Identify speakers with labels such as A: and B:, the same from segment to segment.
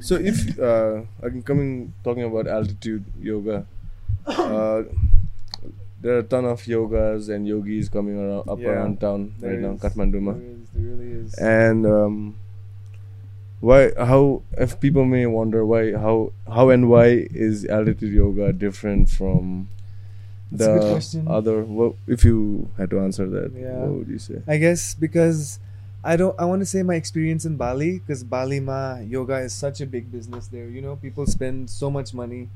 A: So if uh, I'm coming talking about altitude yoga, uh, there are a ton of yogas and yogis coming around up
B: Yeah,
A: around town
B: There
A: right now,
B: is-
A: Kathmandu. ma.
B: There is, there really is.
A: And um, why? How? If people may wonder why, how, how and why is altitude yoga different from
B: That's a good
A: the
B: question.
A: other? What if you had to answer that?
B: Yeah.
A: What would you say?
B: I guess because I don't I want to say my experience in Bali because Bali ma yoga is such a big business there. You know, people spend so much money.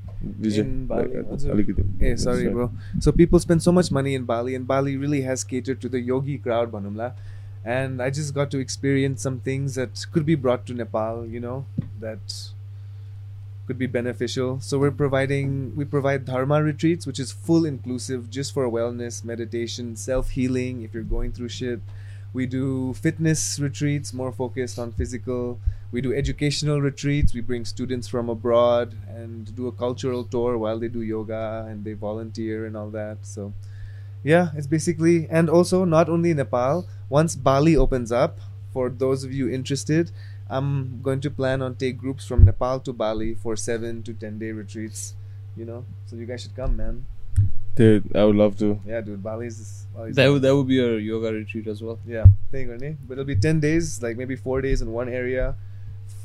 A: Vijay,
B: In Bali,
A: like,
B: also-
A: अलिकति-
B: Hey, sorry, bro. So people spend so much money in Bali, and Bali really has catered to the yogi crowd, Banumla. And I just got to experience some things that could be brought to Nepal, you know, that could be beneficial. So we're providing we provide dharma retreats, which is full inclusive, just for wellness, meditation, self healing. If you're going through shit, we do fitness retreats, more focused on physical. We do educational retreats. We bring students from abroad and do a cultural tour while they do yoga and they volunteer and all that. So, yeah, it's basically and also not only Nepal. Once Bali opens up, for those of you interested, I'm going to plan on take groups from Nepal to Bali for seven to ten day retreats. You know, so you guys should come, man.
A: Dude, I would love to.
B: Yeah, dude, Bali's. Bali's
C: That would that would be a yoga retreat as well.
B: Yeah, thing or nay. But it'll be ten days, like maybe four days in one area,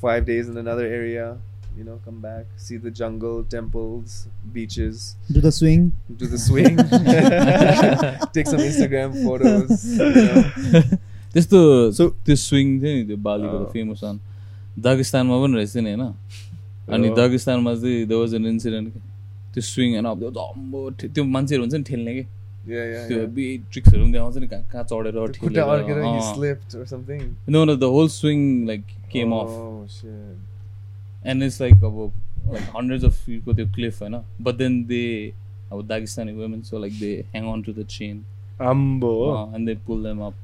B: five days in another area. You know, come back, see the jungle, temples, beaches,
D: Do the swing.
B: do the swing, take some Instagram photos. You know.
C: त्यस्तो
A: So-
C: त्यो swing थियो नि त्यो बालीको
B: Oh.
A: अँ।
C: Famous one दागिस्तानमा पनि रहेछ नि होइन अनि
B: Oh.
A: अँ।
C: दागिस्तानमा चाहिँ द वाज एन इन्सिडेन्ट त्यो स्विङ होइन अब त्यो जम्बो ठे- त्यो मान्छेहरू हुन्छ नि ठेल्ने कि
B: Yeah, yeah.
C: त्यो
B: yeah.
C: बि ट्रिक्सहरू पनि देखाउँछ नि कहाँ कहाँ चढेर
B: Kuta
C: ठेलेर
B: Argera, he
C: uh.
B: slipped or something.
C: No, no, the whole swing like Oh. came off,
B: Oh shit.
C: and it's like about like hundreds of feet with your cliff, you know. But then they, our Dagestani women, so like they hang on to the chain
B: Oh.
A: Ambo.
C: uh, and they pull them up.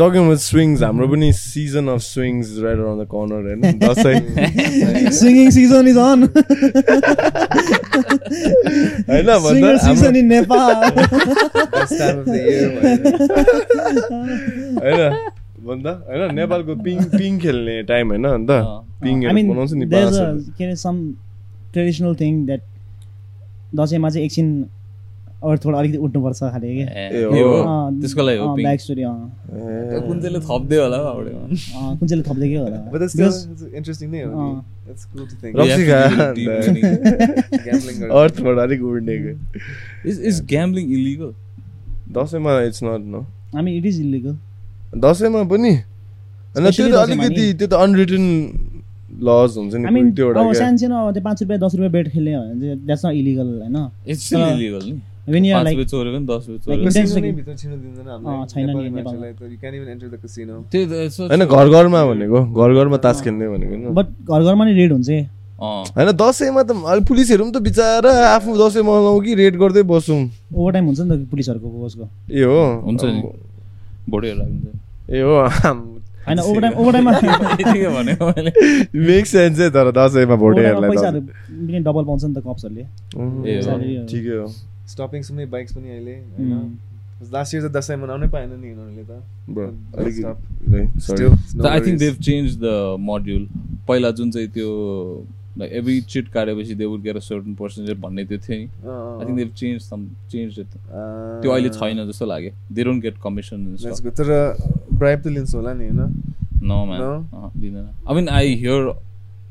A: Talking about swings, हाम्रो पनि season of swings is right around the corner होइन Dashain
D: Swinging season is on.
A: होइन भन्दा
D: Swinger season
A: हाम्रो-
D: in Nepal.
B: Best time of the year. man.
A: होइन भन्दा होइन नेपालको पिङ पिङ खेल्ने टाइम होइन अन्त
C: अँ।
D: I
A: पिङहरू बनाउँछ नि
D: mean, there's a
A: बाँसहरू।
D: के अरे some traditional thing that दसैँमा चाहिँ एकछिन अर्थबाट अलिकति उठ्नुपर्छ खाले
C: Eh,
D: कि
A: ए,
C: यो
A: हो।
D: अँ,
C: त्यसको लागि हो
D: अँ,
C: पिङ
D: Ah, back story, अँ।
A: ए,
C: कुन चाहिँले थप्दै होला हौ हाउडे
D: अँ, कुन चाहिँले थप्दै के होला
B: But that's still
D: Because-
B: it's interesting name.
D: Oh.
B: That's cool to think.
A: Rob-
C: You have
A: रक्सी
C: to do
A: खा-
C: it deep breathing.
B: Gambling or
A: अर्थबाट अलिक उड्ने के।
C: Is is gambling illegal?
A: दसैँमा इट्स नट न
D: I mean, it is illegal.
A: दसैँमा पनि होइन त्यो
D: Especially
A: त
D: दसैँमा
A: अलिकति
D: नि।
A: त्यो त अनरिटन लज हुन्छ नि
D: I mean, oh,
A: कोही त्योवटा
D: अब
A: क्या।
D: सानोसानो अब त्यो पाँच रुपियाँ दस रुपियाँ बेट खेल्ने हो भने चाहिँ that's not illegal, होइन?
C: It's still
D: Uh,
C: illegal. नि?
D: When you are
C: पाँच
D: like-
C: रुपियाँ चोर्यो भने दस रुपियाँ
D: like in
C: चोर्यो भने-
D: terms
B: Casino
D: of-
B: नै भित्र छिर्न दिँदैन हामीलाई।
D: अँ, छैन नि,
B: नेपाली
D: नेपालमा।
B: मान्छेलाई त you can't even enter the casino.
C: त्यही त, it's such
A: होइन
C: a-
A: घर घरमा भनेको घर घरमा
D: Ah.
A: तास खेल्ने भनेको होइन
D: but घर घरमा नै रेड हुन्छ है।
C: अँ।
A: होइन दसैँमा त अलि पुलिसहरू पनि त बिचरा आफ्नो दसैँ मनाउँ कि रेड गर्दै बसौँ
D: ओभरटाइम हुन्छ नि त पुलिसहरूको कसको
A: ए हो
C: हुन्छ नि
A: आम्बो।
C: भोटेहरू लाग्छ
A: ए हो आम्बो।
D: होइन ओभरटाइम ओभरटाइममा
C: यतिकै भनेको मैले
A: मेक सेन्स है तर दसैँमा
D: ओभरटाइममा
A: भोटेहरूलाई
D: पैसाहरू
A: त-
D: पनि डबल पाउँछ नि त कप्सहरूले
A: उम्,
C: ए हो।
A: ठिकै हो
B: Stoppings पनि bikes पनि अहिले, होइन?
A: Hmm.
B: Because last year त दसैँ मनाउनै पाएन नि यिनीहरूले त।
A: ब्रो
B: Don't
A: अलिकति
B: stop.
A: ल, sorry.
B: Still, it's no
C: I think they've
B: worries.
C: Change the module पहिला जुन चाहिँ त्यो लाइक एभ्री चिट काटेपछि they would get a certain percentage भन्ने त्यो थियो नि
B: अँ,
C: I think they've change some change it
B: अँ,
C: त्यो अहिले छैन जस्तो लाग्यो they don't get commission
B: That's good. तर bribe त लिन्छ होला नि, होइन?
C: No man
B: No?
C: दिँदैन I mean I hear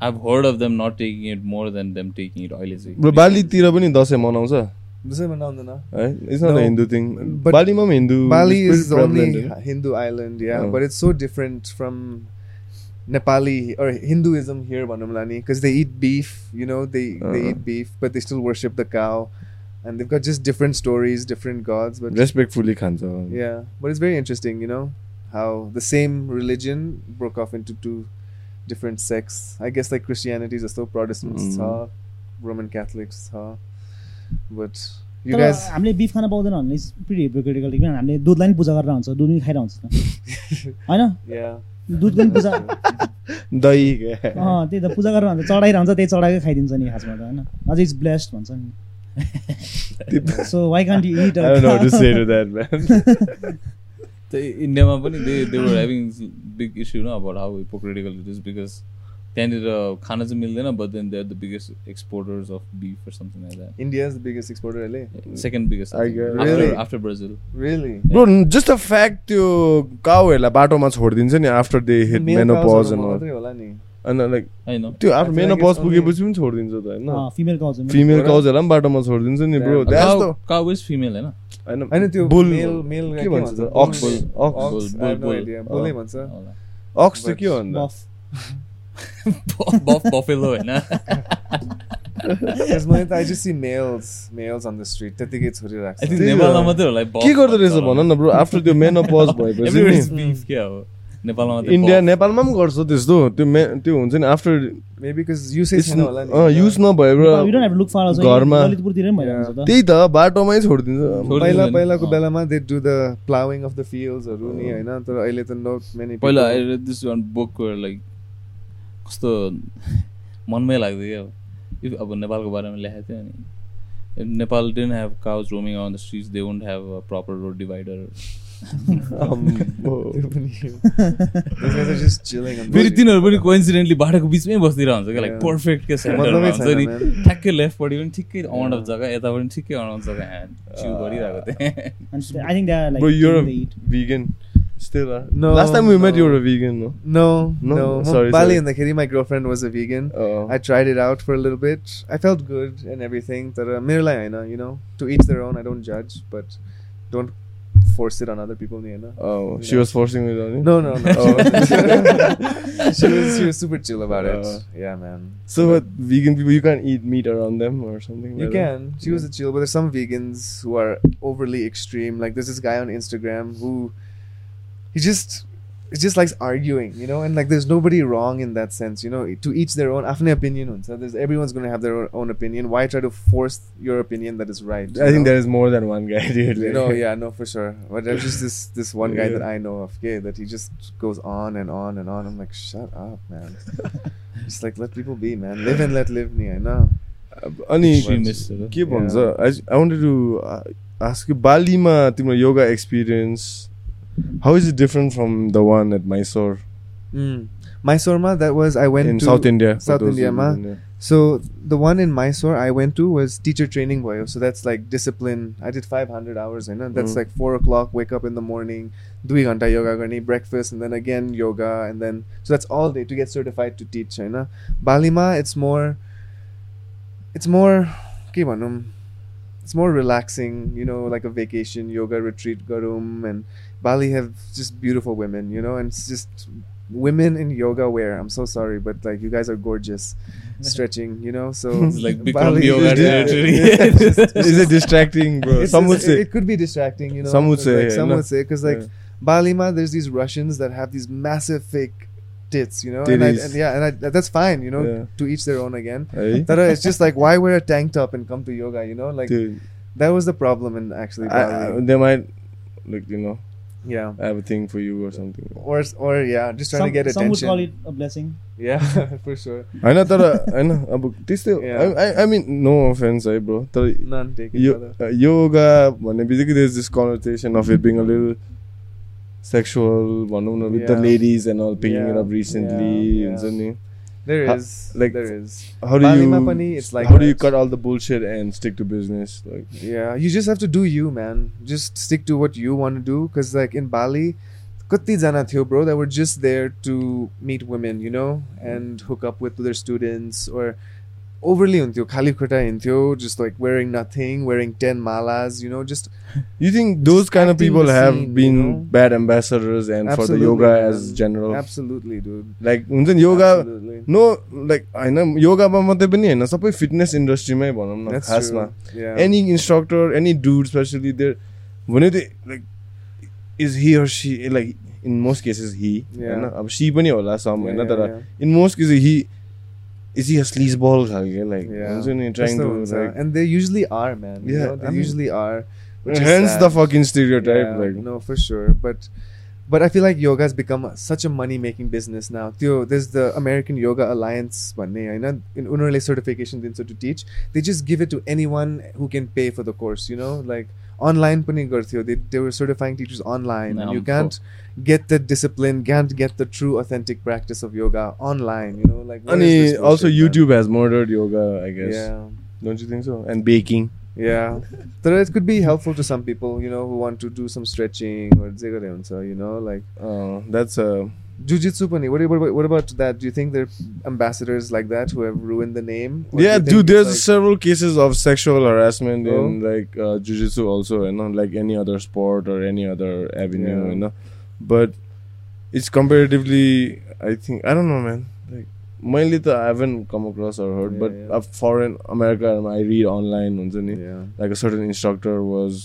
C: I heard of them not taking it more than them taking it अहिले
A: ब्रो
C: चाहिँ
A: बालीतिर पनि दसैँ मनाउँछ
B: दसैँ मनाउँदैन।
A: है it's not
B: No,
A: Hindu thing
B: but
A: बालीमा पनि Hindu
B: Bali
A: Hmm, it's
B: is the
A: prevalent,
B: only
A: होइन?
B: Hindu island, yeah,
A: Oh.
B: but it's so different from Nepali or Hinduism here, Vanamlani, because they eat beef, you know, they, they
A: Uh-huh.
B: eat beef, but they still worship the cow. And they've got just different stories, different gods, but
A: respectfully eh? खान्छ
B: yeah, but it's very interesting, you know, how the same religion broke off into two different sects. I guess like Christianity is still Protestants,
A: Mm.
C: Mm-hmm.
B: huh? Roman Catholics, huh? but you
D: तर
B: guys,
D: हामीले बिफ खान पाउँदैन भने pretty hypocritical किनभने हामीले दुधलाई पनि पूजा गरेर हुन्छ दुध पनि खाएर हुन्छ होइन
B: yeah,
D: दुधको पनि पूजा
A: दही
D: अँ, त्यही त पूजा गरेर हुन्छ चढाइरहन्छ त्यही चढाएकै खाइदिन्छ नि खासमा त होइन अझै इट्स ब्लेस्ड भन्छ नि so why can't you it
C: त्यही इन्डियामा पनि they they were having big issue न about how hypocritical it is because त्यहाँनिर खान चाहिँ मिल्दैन but then they are the biggest exporters of beef for something like that
B: India is the biggest exporter, LA.
C: Second biggest
A: I guess. Really?
C: After Brazil
B: Really?
A: Bro just a fact त्यो काउहरूलाई बाटोमा छोडिदिन्छ नि after they hit
B: Male cows
A: menopause
B: हरूमा
A: and
B: मात्रै होला नि।
A: अन्त लाइक
C: होइन
A: uh, त्यो
B: I
A: after
B: feel like
A: menopause
B: it's only-
A: पुगेपछि पनि छोडिदिन्छ त होइन
D: फिमेल काउज
A: फिमेल
B: Right.
A: काउजहरूलाई पनि बाटोमा छोडिदिन्छ नि bro
B: Damn.
A: That's the
C: cow is female होइन
B: होइन त्यो
A: बुल
B: male- male
A: के
B: के
A: भन्छ
B: भन्छ?
A: त?
B: Bull
A: Ox.
B: Bull.
A: Ox.
B: Ox,
C: Bull,
B: I have
C: bull, Uh.
B: no
C: bull.
B: idea. बुलै भन्छ।
C: होला।
A: अक्स चाहिँ के भन्दा
D: बफ
C: Buff- buff buffalo होइन
B: Because मैले त- I just see males- males on the street. त्यत्तिकै छोरी राख्छ।
C: I think
A: त्यही त।
C: नेपालमा मात्रै होला है buff
A: के गर्दो रहेछ
C: भन्छ होला।
A: भन न ब्रो आफ्टर त्यो मेनोपज भएपछि नि
C: Everywhere is beef क्या हो नेपालमा मात्रै
A: इन्डिया
C: buff।
A: नेपालमा पनि गर्छ त्यस्तो त्यो मे त्यो हुन्छ नि आफ्टर
B: Maybe 'cause usage छैन होला नि।
C: uh,
A: युज नभए bro
D: you don't have look far
A: घरमा।
D: ललितपुरतिर पनि भइरहेको छ त
A: त्यही त बाटोमै छोडिदिन्छ
C: छोड-
B: पहिला
C: छोडिदिँदैन।
B: पहिलाको
C: अँ।
B: बेलामा they do the ploughing of the फिल्ड्सहरू नि होइन तर अहिले त नट मेनी
C: पहिला I read this one book where like कस्तो मनमै लाग्थ्यो क्या इफ अब नेपालको बारेमा लेखेको थियो नि If Nepal didn't have cows roaming on the streets, they wouldn't have a proper road divider.
B: Um,
C: फेरि तिनीहरू पनि कोइन्सिडेन्टली बाटोको बिचमै बसिदिरहन्छ क्या लाइक
B: Yeah.
C: पर्फेक्ट के सेन्टरमा
B: मतलबै
C: हुन्छ
B: छैन,
C: नि
B: man.
C: ठ्याक्कै लेफ्टपट्टि पनि ठिकै अमाउन्ट अफ जग्गा यता पनि ठिकै अमाउन्ट जग्गा ह्यान्ड चिउ गरिरहेको थिएँ
D: And I think they are like
A: Bro, you're a
D: they eat.
A: vegan. Still are.
B: No,
A: Last time we met, you
B: no.
A: were a vegan, no?
B: No,
A: No,
B: no.
A: sorry,
B: Sorry, Bali
A: sorry.
B: in the Khiri, my girlfriend was a vegan.
A: Uh-oh.
B: I tried it out for a little bit. I felt good and everything. But uh, mirla, you know, you know, to each their own. I don't judge, but don't force it on other people, you know.
A: Oh, she was forcing me on you?
B: No, no, no.
A: Oh.
B: she was she was super chill about it.
A: Uh,
B: yeah, man.
A: Oh. So, what, vegan people, you can't eat meat around them or something?
B: You
A: like that?
B: can. She was a chill, but there's some vegans who are overly extreme. Like there's this guy on Instagram who he just he just likes arguing, you know, and like there's nobody wrong in that sense, you know. To each their own afne opinion huncha. There's everyone's gonna have their own opinion. Why try to force your opinion that is right? you
A: I think
B: know?
A: there is more than one guy, dude.
B: you
A: like-
B: know, yeah, no, for sure. But there's just this this one guy
A: Yeah.
B: that I know of, okay, that he just goes on and on and on. I'm like, shut up, man. just like let people be, man. Live and let live, I know.
A: अनि
C: Extremist, uh,
A: के भन्छ
B: yeah.
A: I, I wanted to uh, ask you, बालीमा तिम्रो yoga experience, how is it different from the one at Mysore
B: Mm. Mysorma, that was I went
A: in
B: to
A: South India? for
B: South
A: those who
B: India, ma.
A: don't know.
B: So the one in Mysore I went to was teacher training boy. So that's like discipline. I did 500 hours, you know. That's
A: Mm.
B: like four o'clock. Wake up in the morning, dui ghanta yoga garni, breakfast, and then again yoga, and then so that's all day to get certified to teach, you know. Balima, it's more. It's more, के भनौँ, it's more relaxing, you know, like a vacation yoga retreat garum and Bali have just beautiful women, you know, and it's just women in yoga wear. I'm so sorry, but like you guys are gorgeous, stretching, you know. So
C: It's like Bikram yoga
B: is- yeah,
C: territory.
B: it's just- it's
A: Is it distracting, bro?
B: it's-
A: Some would
B: it-
A: say.
B: it could be distracting, you know.
A: Some would
B: like,
A: say,
B: some
A: no.
B: would say, because like Bali ma, there's these Russians that have these massive fake tits, you know, and, I,
A: Titties.
B: and yeah, and I, that's fine, you know,
A: Yeah.
B: to each their own again.
A: है?
B: But it's just like why wear a tank top and come to yoga, you know, like
A: Dude,
B: that was the problem in actually Bali.
A: I, I, they might, like, you know,
B: yeah.
A: I have a thing for you or something.
B: Or, or yeah, just trying
D: some,
B: to get
D: some
B: attention.
D: would call it a blessing
B: Yeah, for sure.
A: होइन तर होइन अब त्यस्तै
B: Yeah.
A: I mean no offence है bro तर
B: None taken.
A: यो
B: brother.
A: Yoga भन्ने बित्तिकै there this conversation of it being a lil sexual भनौँ न with the
B: Yeah.
A: Ladies and all picking it
B: Yeah,
A: up recently
B: yeah, yeah.
A: हुन्छ नि
B: There
A: Ha-
B: is.
A: like-
B: there is.
A: How do
B: Balima पनि
A: you
B: it's like
A: how do
B: that.
A: You cut all the bullshit and stick to business like
B: Yeah, you just have to do you, man. Just stick to what you want to do. Cause like in Bali, kati jana थियो, bro. That were just there to meet women, you know, and hook up with their students or overly huntyo, khali khota huntyo, just like wearing nothing, wearing ten malas, you know, just
A: you think those kind of
B: acting
A: people
B: the
A: have
B: scene, you
A: been
B: know?
A: Bad ambassadors end for the
B: Absolutely,
A: yoga
B: man.
A: As general
B: absolutely, dude.
A: Like हुन्छ नि yoga
B: Absolutely.
A: No like होइन योगामा मात्रै पनि होइन सबै fitness इन्डस्ट्रीमै भनौँ न
B: That's
A: खासमा
B: true. Yeah.
A: any instructor, any dude, especially there, when they like, is he or she eh, like in most cases he,
B: Yeah.
A: yeah. अब she पनि होला some
B: Yeah,
A: होइन
B: yeah,
A: तर
B: yeah.
A: in most cases he, is he a sleazeball खालके like हुन्छ नि trying
B: त्यस्तो
A: to
B: हुन्छ।
A: like
B: and they usually are man you
A: Yeah,
B: know, they
A: I mean-
B: usually are which is
A: hence
B: sad.
A: the fucking stereotype
B: Yeah,
A: like
B: no for sure but But I feel like yoga has become a- such a money making business now. Tyo, there's the American Yoga Alliance, भन्ने होइन? In उनीहरूले certification दिन्छ to teach. They just give it to anyone who can pay for the course, you know? Like online पनि गर्थ्यो. They, they were certifying teachers online. And you
C: Naam,
B: can't get the discipline, can't get the true authentic practice of yoga online, you know? Like where is
A: Ani,
B: this
A: also
B: bullshit, man?
A: YouTube has murdered yoga, I guess.
B: Yeah.
A: Don't you think so? And baking.
B: Yeah, but it could be helpful to some people, you know, who want to do some stretching or जे गरे हुन्छ, you know, like
A: Uh, that's a.
B: jujitsu pani. What, what, what about that? Do you think there are ambassadors like that who have ruined the name? Or do
A: yeah,
B: you think
A: dude,
B: it's
A: there's
B: like,
A: several cases of sexual harassment
B: Oh.
A: in like uh, jujitsu also, you know, like any other sport or any other avenue,
B: Yeah.
A: you know. But it's comparatively, I think, I don't know, man. Like, mainly the, I haven't come across or heard,
B: Yeah,
A: but
B: yeah.
A: a foreign America, I read online, हुन्छ नि,
B: Yeah.
A: like a certain instructor was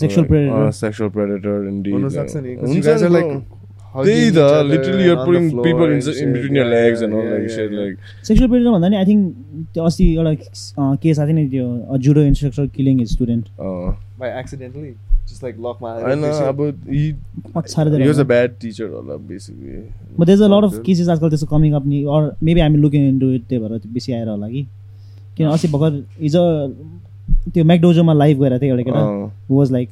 D: sexual
A: like,
D: प्रेरित
A: uh, sexual predator indeed.
B: हुन
A: like-
B: सक्छ नि, 'cause you guys
A: हुन्छ
B: are
A: नि,
B: like
A: uh, bro.
B: hugging
A: They
B: each
A: the
B: other
A: literally
B: and
A: you're
B: on
A: putting
B: the floor
A: people
B: and
A: in, in
B: shit.
A: between your
B: Yeah,
A: legs and
B: yeah,
A: all
B: yeah,
A: like
B: yeah,
A: shit.
B: yeah.
A: Like
D: sexual प्रेरित भन्दा नि I think त्यो अस्ति एउटा अँ, case आएको थियो नि त्यो अ, judo instructor killing student
A: uh,
B: by accidentally, just like lock my.
A: I know about he he was a
D: पछाडि
A: bad teacher होला basically.
D: But there's a lot of
A: Okay.
D: cases आजकल त्यस्तो कमिङ अप नि अर मेबी हामी looking into it त्यही भएर त्यो बेसी आएर होला कि किन अस्ति भर्खर हिजो त्यो म्याकडोजोमा लाइभ गएर थियो एउटा केटा
A: Uh,
D: वाज लाइक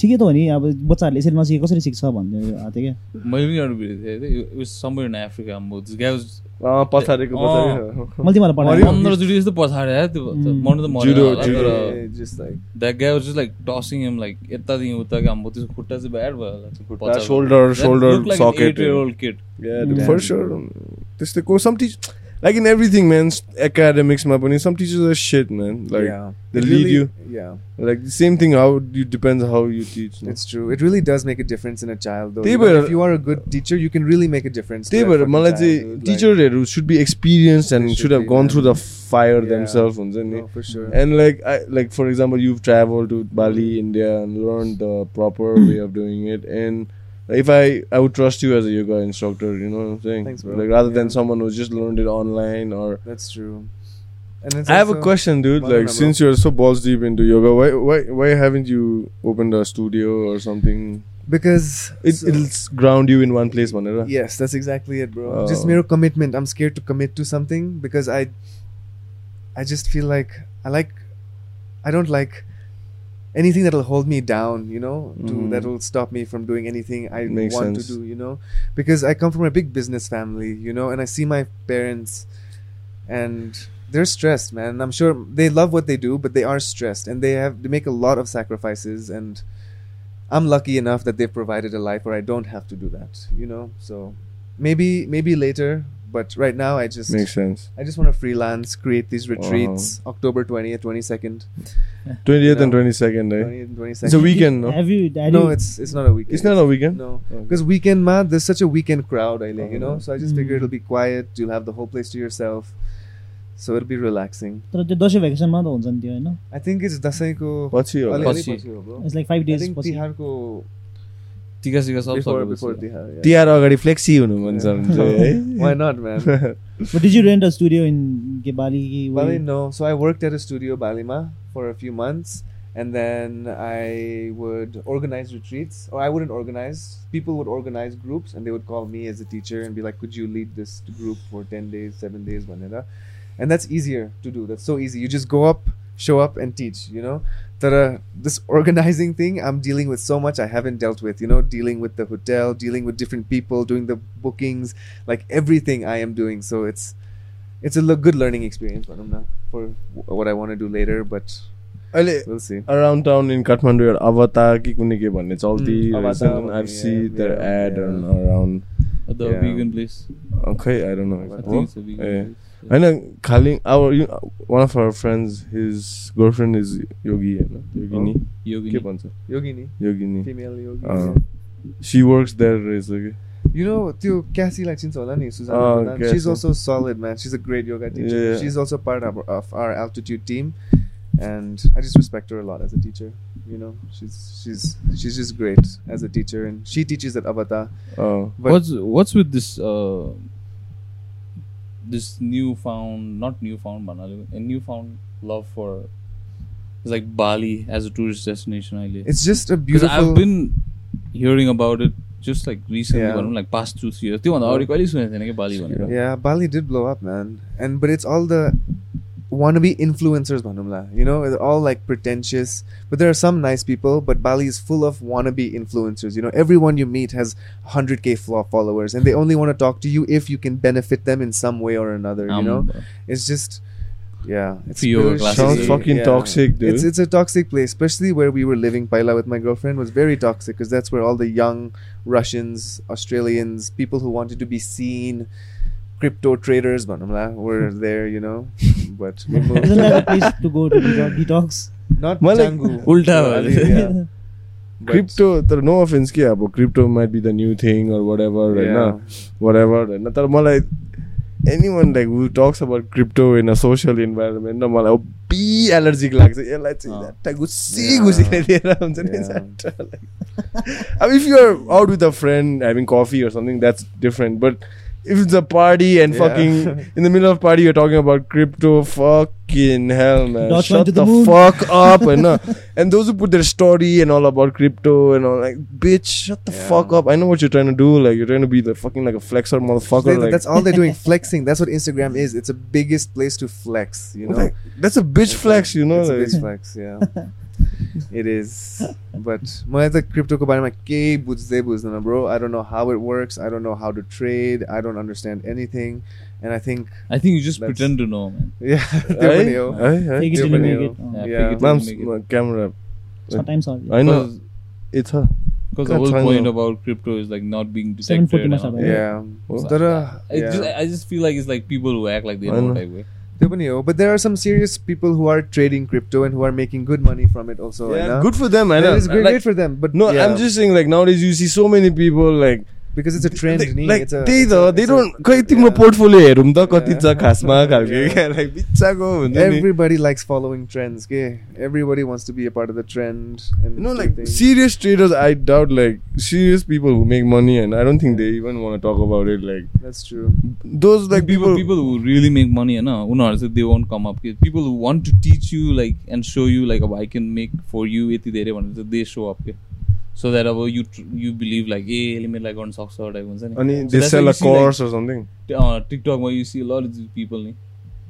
D: ठिकै त हो नि अब बच्चाहरूले यसरी नसिके कसरी सिक्छ भन्दै आएको थियो क्या
C: मैले पनि एउटा भिडियो थिएँ it was somewhere in Africa म दिस गाइ वाज
A: अँ,
B: Oh.
A: पछाडिको पछाडि
D: मैले तिमीलाई पठाएको
C: पन्ध्र जुडी जस्तो पछाडि आयो त्यो त
D: Mm.
C: मर्नु त मरेन
A: Judo,
C: होला तर
B: just like
C: that guy was just like tossing him like यतादेखि उता कि हाम्रो त्यसको खुट्टा चाहिँ ब्याड भयो होला त्यो
A: खुट्टा,
C: पछाडि।
A: shoulder,
C: That
A: shoulder
C: looked like an
A: socket.
C: eight year old kid.
A: Yeah, dude,
D: Yeah.
A: Mm. for sure. त्यस्तै को some teach like in everything man academicsमा पनि some teachers are shit man like
B: yeah.
A: they
B: It
A: lead
B: really-
A: you.
B: Yeah,
A: like the same thing how you depends how you teach no?
B: it's true. It really does make a difference in a child, though.
A: त्यही
B: You know,
A: भएर-
B: if you are a good teacher, you can really make a difference. to
A: त्यही
B: that
A: भएर
B: fucking
A: मलाई
B: child,
A: चाहिँ
B: dude. Like,
A: टिचरहरू should be experience
B: They
A: and
B: should
A: should have
B: be,
A: gone
B: man.
A: Through the fire
B: Yeah.
A: Themself हुन्छ नि
B: no, for sure.
A: And like I like for example, you've traveled to Bali, India, and learned the proper
B: Hmm.
A: way of doing it. And if I I would trust you as a yoga instructor, you know what I'm saying?
B: Thanks, bro.
A: Like rather than
B: Yeah.
A: someone who's just learned it online or.
B: That's true. And it's
A: I have a
B: also-
A: question, dude.
B: Banana,
A: Like
B: bro.
A: since you're so balls deep into yoga, why why why haven't you opened a studio or something?
B: because
A: It
B: so-
A: it'll s- ground you in one place, manera.
B: yes, that's exactly it, bro. Just
A: Oh.
B: mere commitment. I'm scared to commit to something because I, I just feel like I like, I don't like anything that'll hold me down. You know, to,
A: Mhm.
B: that'll stop me from doing anything I
A: Makes
B: want
A: sense.
B: to do. You know, because I come from a big business family. You know, and I see my parents, and they're stressed, man. I'm sure they love what they do, but they are stressed, and they have they make a lot of sacrifices and. I'm lucky enough that they've provided a life where I don't have to do that, you know. So maybe maybe later, but right now I just
A: Makes sense.
B: I just want to freelance, create these retreats. October twentieth, twenty second,
A: 20th and
B: No.
A: 22nd, eh?
B: twentieth, twenty
A: It's a
B: second.
A: weekend, no?
D: Have you- have
B: No,
D: you-
B: it's it's not a weekend.
A: It's not a weekend. Oh.
B: no.
A: Okay.
B: Because weekend ma, there's such a weekend crowd, I you know. So I just figure
D: Mm.
B: it'll be quiet. You'll have the whole place to yourself, so it'll be relaxing.
D: तर त्यो दसैँ भ्याकेसनमा त हुन्छ नि त्यो होइन
B: I think it's दासाiko.
A: What's your
C: Only-
A: Tihar?
C: पछि।
D: It's like five
B: I
D: days
B: think
D: पछि
B: Tiharko
C: टिका सिका सब
B: before
C: सकेपछि।
B: before Tihar. yeah.
A: agadi flexi hunu mancha ¿eh?
B: Why not, man?
D: Did you rent a studio in के Bali कि
B: Bali, no. So I worked at a studio, Balima, for a few months. And then I would organize retreats, or I wouldn't organize. People would organize groups, and they would call me as a teacher and be like, "Could you lead this group for ten days, seven days, whatever?" And that's easier to do. That's so easy. You just go up, show up, and teach. You know, that uh, this organizing thing, I'm dealing with so much I haven't dealt with. You know, dealing with the hotel, dealing with different people, doing the bookings, like everything I am doing. So it's it's a le- good learning experience भनौँ न, for wh- what I want to do later but
A: अहिले
B: we'll see
A: around town in Kathmandu एउटा अवतार कि कुनै के भन्ने चल्ती
B: Mm,
A: रहेछ
B: Avatar भन्ने,
A: I've seen
B: yeah,
A: their
B: yeah,
A: ad
B: yeah.
A: on around
C: The
B: Yeah.
C: vegan place.
A: खै I don't know
C: I
A: हो?
C: think it's a vegan
A: A,
C: place.
A: होइन खालि our you- one of our friends his girlfriend is योगी होइन योगिनी
B: Oh.
C: Yogini.
A: के भन्छ
B: yogini
A: Yogini
B: female yogi
A: uh. she works there रहेछ कि
B: you know त्यो क्यासीलाई चिन्छ होला नि सुजाना
A: Oh,
B: Pradhan.
A: Cassie.
B: she's also solid man she's a great yoga teacher
A: Yeah.
B: she's also part of, of our altitude team and I just respect her a lot as a teacher you know she's she's she's just great as a teacher and she teaches at Avatar
A: uh,
B: but
C: what's what's with this uh this newfound not newfound भन्नाले a newfound love for it's like Bali as a tourist destination अहिले
B: it's just a
C: because
B: beautiful
C: I've been hearing about it just like recently
B: Yeah.
C: भनौँ like past two three years त्योभन्दा अगाडि कहिले सुनेको थिएन कि बाली भनेर
B: Yeah, Bali did blow up, man. And but it's all the wannabe influencers, Manumla. You know, they're all like pretentious. But there are some nice people. But Bali is full of wannabe influencers. You know, everyone you meet has 100k flo- followers, and they only want to talk to you if you can benefit them in some way or another. you
C: um,
B: know, it's just. Yeah, it's
C: Yoga
B: really
C: classes.
B: shitty.
C: Sounds
A: fucking toxic, dude.
B: It's it's a toxic place, especially where we were living. Paila with my girlfriend was very toxic because that's where all the young Russians, Australians, people who wanted to be seen, crypto traders, bhanumla, were there. You know, but we moved
D: Isn't that a
B: to,
D: place to go to detox- detox?
B: not
A: Well, like-
B: Canggu,
C: Ulta
B: to
C: वाला।
B: Ali, yeah, but-
A: crypto तर no offence के अब crypto might be the new thing or whatever
B: Yeah.
A: होइन whatever होइन तर मलाई anyone like who talks about crypto in a social environment न मलाई बी एलर्जिक लाग्छ यसलाई चाहिँ
C: अँ।
A: झट्टा गुस्सी
B: Oh. Yeah.
A: गुसीले दिएर हुन्छ नि
B: Yeah.
A: झट्टा like- अब if you're out with a friend having coffee or something that's different but if it's a party and
B: Yeah.
A: Fucking in the middle of party you're talking about crypto fucking hell
D: Dot
A: man
D: one
A: shot
D: to
A: the
D: the moon.
A: Fuck up होइन and uh, those who put their story and all about crypto and all like bitch shut the
B: Yeah.
A: fuck up i know what you're trying to do like you're trying to be the fucking like a flexer motherfucker
B: They-
A: like
B: that's all they're doing, flexing. That's what Instagram is. It's the biggest place to flex. You know,
A: like, that's a bitch flex you know
B: It's a
A: like,
B: bitch flex, yeah. it is. But मलाई त क्रिप्टोको बारेमा केही बुझ्दै बुझ्दैन bro I don't know how it works I don't know how to trade I don't understand anything and I think
C: I think you just
B: That's-
C: pretend to know man
B: त्यो
A: hey,
B: पनि हो
A: hey, hey.
D: Take it till you
B: त्यो पनि
D: make
B: हो।
D: it. Uh,
C: Yeah,
B: Yeah.
C: fake it till you
A: Mom's
C: make it.
A: uh, camera
D: Sometimes all.
A: i know
C: Because-
A: it's her
C: Because the
A: That's
C: whole
A: fine,
C: point
A: though.
C: about crypto is like not being
D: 740
C: detected. and
D: must
C: all
D: have
C: that.
D: been.
B: Yeah.
A: Well,
B: तर
C: I just
B: yeah,
C: I just feel like it's like people who act like they
A: I
C: know
A: know.
C: type way.
B: त्यो पनि हो but there are some serious people who are trading crypto and who are making good money from it also
A: yeah, good for them i know
B: is
A: Like,
B: great for them बट
A: no i'm just saying like nowadays you see so many people like
B: because it's a trend नि
A: like
B: it's a-
A: त्यही
B: it's
A: त
B: a-
A: they
B: it's a-
A: don't खै तिम्रो
B: yeah.
A: Portfolio हेरौँ त कति
B: Yeah.
A: छ खासमा खालके
B: Yeah.
A: क्या, like बिच्चाको हुन्छ नि
B: Everybody likes following trends. Okay, everybody wants to be a part of the trend. And
A: You know,
B: do
A: like
B: things.
A: serious traders, I doubt like serious people who make money, and I don't think they even want to talk about it. Like
B: that's true.
A: those, like people,
C: people who really make money, and no, they won't come up. People who want to teach you like and show you like I can make for you यति धेरै भनेर चाहिँ they show up. के। So that अब you tr- you believe like ए यसले मेरो लागि गर्न सक्छ टाइप हुन्छ
A: and
C: नि
A: they sell a course or something.
C: uh, टिकटकमा यु सी लट पिपल नि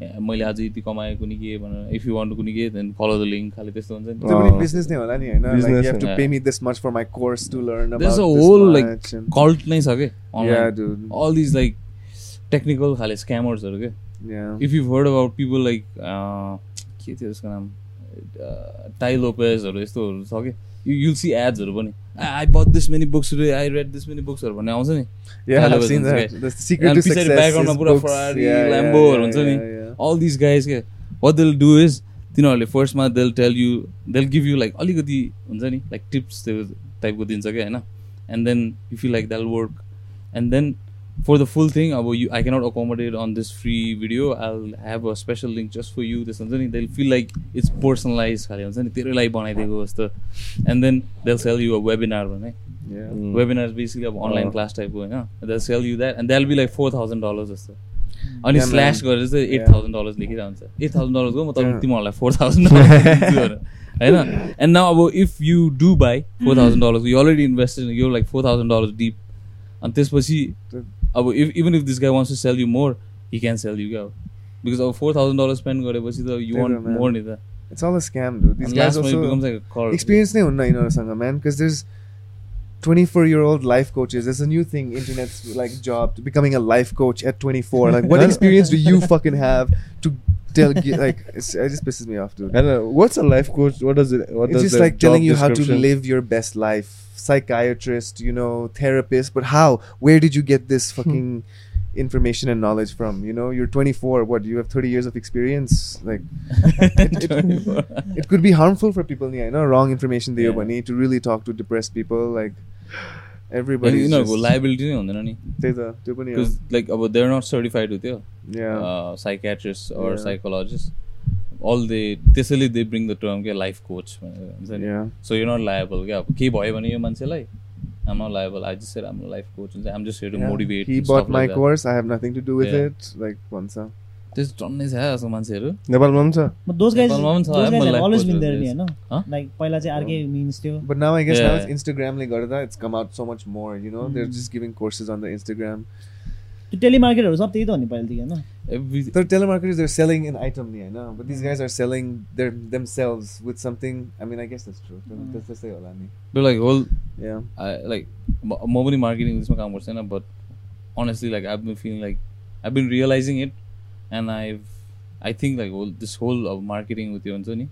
C: ए, मैले आज यति कमाएको नि के भनेर इफ यु वान्ट कुनै के देन फलो द लिङ्क खालि त्यस्तो हुन्छ नि
B: It's a really
A: Oh.
B: business name, Alani, you know, like
A: Business
B: you have to
C: name.
B: pay me this much for my course to learn about
C: There's a
B: this
C: whole,
B: much
C: like,
B: and-
C: cult नै छ कि
B: yeah,
C: online
B: dude.
C: All these like technical खाले स्क्यामर्सहरू के
B: Yeah.
C: If you heard about people like uh, के थियो त्यसको नाम टाइ लोपेजहरू यस्तोहरू छ कि यु युल सी एड्सहरू पनि I but this many books I read this many बुक्सहरू भन्ने आउँछ नि
B: Yeah, I've
C: Valuable
B: seen
C: things,
B: that. The secret
C: And
B: to
C: picture
B: success
C: background
B: is
C: मा पुरा
B: books.
C: Ferrari,
B: Yeah, yeah,
C: Lambo
B: yeah,
C: हरू हुन्छ नि
B: yeah, yeah.
C: All this guys के वाट देल डु इज तिनीहरूले फर्स्टमा they'll tell you they'll give you like अलिकति हुन्छ नि लाइक टिप्स त्यो टाइपको दिन्छ क्या होइन and then if you like that'll work and then for the full thing अब you I cannot accommodate on this free video I have a special link just for you त्यस्तो हुन्छ नि they'll feel like it's personalise खाले हुन्छ नि तेरो लागि बनाइदिएको जस्तो and then they'll sell you a webinar भने
B: Yeah.
A: Mm.
C: वेबिनार बेसिकली अब अनलाइन
B: Oh.
A: अँ।
C: क्लास टाइपको होइन they'll sell you that and that'll be like four thousand dollar जस्तो अनि
B: Mm. Yeah, man.
C: स्ल्यास गरेर चाहिँ एट
B: Yeah.
C: थाउजन्ड डलर्स लेखिरहन्छ एट थाउजन्ड डलर्सको म तर
B: Yeah.
C: तिमीहरूलाई फोर थाउजन्ड डलर होइन एन्ड नाउ अब if you do buy
B: Hmm.
C: Four thousand डलर्सको यु अलरेडी इन्भेस्टेड यो like four thousand dollars deep अनि त्यसपछि अब if even if this guy wants to sell you more he can sell you क्या because अब four thousand dollar spend गरेपछि त यु
B: त्यही त,
C: वान्ट
B: man.
C: मोर नि त
B: It's all a scam, dude. These guys
C: लास्टमा
B: also
C: becomes like call
B: experience नै हुन्न यिनीहरूसँग man because there 24 year old life coaches. There's a new thing, internet's like job, becoming a life coach at 24. Like, what experience do you fucking have to tell? gi- Like, it's, it just pisses me off, dude.
A: I don't know. What's a life coach? What does it? What
B: it's
A: does
B: just
A: the
B: like telling
A: job
B: you how to
A: description-
B: live your best life. Psychiatrist, you know, therapist, but how? Where did you get this
A: Hmm.
B: fucking information and knowledge from? You know, you're 24. What? You have 30 years of experience. Like, it could be harmful for people. Yeah, you know, wrong information they
C: Yeah.
B: bunny to really talk to depressed people. Like, everybody.
C: यिनीहरूको liability नै हुँदैन नि because like अब they're not certified हो त्यो
B: Yeah.
C: uh, psychiatrist or
B: Yeah.
C: Psychologist all they त्यसैले they bring the term क्या life coach भनेर हुन्छ नि
B: Yeah.
C: So you not liable क्या अब केही भयो भने यो मान्छेलाई um not liable I just राम्रो लाइफ कोच हुन्छ um just here to
B: Yeah.
C: Motivate
B: He bought my course. I have nothing to do with
C: Yeah.
B: it. Like, once.
C: त्यस्तो टन्नै छ जस्तो मान्छेहरू
A: नेपालमा पनि छ
D: दोज गाइज
C: नेपालमा पनि छ है, मलाई लाग्छ
D: अलवेज बिन
C: त्यो
D: देयर नि
C: place.
D: होइन
C: Huh?
D: लाइक पहिला चाहिँ अर्कै मिन्स थियो
B: But now I guess now
C: Yeah. Mm.
B: it's Instagramले गर्दा it's come out so much more. You know, they're just giving courses on the Instagram.
D: त्यो टेलिमार्केटहरू सब त्यही त हो नि पहिलादेखि होइन
C: every
B: The telemarketers they're selling an item, yeah, I know. But
C: Mm.
B: these guys are selling their themselves with something. I mean, I guess that's true.
D: Mm.
B: That's that's the
C: like whole
B: Yeah.
C: Like म म पनि marketing इङ्ग्लिसमा काम गर्छु होइन but honestly like I been feeling like I been realizing it and I I think like whole this whole अब marketing uh त्यो हुन्छ नि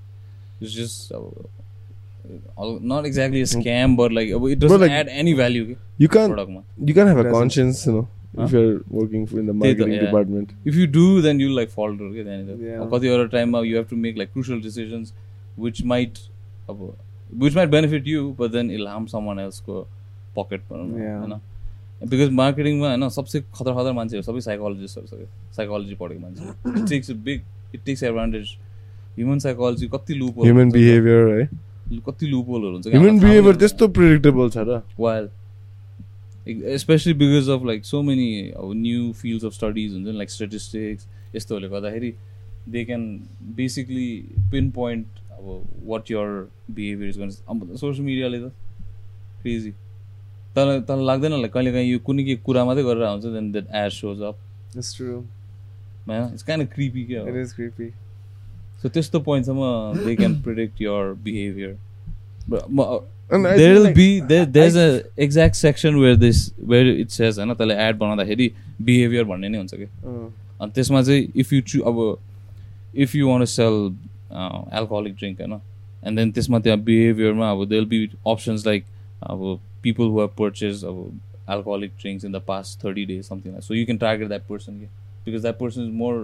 C: इट्स जस्ट अब not exactly scam but like अब it
A: Bro,
C: does
A: Mm. like-
C: add any value कि
A: You can't
C: प्रडक्टमा
A: you can't have a
B: Present.
A: conscience, you know, if
C: Huh?
A: you're working for in the
C: Theatre,
A: marketing
C: yeah.
A: department.
C: If you do then you like falter क्या
B: Yeah.
C: त्यहाँनिर अब कतिवटा टाइममा you have to make like crucial decisions which might अब which might benefit you but then it'll harm someone एल्सको पकेट भनौँ न
B: Yeah.
C: होइन बिकज मार्केटिङमा होइन सबसे खतरा खतरा मान्छेहरू सबै साइकोलोजिस्टहरू छ क्या साइकोलोजी पढेको मान्छेहरू it takes big it takes advantage human psychology कति लुप
A: Human behavior, है
C: कति लुपोलहरू हुन्छ
A: ह्युमन बिहेभियर त्यस्तो प्रिडिक्टेबल छ र
C: while specially because of like so many अब न्यु फिल्ड्स अफ स्टडिज हुन्छ नि लाइक स्टेटिस्टिक्स यस्तोहरूले गर्दाखेरि they can basically pinpoint अब वाट यर बिहेभियर इज गर्नु अब सोसियल मिडियाले त क्रेजी तर तर लाग्दैन होला कहिले काहीँ यो कुनै के कुरा मात्रै गरेर हुन्छ then that ad shows up
B: That's true.
C: होइन इट्स काइन्ड क्रिपी क्या
B: It is creepy.
C: सो त्यस्तो पोइन्टसम्म they can predict your behaviour
A: And I
C: uh, there
A: feel
C: will
A: like-
C: be there, there's a exact section where this where it says होइन त्यसलाई add बनाउँदाखेरि behaviour भन्ने नै हुन्छ कि
B: Uh.
A: अँ।
C: अनि त्यसमा चाहिँ इफ यु चु अब if you want sell alcoholic drink uh, होइन एन्ड देन त्यसमा त्यहाँ बिहेभियरमा अब they will be options like अब पिपल हु हेभ पर्चेज अब alcoholic drinks in the past thirty days something like so you can target that person के because that person is more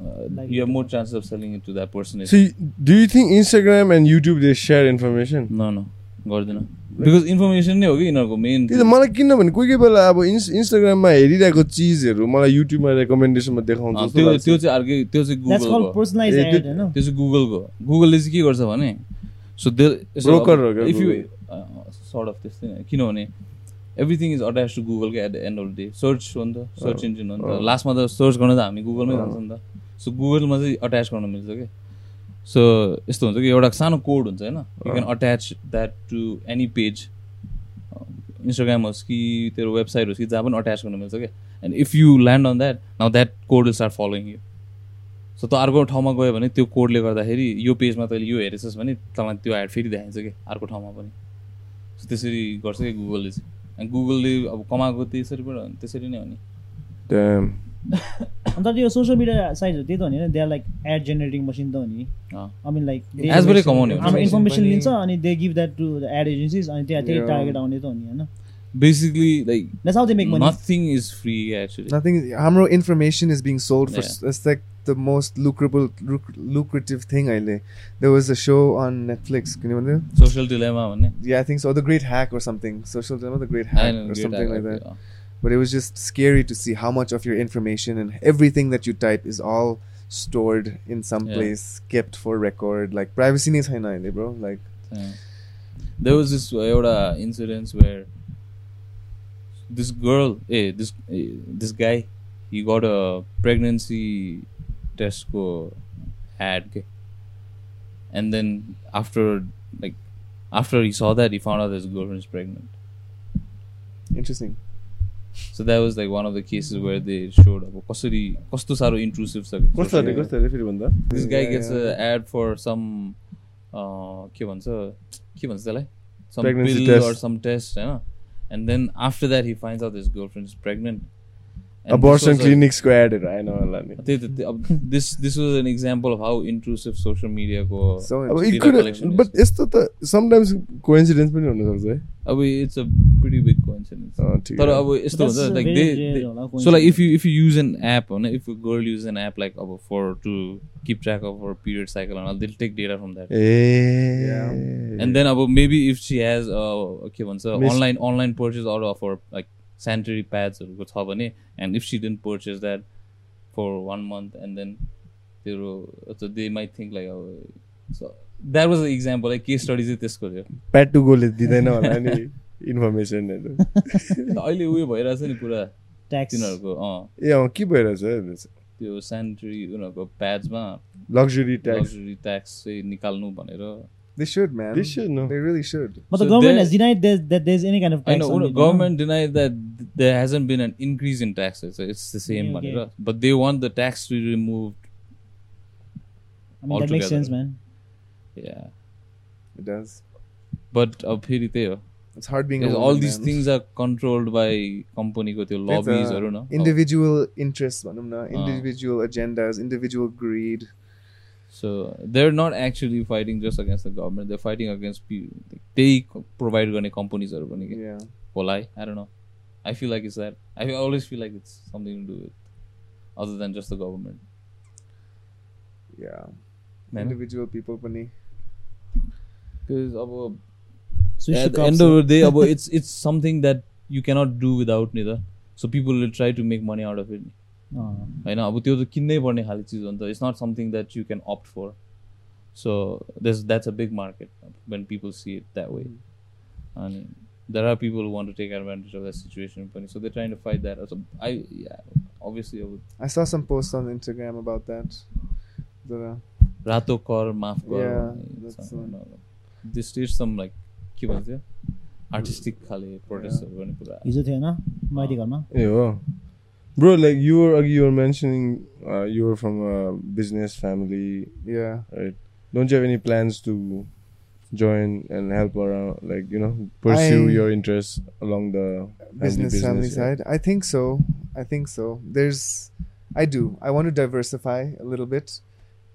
D: Like-
C: you have more chances of selling it to that person is
A: So, y- do you think Instagram and YouTube they share information?
C: न न गर्दैन because information नै हो कि यिनीहरूको main
A: त्यही त मलाई किनभने कोही कोही बेला अब इन्स इन्स्टाग्राममा हेरिरहेको चिजहरू मलाई युट्युबमा रेकमेन्डेसनमा देखाउँछ जस्तो
C: Ah, त्यो
A: लाग्छ।
C: त्यो चाहिँ अर्कै त्यो चाहिँ
D: द्याट्स कल
C: गुगलको
D: पर्सनलाइज
A: ए,
D: एड
A: त्यो-
D: होइन
C: त्यो चाहिँ गुगलको गुगलले चाहिँ के गर्छ भने सो
A: Broker हो क्या
C: if you
A: Google?
C: Sort of त्यस्तै नै। किनभने एभ्रिथिङ इज अट्याच टु गुगलको at the end of the day search हो नि त सर्च इन्जिन हो नि त
A: अँ।
C: लास्टमा त सर्च गर्न त हामी गुगलमै जान्छ नि त सो गुगलमा चाहिँ अट्याच गर्न मिल्छ कि सो यस्तो हुन्छ कि एउटा सानो कोड हुन्छ होइन you can attach that to any page Instagram होस् कि तेरो वेबसाइट होस् कि जहाँ पनि अट्याच गर्न मिल्छ क्या and if you land on that now that code will start following you so त अर्को ठाउँमा गयो भने त्यो कोडले गर्दाखेरि यो पेजमा तैँले यो हेरेछस् भने तँलाई त्यो एड फेरि देखाइन्छ कि अर्को ठाउँमा पनि सो त्यसरी गर्छ कि गुगलले चाहिँ अनि गुगलले अब कमाएको त्यसरी पनि हो नि, त्यसरी नै हो नि
A: Damn.
D: अन्त त्यो सोसियल मिडिया साइटहरू त्यही त हो नि होइन they are like ad generating machine त हो नि
C: अँ।
D: आई मिन लाइक
C: एजबाटै कमाउने हो।
D: इन्फर्मेसन
B: पनि-
D: लिन्छ अनि they give that to the ad agencies अनि त्यहाँ त्यही
B: Yeah.
D: टार्गेट आउने त हो नि होइन
C: basically like
D: that's how they make money
C: nothing is free actually
B: Nothing. Hamro information is being sold for.
C: Yeah.
B: It's like the most lucrative, luc- lucrative thing. I lay. There was a show on Netflix. Can you remember?
C: Social Dilemma भन्ने
B: Yeah, I think so. The Great Hack or something. Social Dilemma, The Great
C: I
B: Hack
C: don't
B: or
C: get
B: something like
C: idea.
B: that. But it was just scary to see how much of your information and everything that you type is all stored in some
C: Yeah.
B: place, kept for record. Like privacy needs high bro. Like
C: there was this uh, एउटा incidents where this girl eh this eh, this guy he got a pregnancy test को ad के and then after like after he saw that he found out his girlfriend is pregnant
B: interesting.
C: so that was like one of the cases where they showed अब कसरी कस्तो साह्रो intrusive छ कि
A: कस्तो अरे कस्तो अरे फेरि भन्दा
C: this guy
B: Yeah,
C: gets
B: yeah.
C: a ad for some uh, के भन्छ के भन्छ त्यसलाई some
A: Pregnancy
C: pill
A: test.
C: or some test होइन and then after that he finds out his girlfriend is pregnant And this
A: abortion
C: was a-
A: क्लिनिक्सको एडहरू आएन होला नि
C: त्यही त त्यो- अब this this was an example of how intrusive social media को
B: So
A: अब
C: data
A: it could-
C: collection is-
A: but यस्तो त समटाइम्स कोइन्सिडेन्स पनि हुनसक्छ है
C: अब it's a pretty big coincidence
A: अँ, ठिक
C: तर
A: हो।
C: अब यस्तो
D: But
C: हुन्छ
D: that's
C: like
D: very
C: they
D: rare होला,
C: so like
D: coincidence.
C: If you if you use an app होइन if you girl use an app like अब for to keep track of for period cycle and they'll take data from that
A: ए
C: and then अब maybe if she has uh, के भन्छ
A: Miss-
C: online online purchase अरू offer like sanitary प्याड्सहरूको छ भने and if she didn't purchase that for one month and then तेरो they might think like अब that was example like case study चाहिँ त्यसको थियो
A: प्याटुगोले दिँदैन होला नि इन्फर्मेसनहरू
C: अहिले उयो भइरहेछ नि पुरा
D: ट्याक्स
C: तिनीहरूको अँ
A: ए अँ के भइरहेछ
C: त्यो सेनिटरी उनीहरूको प्याड्समा
A: luxury tax.
C: लग्जरी ट्याक्स चाहिँ निकाल्नु भनेर
B: They should, man.
A: They should know.
B: They really should.
D: But the
C: So
D: government
C: there-
D: has denied that, that there's any kind of
C: होइन
D: tax. on it, you know?
C: Government deny that there hasn't been an increase in taxes it's the same
D: Okay, okay.
C: भनेर but they want the tax to remove
D: I mean, that makes
C: altogether.
D: sense, man.
C: Yeah
B: It does.
C: But अब फेरि त्यही हो
B: It's hard being a
C: Because
B: woman,
C: all these
B: man.
C: things are controlled by कम्पनीको त्यो
B: There's, uh,
C: लबिजहरू न
B: Individual interests, भनौँ न, individual agendas, individual greed.
C: So they're not actually fighting just against the government they're fighting against त्यही provide गर्ने कम्पनीजहरू पनि के
B: Yeah.
C: होला है I don't know I feel like it's that I always feel like it's something to do with other than just the government
B: Yeah.
C: होइन
B: Individual people पनि.
C: Because अब
D: So she
C: uh, at the
D: cops
C: end
D: it.
C: of the day अब it's it's something that you cannot do without नि त so people will try to make money out of it
D: अँ।
C: होइन अब त्यो त किन्नै पर्ने खालको चिज हो नि त it's not something that you can opt for so that's that's a big market when people see it that way
B: Hmm.
C: अनि there are people want to take advantage of the situation पनि so they trying to fight that so I obviously अब
B: I saw some posts on Instagram about that. The,
C: रातो कर माफ
B: Yeah, that's
C: गर this is some like के भन्छ त्यो artistic खाले प्रोटेस्टहरू गर्ने कुरा
D: हिजो थियो होइन माइती घरमा
A: Yeah, wow. Bro, like you were like, you were mentioning uh, you were from a business family,
B: yeah.
A: right? Don't you have any plans to join and help around, like you know, pursue
B: I-
A: your interests along the
B: business,
A: business,
B: family
A: yeah.
B: side. I think so. I think so. There's, I do. I want to diversify a little bit.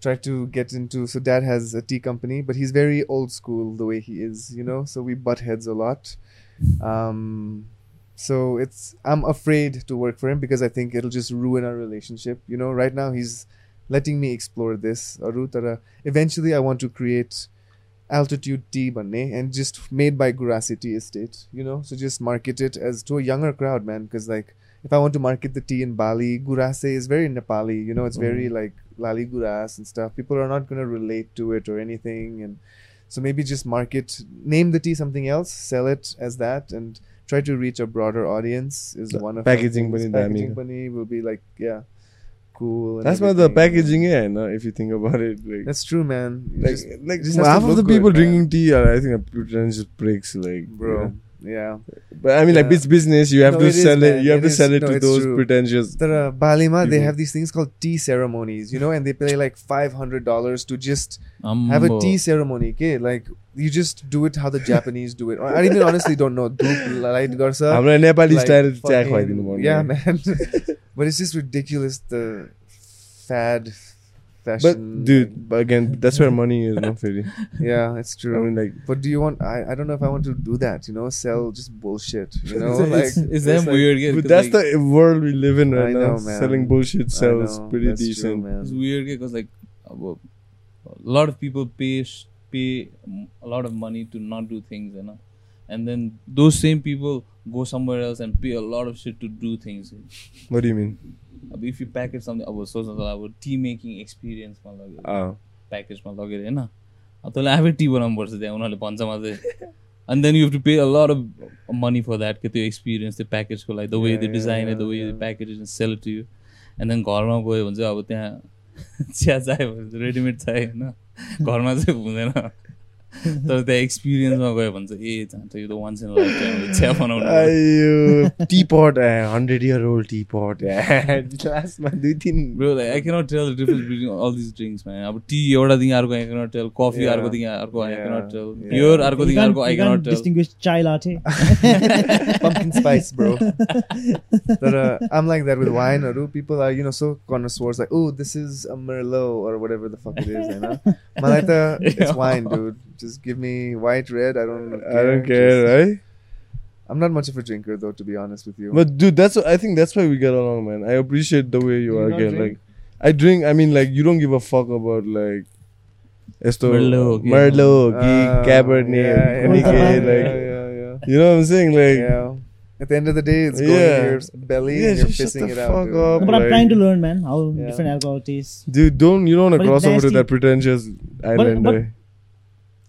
B: Try to get into. So dad has a tea company, but he's very old school the way he is, you know. So we butt heads a lot. Um, so it's I'm afraid to work for him because I think it'll just ruin our relationship. You know, right now he's letting me explore this. अरू तर Eventually, I want to create altitude tea banne and just made by Gurasi Tea Estate, you know, so just market it as to a younger crowd, man, because like if I want to market the tea in Bali, Gurase is very Nepali, you know, it's
A: Mm.
B: very like Lali Guras and stuff. People are not going to relate to it or anything. And so maybe just market, name the tea something else, sell it as that, and try to reach a broader audience is
A: The
B: one of
A: packaging
B: our things.
A: पनि दामी
B: packaging
A: छ।
B: पनि will be like, yeah, cool. and
A: That's why the
B: everything, you know.
A: packaging, yeah. No, if you think about it, like
B: That's true, man. You
A: like
B: just-
A: like
B: just has to
A: half of
B: look
A: the people
B: good, man.
A: drinking tea are, I think, are pretentious pricks. Like, you know.
B: bro. Yeah.
A: But I mean, like
B: Yeah.
A: it's business. You have
B: No,
A: to
B: it is,
A: sell it.
B: man.
A: You have
B: It
A: to
B: is-
A: sell it
B: no,
A: to
B: it's
A: those
B: true.
A: pretentious.
B: That uh, Balima, they
A: Mhm.
B: have these things called tea ceremonies, you know, and they pay like five hundred dollars to just have a
C: आम्बो।
B: tea ceremony. Okay, like you just do it how the Japanese do it. I even honestly don't know. Dhoop light garsa.
A: हाम्रो Nepali
B: like,
A: style चिया
B: fucking-
A: खुवाइदिनु पर्ने
B: Yeah, man. but it's just ridiculous the fad fashion.
A: But dude, but again, that's where money is, no, Feli.
B: yeah, it's
A: I
B: true.
A: mean, like,
B: but do you want? I, I don't know if I want to do that. You know, sell just bullshit. You know, like
C: It's- it's damn weird yeah,
A: but
C: because,
A: that's
C: like,
A: the world we live in right
B: I
A: now.
B: know, man.
A: Selling bullshit
B: I
A: sells
B: know,
A: pretty
B: that's true,
A: decent.
B: man.
C: it's weird because like अब, a lot of people pay sh- pay mm, a lot of money to not do things you know and then those same people go somewhere else and pay a lot of shit to do things
A: What do you mean?
C: अब if you package something अब सोच्न त अब T making एक्सपिरियन्समा लगेर
A: Uh,
C: प्याकेजमा लगेर होइन अब तँलाई आफै टी बनाउनुपर्छ त्यहाँ उनीहरूले भन्छ मात्रै and then you have to pay a lot of money for that के त्यो एक्सपिरियन्स त्यो प्याकेजको लागि the way
B: Yeah,
C: the
B: yeah,
C: design
B: yeah,
C: the way
B: yeah.
C: Package is sell to you and then घरमा गयो भने चाहिँ अब त्यहाँ चिया चाहियो भने चाहिँ रेडिमेड चाहियो होइन घरमा चाहिँ हुँदैन तर त्यहाँ एक्सपिरियन्समा गयो भने चाहिँ ए जान्छ यो त वान्स इन लाइफ टाइम चिया बनाउनु
A: I, uh, teapot, uh, hundred year old teapot. uh, Last month, do you think?
C: Bro, like, I cannot tell the difference between all these drinks, man. अब टी एउटादेखि अर्को I cannot tell, coffee
B: Yeah.
C: अर्कोदेखि अर्को I cannot tell,
B: Yeah.
C: Beer
B: You
D: You
C: अर्कोदेखि
D: can't-
C: अर्को I
D: you
C: cannot
D: can't
C: tell.
D: distinguish eh? chai latte.
B: pumpkin spice, bro. But uh, I'm like that with wine. Aru. People are, you know, so connoisseurs. Like, oh, this is a Merlot or whatever the fuck it is. You know, Malaita, it's wine, dude. Just give me white, red. I don't. Care.
A: I don't care,
B: Just-
A: right?
B: I'm not much of a drinker, though, to be honest with you.
A: But dude, that's I think that's why we get along, man. I appreciate the way you,
B: Do you
A: are.
B: not
A: Again.
B: drink?
A: Like, I drink. I mean, like you don't give a fuck about like. Esto,
C: Merlot, yeah.
A: Merlot,
B: Uh,
A: Geek, Cabernet,
B: yeah, yeah,
A: Nikkei,
B: yeah,
A: like
B: yeah, yeah,
A: you know what I'm saying? Like,
B: yeah. At the end of the day, it's going
A: Yeah.
B: in your s- belly
A: Yeah,
B: and you're
A: just shut
B: pissing
A: the
B: it out.
A: fuck
B: Dude.
A: up.
D: But I'm
A: Like-
D: trying to learn, man, how
B: Yeah.
D: different alcohol tastes.
A: dude, don't you don't want
D: But
A: to
D: it's
A: cross over to
D: nasty.
A: that pretentious eh? islander.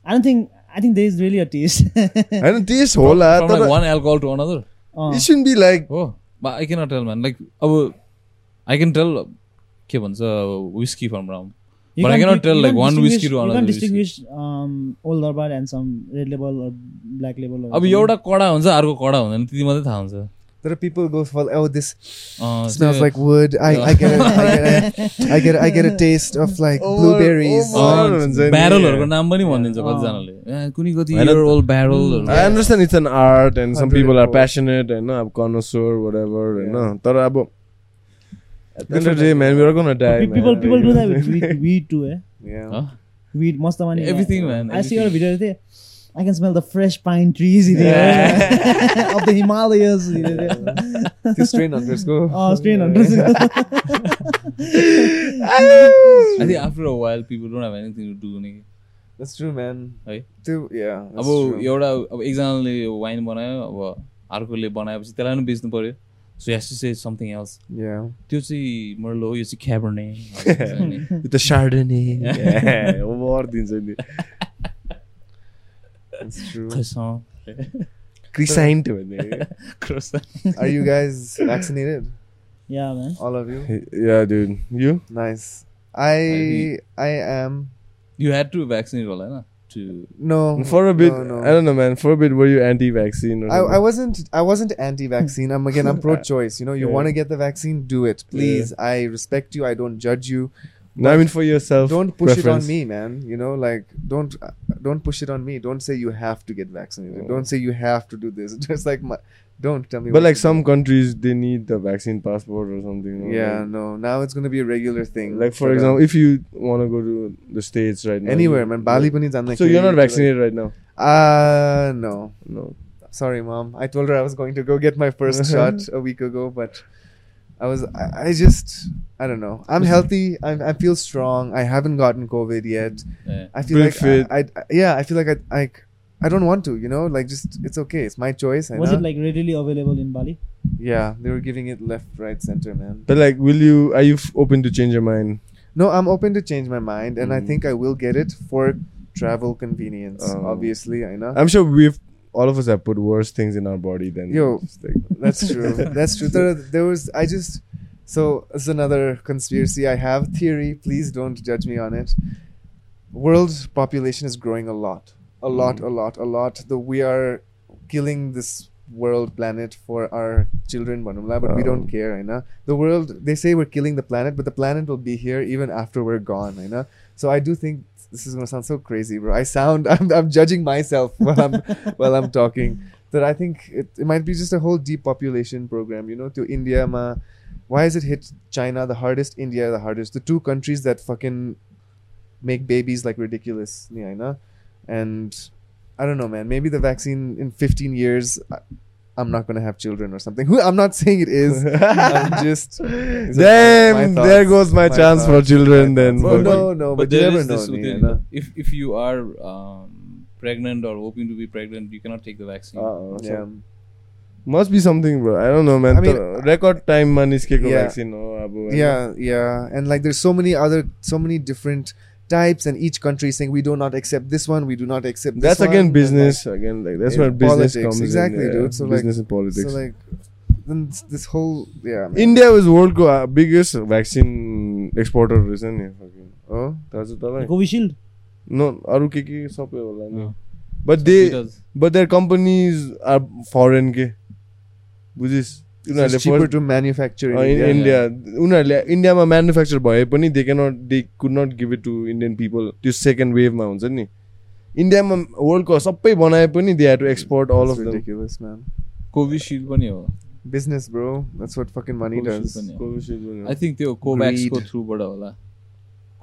D: I don't think I think there is really a taste.
A: I don't taste whole
C: From like
A: lot.
C: one alcohol to another.
D: Uh.
A: It shouldn't be like
C: Oh, but I cannot tell, man. Like, अब I can tell के भन्छ whisky from rum
D: You
C: But I
D: can't
C: cannot
D: di-
C: tell,
D: you
C: like,
D: can't
C: one whiskey
D: distinguish- you
C: to another
D: can't
C: whiskey.
D: distinguish um, old Darbar and some red label or black label. or
C: अब
D: something.
C: एउटा कडा हुन्छ अर्को कडा हुँदैन त्यति मात्रै थाहा हुन्छ
B: There are people go for oh this
C: uh,
B: smells
C: त्यो-
B: like wood. I, I get it. I get it. I get it. I get a taste of like
D: Oh
A: Over-
B: blueberries.
A: over-
B: Uh,
A: Overall हुन्छ नि।
C: ब्यारलहरूको नाम पनि भनिदिन्छ कतिजनाले ए, कुनै कति year old barrel
A: I understand it's an art and some
B: Hundred
A: people are
B: and four.
A: passionate and uh, connoisseur, whatever. And,
B: Yeah.
A: uh, तर अब at the end of the day, man, we're gonna die.
D: Pe-
A: man.
D: people people do that with weed,
A: Like,
D: weed too, eh?
B: yeah.
C: Huh?
D: Weed, most of money.
C: Everything,
D: I,
C: man,
D: I see your video
C: everything.
D: there. I can smell the fresh pine trees in the air of the Himalayas. in the air.
B: This strain on this go.
D: Oh, strain on
C: I think after a while people don't have anything to do नि
B: That's true, man.
C: है
B: Dude, yeah. That's
C: अब
B: true.
C: एउटा अब एकजनाले wine बनायो अब अर्कोले बनाएपछि त्यसलाई पनि बेच्नु पर्यो so yes say something else
B: Yeah.
C: त्यो चाहिँ मर्लो यो चाहिँ क्याबर्ने अनि
A: with the Chardonnay. yeah, over दिन्छ नि।
B: That's true.
C: खैसँग
A: Crescent भन्ने।
C: क्रस-
B: Are you guys vaccinated?
D: yeah, man.
B: All of you?
A: Yeah, dude. You?
B: Nice.
C: Ivy.
B: I I am
C: You had to vaccinate होला होइन to
B: no
A: For a bit,
B: No, no.
A: I don't know, man. For a bit, were you anti-vaccine or
B: I,
A: something?
B: I wasn't I wasn't anti-vaccine. I'm again I'm pro-choice. You know, you
A: Yeah.
B: want to get the vaccine, do it, please. I respect you. I don't judge you.
A: no, I mean for yourself.
B: Don't push it on
A: preference.
B: me, man. You know, like don't don't push it on me. Don't say you have to get vaccinated.
A: Yeah.
B: Don't say you have to do this. Just like my, don't tell me.
A: Oh. But
B: what
A: like
B: to
A: some countries, they need the vaccine passport or something.
B: do.
A: you know,
B: yeah,
A: like-
B: no. Now it's gonna be a regular thing.
A: Like for
B: But, uh,
A: example, if you want to go to the states right now,
B: anywhere,
A: you-
B: man. Bali, pani
A: So you're not vaccinated right now.
B: Uh no.
A: No.
B: sorry mom i told her i was going to go get my first shot a week ago but i was i, I just i don't know i'm healthy I'm, i feel strong i haven't gotten covid yet
C: Yeah.
B: i
A: Feel
B: feel like
A: fit.
B: I, I- yeah i feel like i like i don't want to you know like just it's okay it's my choice I
D: Was
B: know.
D: it like readily available in Bali?
B: yeah they were giving it left right center man
A: But like, will you? Are you f- open to change your mind?
B: no i'm open to change my mind and i
A: Mm.
B: think i will get it for travel convenience
A: Oh.
B: obviously i know
A: I'm sure we've all of us have put worse things in our body than
B: Yo.
A: just, like-
B: That's true. That's true. There, there was I just so it's another conspiracy I have theory. Please don't judge me on it. World population is growing a lot, a
A: Mm.
B: lot, a lot, a lot. The we are killing this world planet for our children, Banumla, but we don't
A: Oh.
B: care, you know. The world they say we're killing the planet, but the planet will be here even after we're gone, you know. So I do think this is gonna sound so crazy, bro. I sound I'm, I'm judging myself while I'm while I'm talking. That I think it, it might be just a whole depopulation program, you know, to India. Ma, why has it hit China the hardest? India the hardest. The two countries that fucking make babies like ridiculous, yeah, you know? And I don't know, man. Maybe the vaccine in 15 years, I, I'm not gonna have children or something. Who I'm not saying it is. I'm just these are
A: Damn,
B: my
A: there
B: thoughts,
A: goes my, chance for
B: thoughts,
A: children.
B: my
A: Then,
B: thoughts.
A: But-
B: But no, no, but, you
C: there
B: never
C: is
B: know.
C: this with
B: Ni,
C: it,
B: you know?
C: if if you are um, pregnant or hoping to be pregnant, you cannot take the vaccine.
A: Uh-oh, so
B: Yeah.
A: must be something, bro. I don't know, man.
B: I mean,
A: The record time man is keko
B: Yeah.
A: vaccine. Oh, abo,
B: yeah yeah and like there's so many other so many different types and each country is saying we do not accept this one we do not accept this
A: That's
B: one,"
A: again
B: and, like,
A: business. again, like that's
B: Yeah,
A: where business
B: politics,
A: comes in,
B: exactly,
A: yeah.
B: dude. So, like-
A: business and politics.
B: so like then s- this whole yeah man.
A: India was worldको uh, biggest vaccine exporter रहेछ नि fucking.
B: oh
A: थाहा छ तँलाई?
D: Covishield?
A: No, अरू के के सबै होला नि
C: अँ।
A: But they
C: Because-
A: but their companies are foreign के बुझिस्
B: so it's cheaper
A: उनीहरूले
B: to
A: Uh,
B: manufacture Oh, in India.
A: India उनीहरूले इन्डियामा म्यानुफ्याक्चर भए पनि they cannot they could not give it to Indian people त्यो सेकेन्ड वेभमा हुन्छ नि इन्डियामा वर्ल्डको सबै बनाए पनि they had to export all
B: That's
A: of them
B: ridiculous man
C: Covishield पनि हो
B: business bro that's what fucking money
C: Bullshit
B: does
C: पनि हो। आई थिङ्क त्यो कोभ्याक्सको
B: Greed.
C: थ्रुबाट होला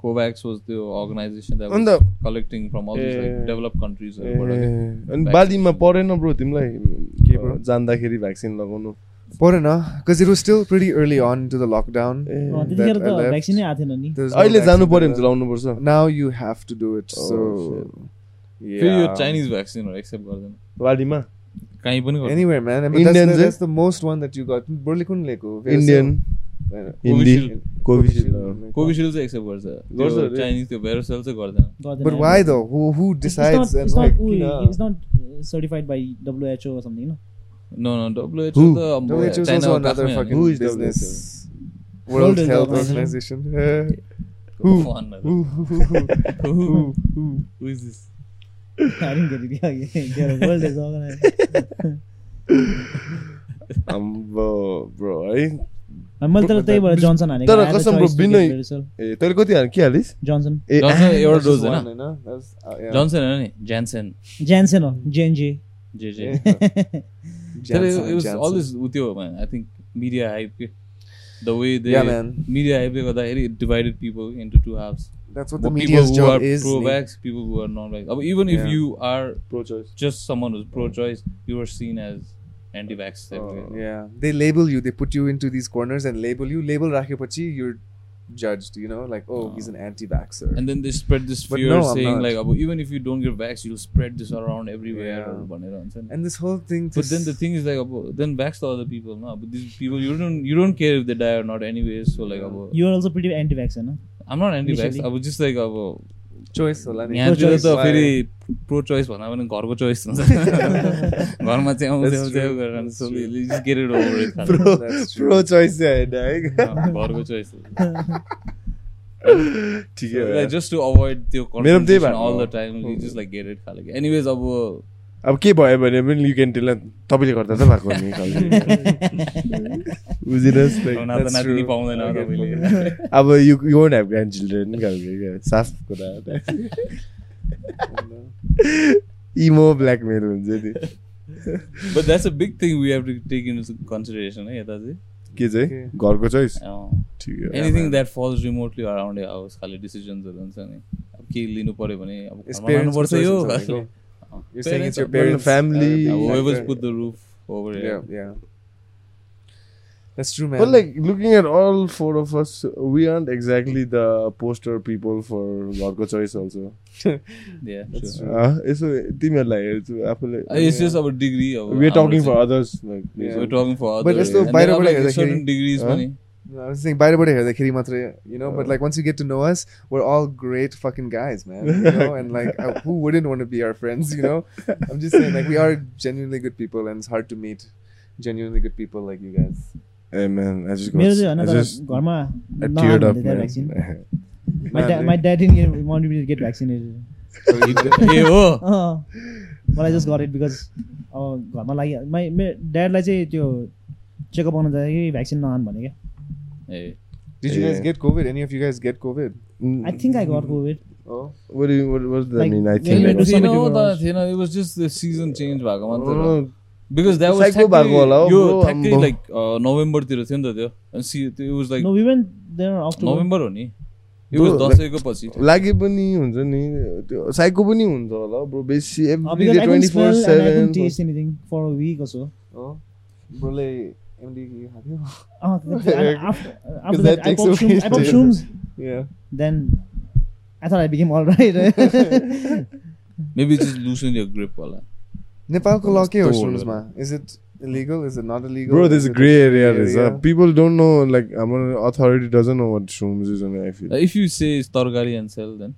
C: कोभ्याक्स वाज त्यो अर्गनाइजेसन
A: अन्त
C: collecting from all
A: A-
C: develop कन्ट्रिजहरूबाट
A: ए, अनि बालीमा परेन ब्रो तिमीलाई
B: के bro?
A: जाँदाखेरि भ्याक्सिन लगाउनु
B: because it was still pretty early on to the lockdown
A: ए,
D: Oh, त्यतिखेर
B: I
D: त
B: left.
D: भ्याक्सिनै आएको थिएन नि
B: There's no
A: अहिले जानु
B: vaccine
A: पर्यो भने
B: available.
A: चाहिँ लाउनुपर्छ
B: now you have to do it
A: Oh,
B: so
C: फेरि यो
B: yeah
C: चाइनिज भ्याक्सिनहरू एक्सेप्ट गर्दैन
A: बालीमा
C: कहीँ पनि गर्दैन।
B: Anywhere, man. I mean,
A: Indian,
B: that's,
A: eh?
B: the, that's the most one that you got. oh, Burlikun Leko.
A: Indian Hindi
C: Covishield.
A: Covishield
C: Covishield चाहिँ accept गर्छ
A: गर्छ
C: त्यो
A: अरे।
C: चाइनिज त्यो भेरोसेल चाहिँ गर्दैन
D: गर्दैन
B: But
D: यार।
B: why though? Who who
D: It's
B: decides?
D: not-
B: and
D: it's not
B: like,
D: who-
B: you know?
D: it's not, uh, certified by WHO or something, you know?
C: No no WHO
A: Who?
C: त
B: WHO is
C: चाइनाको
B: also another
C: काखमै हो नि।
B: fucking
A: Who is
B: business. World
D: Health
B: Health
D: Organization.
B: Organization. Yeah.
C: Go on, brother.
B: Ooh, ooh, ooh,
C: Who
B: ooh, ooh.
C: who is this?
D: I didn't get it. Yeah, yeah. yeah, World Health Organization.
A: आम्बो bro है
D: मैले तर त्यहीबाट Johnson हालेको
A: तर
D: I had a
A: कसम
D: choice
A: bro,
D: to
A: बिनै-
D: get Varisol.
A: ए तैँले कति हाल के हालिस्
D: Johnson.
A: ए
C: Johnson एउटा
B: That's
C: डोज
B: just one,
C: होइन
B: you know? That's- uh, yeah.
C: Johnson होइन नि Janssen
D: Janssen oh, हो जेएनजे
C: जे जे
B: Yeah.
C: तर
B: Janssen,
C: it was
B: Janssen.
C: always उ त्यो man, I think media hype के the way they
B: Yeah, man.
C: media hype ले गर्दाखेरि it divided people into two halves
B: That's what the
C: Well, people
B: media's
C: who are
B: job is.
C: pro
B: Nick.
C: vax people who are non vax अब even if
B: Yeah.
C: you are
A: pro choice
C: just someone who's pro choice you are seen as anti vax
A: Oh.
B: Yeah, they label you. They put you into these corners and label you. Label Rakhipachi, you're judged. You know, like oh, he's an anti-vaxer.
C: and then they spread this
B: But
C: fear
B: no, I'm
C: saying
B: not.
C: like अब even if you don't get vax you'll spread this around everywhere
B: Yeah.
C: or भनेर हुन्छ नि
B: And this whole thing.
C: But then
B: just-
C: the thing is like, about, then backs the other people, no? But these people, you don't you don't care if they die or not, anyways. So like, about,
D: you're also pretty anti vax होइन
C: I'm not anti-vax.
D: Initially.
C: I was just like, about
B: choice होला नि।
C: यहाँ
D: Pro-choice.
C: त फेरि pro चोइस भन्दा पनि घरको चोइस हुन्छ घरमा चाहिँ आउँछ
B: That's
C: आउँछ
B: true.
C: गरेर
B: That's
C: so
B: true.
C: they just get it over it, खालि।
A: pro
B: That's true.
A: pro choice चाहिँ होइन है
C: घरको चोइस
A: ठिकै हो यार।
C: जस्ट टु अभोइड त्यो
A: मेरो पनि त्यही भएको
C: अल द
A: हो।
C: Time just like get it खाले एनिवेज अब
A: अब के भयो भने पनि यु क्यान टेल तपाईँले गर्दा त भएको नि खालि। बुझिनुहोस् like,
C: नाता
B: That's
C: नातिनी
B: true.
C: पाउँदैन
B: Okay.
C: तपाईँले
A: अब you you want have grandchildren खालको क्या, साफ कुरा इमो ब्ल्याकमेल हुन्छ नि
C: but that's a big thing we have to take in consideration है यता चाहिँ
A: के चाहिँ घरको चोइस
C: अँ।
A: ठिक हो
C: anything that falls remotely around house खालि डिसिजन्सहरू हुन्छ नि अब के लिनु पर्यो भने अब
B: It's
C: घरमा
B: parents'
C: लानुपर्छ यो
B: choice, it's
C: खालि।
B: okay. You're saying it's your
A: Parents are-
B: parents,
A: family-
B: uh,
C: अब whoever's
B: factor.
C: put the roof over it.
B: Yeah, yeah. That's true, man.
A: But like looking at all four of us, we aren't exactly the poster people for घरको choice अल्सो
C: Yeah,
B: That's
C: sure.
B: true.
A: यसो तिमीहरूलाई हेर्छु आफूलाई
C: Uh, It's just our degree of
A: we're talking for
C: हाम्रो
A: others like
C: चाहिँ-
B: Yeah.
C: We're talking for
B: But
C: others.
B: यस्तो
C: And then
B: बाहिरबाट
C: अब like
B: हेर्दाखेरि-
C: certain degrees
A: Huh?
C: पनि
B: No, I was saying बाहिरबाट हेर्दाखेरि मात्रै you know but like once you get to know us we're all great fucking guys man you know and like uh, who wouldn't want to be our friends you know I'm just saying like we are genuinely good people and it's hard to meet genuinely good people like you guys
A: Hey man, I just got,
D: मेरो चाहिँ होइन
A: I
D: तर
A: just
D: घरमा
A: I teared up
D: नहाल्नु vaccine
A: man.
D: My
B: Man,
D: dad,
B: eh?
D: my dad didn't get wanted me to get vaccinated.
B: So you did-
C: ए हो
D: Uh, but I just got it because अब घरमा लागि my my dadलाई चाहिँ त्यो checkup आउन जाँदाखेरि vaccine नहान भने क्या
C: ए
B: did you guys
A: Yeah.
B: get COVID any of you guys get
D: I
B: COVID
D: think I got COVID
B: oh
A: Mm, What do you, what, what does that
D: Like,
A: mean? I think
D: when you
A: that
D: do
A: was-
D: something-
C: थिएन
D: somebody
C: हो त
D: else.
C: थिएन it was just the season change भएको मात्र हो।
A: Oh,
C: Because that was
A: Psycho
C: technically-
A: भएको होला हौ,
C: यो
A: bro,
C: technically
A: आम्बो।
C: like, uh, नोभेम्बरतिर थियो नि त त्यो अनि सी- त्यो it was like
D: no we went there October
C: November हो नि यो
A: Bro,
C: was
A: like-
C: दसैँको पछि
A: लागे पनि हुन्छ नि त्यो साइको पनि हुन्छ होला ब्रो बेसी every
D: Uh, because
A: day
D: I couldn't
A: twenty four
D: smell and I
A: seven
D: couldn't taste anything for a week or so.
B: oh brole MD have you
D: Uh, and after after
B: that
D: that, I
B: takes
D: popped
B: away
D: shrooms, I popped
B: the-
D: shrooms.
B: yeah
D: Then I thought I became all right.
C: Maybe just loosen your grip होला
B: Nepalको law के हो
A: Stole.
B: shrooms-मा? is it illegal is it not illegal
A: Bro, there's
B: Is
A: a
B: it-
A: gray area.
B: gray
A: There's
B: area?
A: people don't know. Like, our authority doesn't know what shrooms is, and I feel.
C: Uh, If you say it's targari and sell, then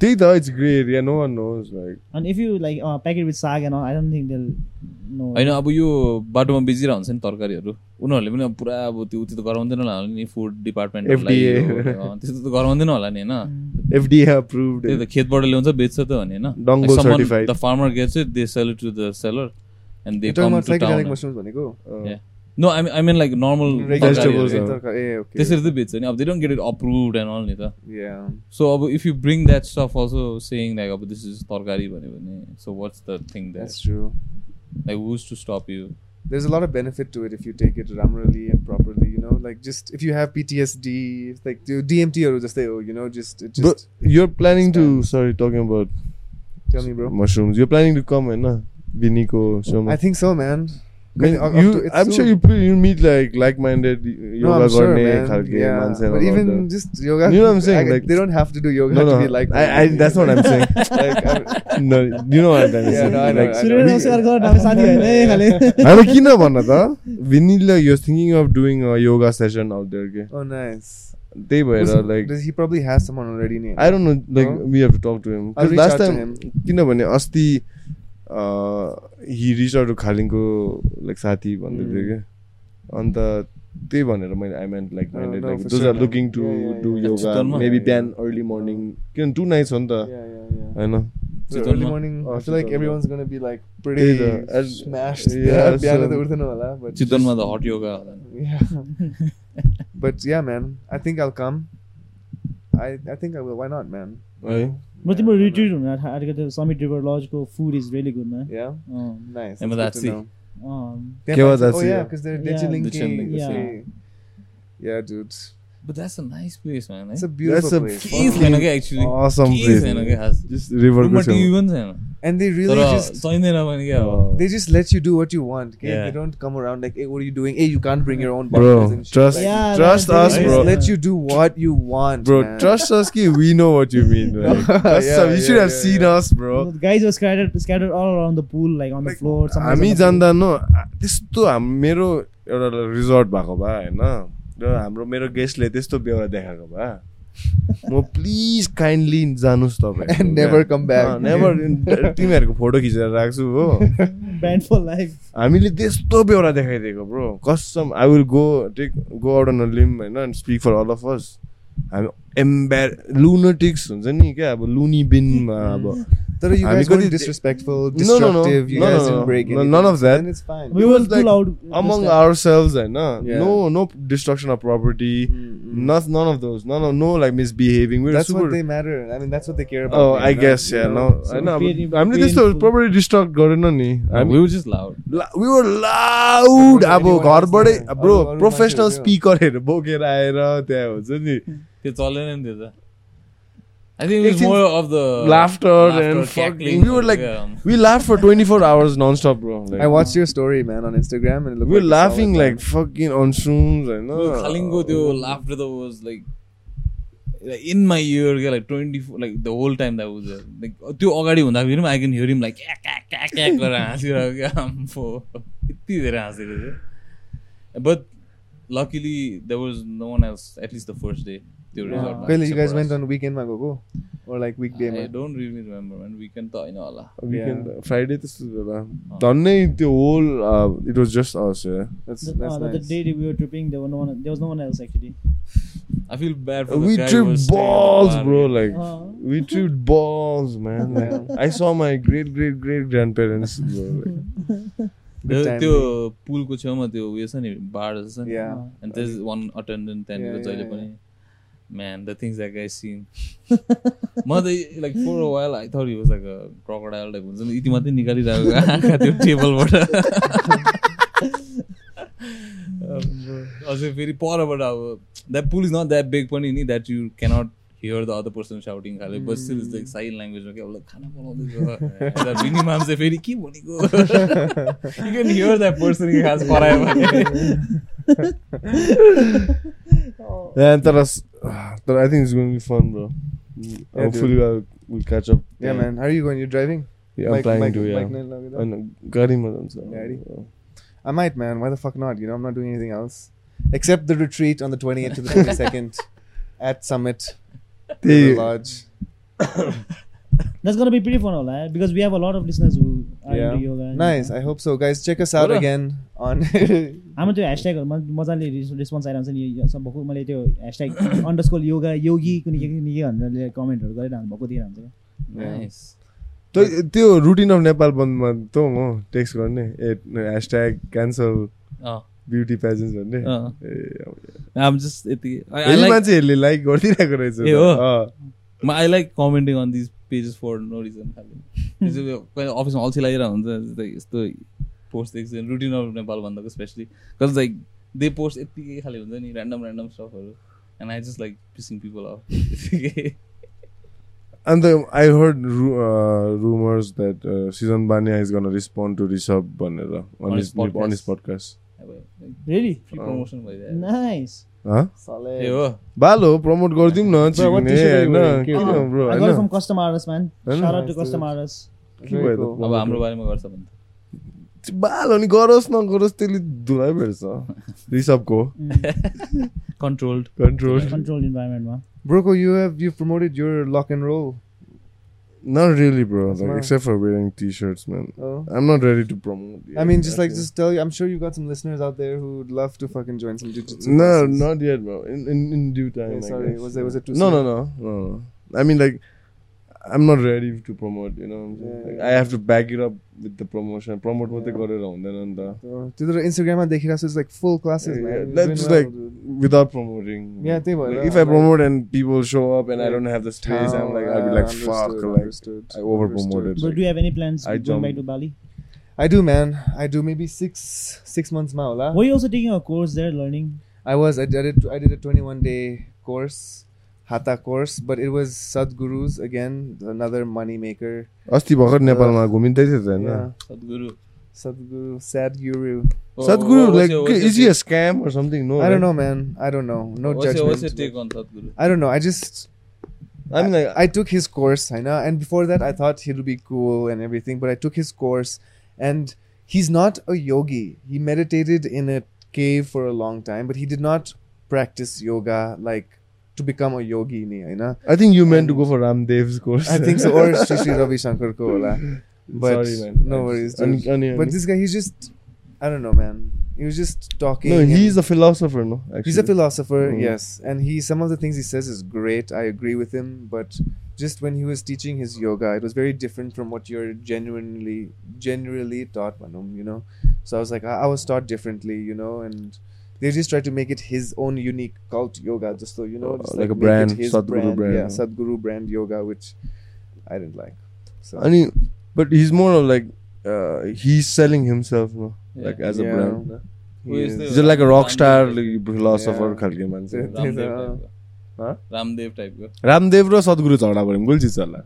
A: त्यही त it's grey area no one knows like
D: And if you like uh, pack it with sag and all, I don't think they'll know.
C: होइन अब यो बाटोमा बेचिरहेको हुन्छ नि तरकारीहरू उनीहरूले पनि अब पुरा अब त्यो उति त गराउँदैन होला नि फुड डिपार्टमेन्टहरूलाई
A: FDA.
C: त्यस्तो त गराउँदैन होला नि होइन
D: Mm.
A: एफडिए अप्रुभड
C: त्यही त खेतबाट ल्याउँछ बेच्छ त भने
A: Dongo certified.
C: होइन farmer gets it they sell to the seller and they
B: You're talking
C: come
B: about
C: to
B: psychedelic
C: town
B: mushrooms भनेको
C: no I I mean like normal
B: Regular
A: Vegetables,
B: ए,
A: uh.
B: तरकारी- ए, okay.
C: त्यसरी त बेच्छ नि अब they don't get it approved and all नि त
B: yeah
C: सो अब if you bring that stuff also saying like अब दिस इज तरकारी भन्यो भने so what's the thing that
B: that's true
C: like was to stop you
B: there's a lot of benefit to it if you take it ramrally and properly you know like just if you have ptsd if, like do dmt or just say oh you know just it just
A: you're planning to sorry talking about
B: tell me bro
A: mushrooms you planning to come होइन बिनीको सोमा
B: i think so man Cause up- up
A: you
B: to- it's
A: I'm sure
B: soon.
A: You you meet like like minded
B: No,
A: yoga
B: I'm sure,
A: गर्ने
B: man.
A: खालके
B: Yeah. But
A: मान्छेहरू
B: even just yoga,
A: You know what I'm saying,
B: I-
A: like-
B: they don't have to do yoga
A: No, no,
B: to be like
A: I, I,
B: that.
A: that's what I'm saying. like, I'm, no, you know what I'm trying to
B: Yeah,
A: say.
B: no, I know,
A: like,
B: I
D: Surya Namaskar गर नभए साथी होइन है खाले
A: होइन किन भन त विनिललाई you thinking of doing a yoga session out there के
B: Oh, nice.
A: त्यही भएर
B: Does-
A: like
B: does- he probably has someone already. named.
A: I don't know like
B: Huh?
A: We have to talk to him
B: I'll reach
A: last
B: out to
A: time
B: him.
A: किनभने अस्ति
B: Mm.
A: हि Richard खालिङको like साथी भन्दै थियो क्या अन्त त्यही भनेर मैले I meant like
B: Oh, No, no, for
A: those
B: sure,
A: are
B: no.
A: Looking to
B: Yeah, yeah, yeah.
A: Do yoga
C: चितवनमा?
A: मेबी
B: Yeah,
A: बिहान
B: yeah.
A: अर्ली मर्निङ किन टु नाइट छ नि त
B: Yeah, yeah, yeah.
A: होइन
B: So
C: Chiton
B: early
C: ma-
B: morning,
A: Oh,
B: I feel like
A: Chiton ma.
B: everyone's gonna be like
A: Hey,
B: pretty
A: the- and-
B: smashed.
A: yeah,
B: Yeah, बिहान त
A: so-
B: उठ्दैन होला, but
C: चितवनमा त
B: just-
C: हट योगा होला नि।
B: Yeah. but yeah, man, I think I'll come. I I think I will. Why not, man?
A: है
D: म
B: Yeah,
D: तिम्रो
B: why not?
D: रिट्रिट हुन आँटेको त समिट रिभर लजको food is really good man
B: Yeah,
D: Um,
B: nice.
C: Yeah, but
B: that's good to
C: that's it.
B: know.
D: अँ
B: Yeah,
A: Okay, well,
B: but-
A: that's it,
B: oh yeah,
A: yeah.
B: because they're
D: Yeah.
B: digilinking.
C: Digilinking,
D: Yeah.
B: okay. yeah, dude.
C: But that's a nice place, man, है?
B: It's a beautiful
A: a
B: place.
C: केही
A: fucking
C: छैन क्या actually।
A: awesome
C: केही
A: place.
C: छैन क्या खास।
A: Just रिभरको
C: रुममा TV पनि छैन।
B: And they really
C: तर
B: just
C: चाहिँदैन
A: Oh.
C: भने क्या अब।
B: they just let you do what you want. Okay?
C: Yeah.
B: They don't come around like, hey, what are you doing? Hey, you can't bring your own bottles
A: bro
B: and shit.
A: trust
B: like,
D: Yeah,
A: trust
D: man,
A: us
B: They
D: they
A: bro
B: just let you do what you want.
A: bro
B: man.
A: trust us कि we know what you mean like that's
B: Yeah,
A: some- you
B: yeah,
A: should have
B: yeah,
A: seen
B: yeah.
A: us bro
D: guys were scattered scattered all around the pool like on the floor
A: हामी जाँदा न आ- त्यस्तो हाम मेरो एउटा resort भएको भए होइन र हाम्रो मेरो गेस्टले त्यस्तो बेहोरा देखाएको भए म प्लिज काइन्डली जानुहोस् तपाईँ
B: And never come back.
A: Never तिमीहरूको फोटो खिचेर राख्छु हो
D: ब्यान्ड फर लाइफ
A: हामीले त्यस्तो बेहोरा देखाइदिएको ब्रो कसम I will go take go out on a limb होइन speak for all of us हामी एम्बेर लुनोटिक्स हुन्छ नि क्या अब लुनी बिनमा अब
B: तर you
A: हामी
B: guys weren't
A: कति-
B: disrespectful,
A: No, no, no.
B: Mm-hmm. destructive. You
A: No, no,
B: guys
A: no,
B: didn't
A: no.
B: break
A: No,
B: anything.
A: none of that.
B: Then it's fine.
D: We
A: was
D: was
A: like
D: pull out
A: among ourselves and uh,
B: Yeah.
A: no no destruction of property
B: Mm, mm.
A: not none of those none of no like misbehaving we we're
B: that's
A: super
B: what they matter. I mean, that's what they care about.
A: oh
B: man,
A: i
B: right?
A: guess
B: You
A: yeah
B: know?
A: no
D: so
A: i know
D: very
A: but- हामीले त्यस्तो
D: painful.
A: Property destruct गरेन नि
C: We were just loud.
A: We were loud
B: Everyone
A: अब
B: else
A: घरबाटै
B: there.
A: Bro
B: अरू- अरू
A: professional
B: मान्छेहरू
A: स्पिकरहरू बोकेर आएर त्यहाँ हुन्छ नि
C: त्यो चलेन नि त्यो त। I think it was
A: एकछिन
C: more of the
B: Uh,
A: laughter
C: laughter,
A: and
C: cackling um,
A: fucking we were like
C: yeah.
A: we laughed for 24 hours non-stop bro like
B: I watched your story, man, on Instagram, and it looked
A: we were
B: like a solid
A: laughing
B: plan.
A: like fucking on uh, shrooms होइन
C: खालिङको त्यो laughter त was like in my year क्या like twenty like the whole time that was like त्यो अगाडि हुँदाखेरि पनि I can hear him like क्याक क्याक क्याक क्याक गरेर हाँसिरहेको क्या आम्फो यति धेरै हाँसेको थियो but luckily the was no one else at least the first day त्यो
B: Yeah.
C: रिजोर्टमा
B: Kaila, you guys went on weekend, ma go or like weekday,
C: I
B: man.
C: Don't really remember and weekend त होइन होला
A: विकेन्ड फ्राइडे त्यस्तो बेला धन्नै त्यो whole it was just us
B: That's
D: The,
B: that's
D: uh, the
B: nice.
D: day that we were tripping, there, were no one, there was no one else actually.
C: I fill bad for
A: we tripped balls bro like
D: Uh.
A: we tripped balls man like, i saw my great great great grandparents bro like,
B: Good time.
C: त्यो पुलको छेउमा त्यो उयो छ नि बाढ जस्तो छ नि
B: Yeah.
C: And there's one attendant त्यहाँनिर
B: Yeah,
C: जहिले
B: yeah,
C: पनि man the things that I सिन म त लाइक फोर वाइल आई थर्ट युज लाइक क्रकडाइल लाइक हुन्छ नि यति मात्रै निकालिरहेको आँखा त्यो टेबलबाट अझै फेरि परबाट अब that pool is not that big पनि नि that you cannot hear the other person shouting खाले but still is
B: Mm.
C: Like sign ल्याङ्ग्वेजमा क्या उसलाई खाना बनाउँदैछ मिनिमाम चाहिँ फेरि के भनेको यु क्यान हियर द्याट पर्सन खास परायो भने
A: yeah, तर तर i think it's going to be fun bro hopefully I'll, we'll catch up
B: Yeah, man. How are you going? You're driving?
A: yeah, i'm planning to yeah Oh,
B: Mike, Nell, okay.
A: अनि गाडीमा जान्छ
B: गाडी? I might, man. Why the fuck not? You know, I'm not doing anything else except the retreat on the 28th to the 22nd at Summit
A: त्यही
B: River Lodge.
D: That's gonna be pretty fun, all right? Because we have a lot of listeners who are
B: Yeah.
D: into yoga. eh? and-
B: Nice. I hope so, guys. Check us out
C: Bro.
B: again on
D: हाम्रो त्यो ह्यासट्यागहरू मजाले रिस- response आइरहन्छ नि यो- सब भक्कु मैले त्यो hashtag underscore yoga yogi कुनै के कुनै के भनेर कमेन्टहरू गरेर हामी भक्कु दिइरहन्छ क्या।
C: नाइस
A: त- त्यो रुटिन अफ नेपाल बन्दमा त म टेक्स्ट गर्ने ए hashtag cancel
C: Oh.
A: Beauty pageant भन्ने
C: Uh.
A: ए अब
C: I'm just यति I, I
A: यही
C: like oh.
A: मान्छेहरूले लाइक गरिदिरहेको रहेछ
C: ए हो?
A: अँ।
C: म- I like commenting on these pages for no reason खालि जस्तो कहिले अफिसमा अल्छी लागिरहेको हुन्छ जस्तै यस्तो पोस्ट देख्छ रुटिन अफ नेपाल भन्दाको specially because like they post यत्तिकै खालि हुन्छ नि ऱ्यान्डम ऱ्यान्डम स्टफहरू and I just like pissing people of
A: And the, I heard ru- uh, rumors that uh, Susan Bania is going to respond to Rishabh Banera on,
C: On
A: his,
C: his podcast.
A: on his podcast.
D: Really?
C: Free promotion भइरहेको
D: Nice.
A: Huh?
C: ए हो
A: बाल हो promote गरिदिउँ न
B: Bro, what
A: चिक्ने
B: t-shirt are
A: होइन
B: you wearing?
A: किन
B: Oh,
A: bro
D: I got it
A: होइन
D: from Customers, man.
A: I know.
D: Shout out to
B: Nice, dude.
D: Customers.
A: के भयो
B: Very
A: त
B: cool.
C: अब हाम्रो
A: promote?
C: बारेमा गर्छ भने
A: बाल हो नि गरोस् नगरोस् त्यसले धुलाइ भेट्छ रिसभको
C: controlled
A: control
D: Controlled Mm. environment, man.
B: Broco, you have you've promoted your lock and roll
A: Not really, bro. Like,
B: Smart.
A: except for wearing t-shirts, man.
B: Oh.
A: I'm not ready to promote. yet,
B: I mean, just like
A: actually.
B: just tell you. I'm sure you've got some listeners out there who'd love to fucking join some jujitsu.
A: No,
B: classes.
A: not yet, bro. In in, in due time.
B: Yeah,
A: I
B: sorry,
A: guess.
B: was there- was it too
A: No, no,
B: soon?
A: no, no, no. I mean, like, I'm not ready to promote. You know, what I'm saying?
B: Yeah,
A: like,
B: yeah.
A: I have to back it up with the promotion. Promote what they
B: Yeah.
A: got around then and the
B: So, त्यो त इन्स्टाग्राममा देखिरहेको छु like full classes
A: that's like without promoting.
B: Yeah, they were,
A: Like,
B: uh,
A: if I
B: like-
A: promote and people show up and I
B: Yeah.
A: don't have the space, I'm like, I'll be like, fuck, like, I overpromoted.
D: But do you have any plans
A: I
D: going back
A: don't-
D: to Bali?
B: I do, man. I do. Maybe six six months now, lah.
D: Were you also taking a course there, learning?
B: I was. I did it. I did a 21 day course, hatha course, but it was Sadhguru's again, another money maker.
A: अस्ति भर्खर नेपालमा घुमिँदै थियो त होइन
B: Yeah.
C: Sadhguru.
B: Sadhguru, Sadhguru.
C: Oh,
A: Sadhguru
C: what's
A: like
C: your- what's
A: is
C: your
A: he a scam or something no
B: I don't know, man. I don't know. No
C: take- what's your-
B: judgment.
C: What's your take on Sadhguru?
B: I don't know. I just
A: I mean
B: I took his course, I know, and before that I thought he'd be cool and everything, but I took his course and he's not a yogi. He meditated in a cave for a long time, but he did not practice yoga like to become a yogi, ni, I know.
A: I think you mean to go for Ramdev's course
B: I think so, or Sri Sri Ravi Shankar ko hola. But
A: Sorry, man.
B: no
A: I
B: worries.
A: just-
B: dude.
A: Ani- ani-
B: But
A: ani.
B: this guy, he's just, I don't know, man. He was just talking.
A: No he
B: and-
A: is a philosopher no
B: he's a philosopher,
A: Mm.
B: yes, and he some of the things he says is great. I agree with him, but just when he was teaching his yoga, it was very different from what you're genuinely, generally taught, Manum. You know, so I was like, I, I was taught differently, you know, and they just tried to make it his own unique cult yoga, just so you know,
A: Oh, like a
B: just make it
A: brand,
B: his
A: Sadhguru brand,
B: yeah,
A: yeah.
B: Sadhguru brand yoga, which I didn't like. So
A: अनि but his more of like he is selling himself no
C: Yeah.
A: Like as a
B: Yeah.
A: Brand
C: Who is the-
A: his like a rock star
C: Ramdev
A: philosopher
B: Yeah.
A: खालके मान्छे
B: Yeah.
C: Ramdev
B: Yeah.
C: type को।
A: Huh?
C: Ramdev type को।
A: रामदेव र सद्गुरु झगडा गऱ्यौँ गोल जित्छ होला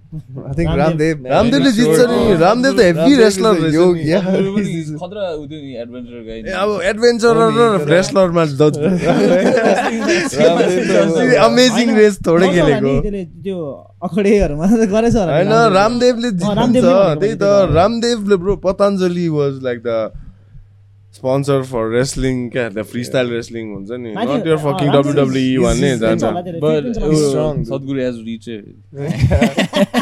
B: I think
D: Ramdev-
B: Ramdev, man,
A: रामदेवले
B: he's
A: जित्छ
B: sure-
A: नि रामदेव त heavy
B: Ramdev is
A: wrestler
B: a
A: रहेछ
B: yogi,
A: नि।
B: yeah.
C: Sadhguru पनि खतरा उ त्यो नि adventure guy नि।
A: ए, अब एडभेन्चर र रेस्लरमा अमेजिङ
D: होइन,
A: रेस थोरै
D: गर्छ होला
A: खेलेको
D: नि त्यसले त्यो अखडेहरूमा त गरेछ होला नि
A: होइन रामदेवले
D: रामदेवले।
B: Oh,
D: रामदेवले
A: जित्नुहुन्छ
D: भनेको
A: त्यही त
D: भनेको।
A: रामदेवले bro Patanjali was like the sponsor for wrestling क्या द फ्री स्टाइल रेस्लिङ हुन्छ नि
D: माथि-
A: नट यर
D: अँ,
A: फकिङ
D: रामदेवले
A: डब्लुडब्लुई
B: uh,
A: E
B: is-
A: भन्ने
B: is-
A: जान्छ
D: हुन्छ होला त्यसले,
C: But
D: फिट हुन्छ
B: he's
D: होला।
C: uh,
B: strong, dude.
C: Sadhguru has reached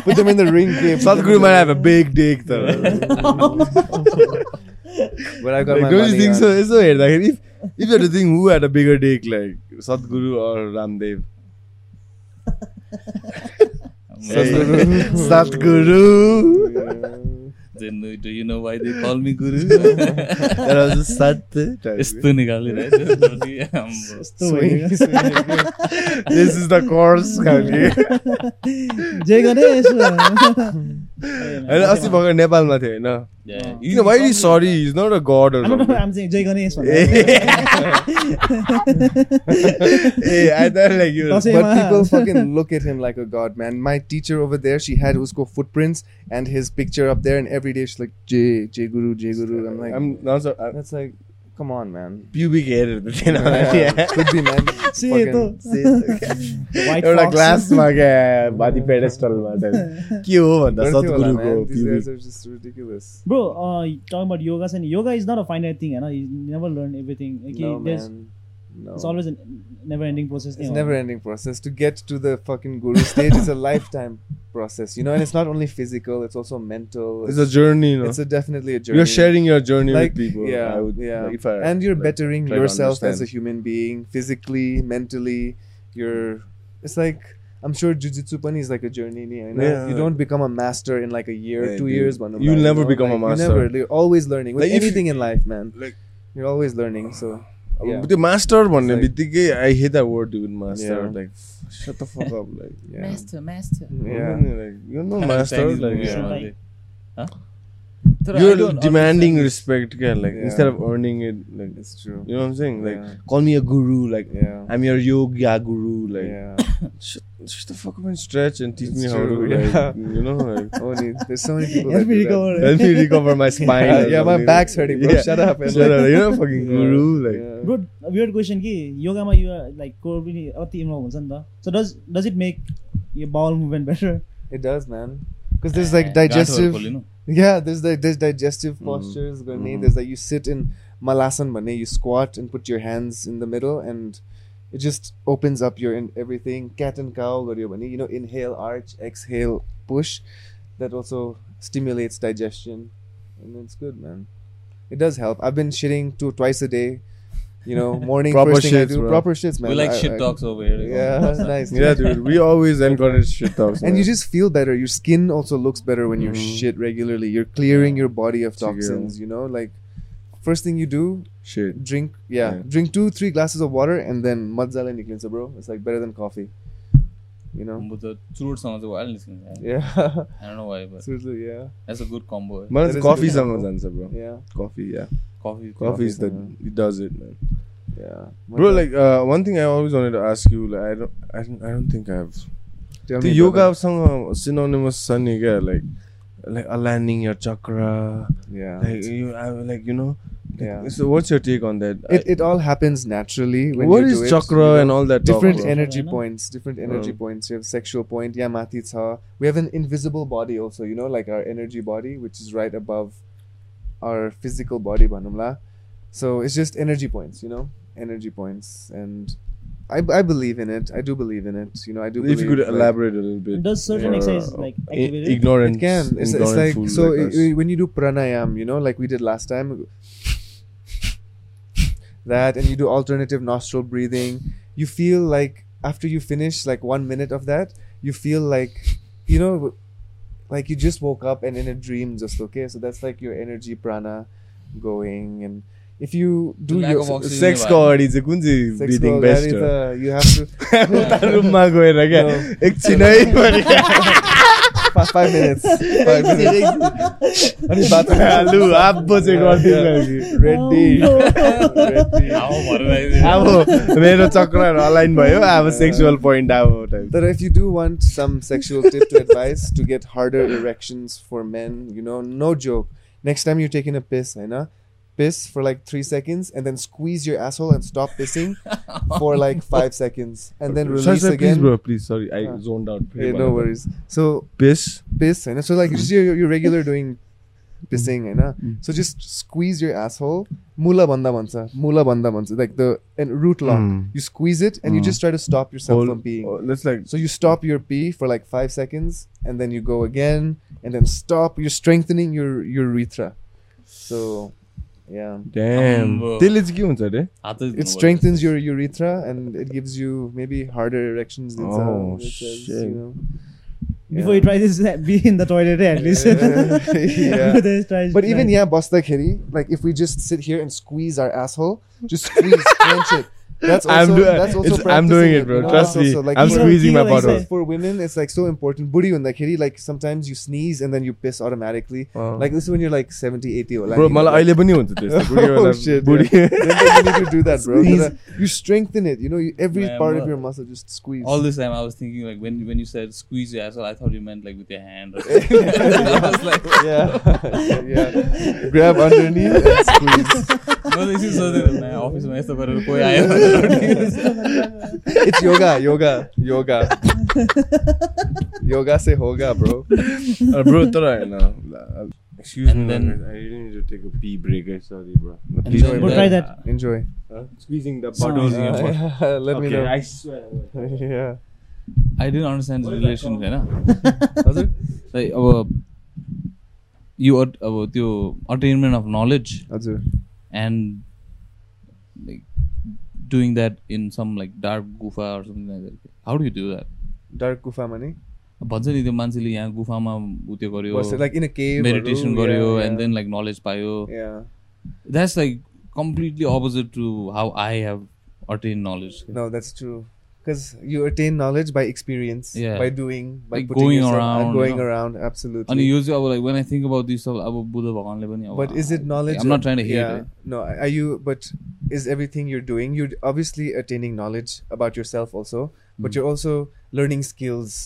C: it.
B: put them in the ring. Gabe.
A: Sadhguru my have a big dick त
B: But I got my
A: don't
B: money uh,
A: think
B: on-
A: so यसो हेर्दाखेरि if if you think who had a bigger dick like Sadhguru or Ramdev
C: Sadhguru.
A: Sadhguru
C: Then uh, do you know why they call me Guru?
A: सत
C: यस्तो निकालिरहेछ धोनी, आम्बो।
D: यस्तो भइदियो।
A: This is the course खालके
D: जे गरे यसो
A: होइन अस्ति भर्खर नेपालमा थियो होइन
C: Yeah.
A: You know, why is he sorry? He's not a god or
D: I'm not-
A: something.
D: I'm saying जय Ganesh
A: hey, I thought like you.
D: That's it.
B: But
D: Wow.
B: people fucking look at him like a god, man. My teacher over there, she had Usko footprints and his picture up there, and every day she's like, J, J Guru, J Guru. I'm like,
A: I'm not so. I'm
B: that's like, come on, man.
A: pubic hair. You know,
B: Yeah, could be, man.
D: See,
B: Fucking-
A: एउटा ग्लासमा क्या भाती पेडेस्टलमा चाहिँ के हो भन्दा
B: Don't you,
A: सद्गुरुको
B: man? These guys
A: pubic
B: are just ridiculous.
D: Bro talking about yoga छ नि yoga is not a finite thing होइन यु नेभर लर्न एभ्रिथिङ कि
B: No,
D: there
B: man. No.
D: It's always never ending process
B: It's never ending process. To get to the fucking guru stage is a lifetime process, you know, and it's not only physical, it's also mental.
A: It's a journey, you know.
B: it's a, definitely a journey.
A: You're sharing your journey
B: like
A: with people.
B: yeah,
A: I would,
B: yeah.
A: like, if I,
B: and you're
A: like,
B: bettering
A: try to
B: yourself as a
A: understand.
B: human being physically mentally you're it's like i'm sure jujitsu pani is like a journey ni, you, know?
A: Yeah.
B: you don't become a master in like a year
A: Yeah,
B: two
A: dude.
B: years Banu,
A: You'll
B: like,
A: never
B: you know?
A: become a
B: Like, you
A: master.
B: never you're always learning with
A: Like, if you-
B: anything in life man
A: Like-
B: you're always learning so yeah.
A: अब त्यो master भन्ने
B: It's like-
A: बित्तिकै I hate that word do master
B: Yeah.
A: Like shut the fuck up like
B: yeah
E: master.
B: yeah
A: like you're no master
C: Chinese
A: like
C: movie
A: yeah.
C: are
D: Like-
C: like-
E: Thoda, I
A: you're
E: don't
A: demanding
E: understand.
A: respect yeah, like
B: Yeah.
A: instead of earning it like
B: it's true
A: you know what i'm saying like
B: Yeah.
A: call me a guru like
B: yeah
A: i'm your yoga guru like
B: yeah
A: shut, shut the fuck up and stretch and teach
B: It's
A: me
B: true,
A: how to like,
B: yeah.
A: you know like
B: only there's so many people that
D: Help me
B: do that.
D: recover.
A: help me recover my spine
B: Yeah,
A: or
B: yeah, my
A: something.
B: back's hurting, bro.
A: Yeah.
B: Shut up. and
A: shut
B: like-
A: up you're a fucking guru like
B: Yeah.
D: Bro weird question कि योगामा you like core पनि अति involve हुन्छ नि त so does does it make your bowel movement better
B: It does, man. Because there's
C: गाँठहरू
B: like digestive.
C: खोलिनु।
B: Yeah, there's like there's digestive
A: Mm.
B: postures. Gonna
A: Mhm.
B: There's like you sit in malasan bane. You squat and put your hands in the middle, and it just opens up your in everything. Cat and cow garyo bhane. You know, inhale, arch, exhale, push. that also stimulates digestion, and it's good, man. It does help. I've been shitting two twice a day. You know, morning
A: Proper
B: first thing I
A: shits,
B: do,
A: bro.
B: proper shits, man.
C: We like
B: I-
C: shit
B: I-
C: talks over here.
B: Yeah, that's nice.
A: Yeah, dude. We always encourage shit talks.
B: And
A: man.
B: you just feel better. Your skin also looks better when you
A: Mhm.
B: shit regularly. You're clearing Mm-hmm. your body of
A: True.
B: toxins. You know, like first thing you do,
A: shit.
B: drink yeah,
A: Yeah.
B: drink two three glasses of water and then madzale niklinsa, bro. It's like better than coffee. You know.
C: um, But uh, the churut sounds wild listening. Yeah.
B: Yeah.
C: I don't know why, but
B: Seriously, yeah.
C: that's a good combo.
A: मलाई चाहिँ
B: That is a good
A: कफीसँग
B: combo.
A: जान्छ bro
B: Yeah.
A: Coffee या
C: Coffee.
A: Coffee is the
B: कफीसँग।
A: It does it man
B: Yeah.
A: Bro like one thing I always wanted to ask you like I don't I don't I don't think I have
B: Tell
A: त्यो
B: me, brother.
A: योगासँग synonymous छ नि क्या like like aligning your chakra
B: Yeah.
A: Like you like you know
B: Yeah.
A: So what's your take on that
B: It, it all happens naturally when
A: what
B: you
A: is
B: do it,
A: chakra
B: you know?
A: And all that
B: different
D: bro.
B: energy
D: Yeah, no?
B: points different energy
A: Mm.
B: points you have sexual point yeah mati cha. we have an invisible body also you know like our energy body which is right above our physical body banumla so it's just energy points you know energy points and I, I believe in it i do believe in it you know i do
A: if
B: believe
A: you could
B: like,
A: elaborate a little bit
D: Does certain exercise, like, activate it?
A: ignorant
B: it can it's, it's like so i- i- when you do pranayam you know like we did last time that and you do alternative nostril breathing you feel like after you finish like one minute of that you feel like you know like you just woke up and in a dream just okay so that's like your energy prana going and if you do
C: Lack
B: your
C: of oxygen.
A: सेक्सको अगाडि चाहिँ कुन चाहिँ
B: sexual
A: breathing best हो?
B: clarita, you have to
A: उता रुममा गएर क्या
B: No.
A: एकछिनै गरी
B: five, five minutes five minutes अनि बाथरूम
A: आलु आब्बो चाहिँ गरिदिन्छ
B: रेडी
D: Oh,
B: रेडी
A: अब मेरो चक्रहरू अलाइन भयो अब सेक्सुअल पोइन्ट अब type
B: But if you do want some sexual tip to advice to get harder erections for men, you know, no joke. Next time you're taking a piss, I know, piss for like three seconds and then squeeze your asshole and stop pissing for like five seconds and then release again.
A: Please sorry I
B: Yeah.
A: Joined
B: Hey, no
A: out
B: worries. So
A: base
B: piss, I know. So like just your, your regular doing pissing, I know.
A: Mm.
B: So just squeeze your asshole. Mula bandha mansa. Mula bandha mansa. Like the and root lock.
A: Mm.
B: You squeeze it and you
A: Mm.
B: just try to stop yourself from being.
A: Let's like
B: So you stop your pee for like five seconds, and then you go again, and then stop. You're strengthening your your urethra. So, yeah,
A: damn
C: Ambo.
A: त्यसले चाहिँ के हुन्छ अरे
B: it strengthens your urethra, and it gives you maybe harder erections. than some
A: Oh,
B: others,
A: shit.
B: know?
D: Before
B: Yeah.
D: you try this, be in the toilet eh, at least.
B: Yeah.
D: Just try-
B: But even
D: try.
B: yeah, bosta kheri, like if we just sit here and squeeze our asshole, just squeeze, clench it. That's also
A: I'm do-
B: that's also
A: it's- I'm doing
B: practicing
A: it, bro.
B: you know?
A: Trust
B: That's
A: me.
B: also, like,
A: I'm
B: you know,
A: squeezing my
D: Kilo is
A: bottle.
D: a-
B: uh, for women it's like so important buri like hiri like sometimes you sneeze and then you piss automatically
A: Oh.
B: like this is when you're like 70 80 or like
A: bro मलाई अहिले पनि हुन्छ त्यस्तो बुढी
B: oh,
A: बेला-
B: shit,
A: बुढी
B: yeah. Don't think you need to do that bro
A: um,
B: uh,
A: Sneeze.
B: you strengthen it you know you, every
C: Man,
B: part of
C: what-
B: your muscle just squeeze
C: All this time, I was thinking like when when you said squeeze your asshole, I thought you meant like with your hand. Or something. I was like,
B: yeah yeah grab underneath and squeeze
C: no, this is something. My office में ऐसा करो कोई आया हो तो रोटी-
B: it's yoga yoga yoga yoga se hoga bro
A: bro तर होइन excuse
C: And
A: me
C: then-
A: I didn't to take a pee break sorry bro
C: And
A: please
C: then
D: We'll
C: the-
D: try that.
B: enjoy
A: squeezing the
D: Sorry.
A: bottles in your
D: Uh,
A: mouth.
B: Uh, let me
A: Okay,
B: know
A: I swear.
B: yeah
C: I didn't understand the
A: What is that
C: relation,
A: called?
C: है ना? Like our you at- our त्यो attainment of knowledge
B: Azur.
C: and like doing that in some like dark gufa or something like that. How do you do that?
B: dark gufa money
C: भन्छ नि त्यो मान्छेले यहाँ गुफामा उ त्यो गर्यो
B: was it like in a cave
C: meditation
B: or room?
C: गर्यो
B: yeah,
C: and
B: yeah.
C: Then like knowledge पायो
B: yeah
C: that's like completely opposite to how I have attain knowledge
B: no that's true because you attain knowledge by experience
C: Yeah.
B: by doing by
C: Like
B: putting
C: going
B: yourself,
C: around,
B: uh, going
C: you know.
B: around absolutely
C: अनि यो चाहिँ अब like when I think about this अब बुद्ध भगवान्ले पनि अब
B: but is it knowledge
C: I'm not trying to hate
B: yeah
C: it.
B: no are you but is everything you're doing you're obviously attaining knowledge about yourself also but you're also learning skills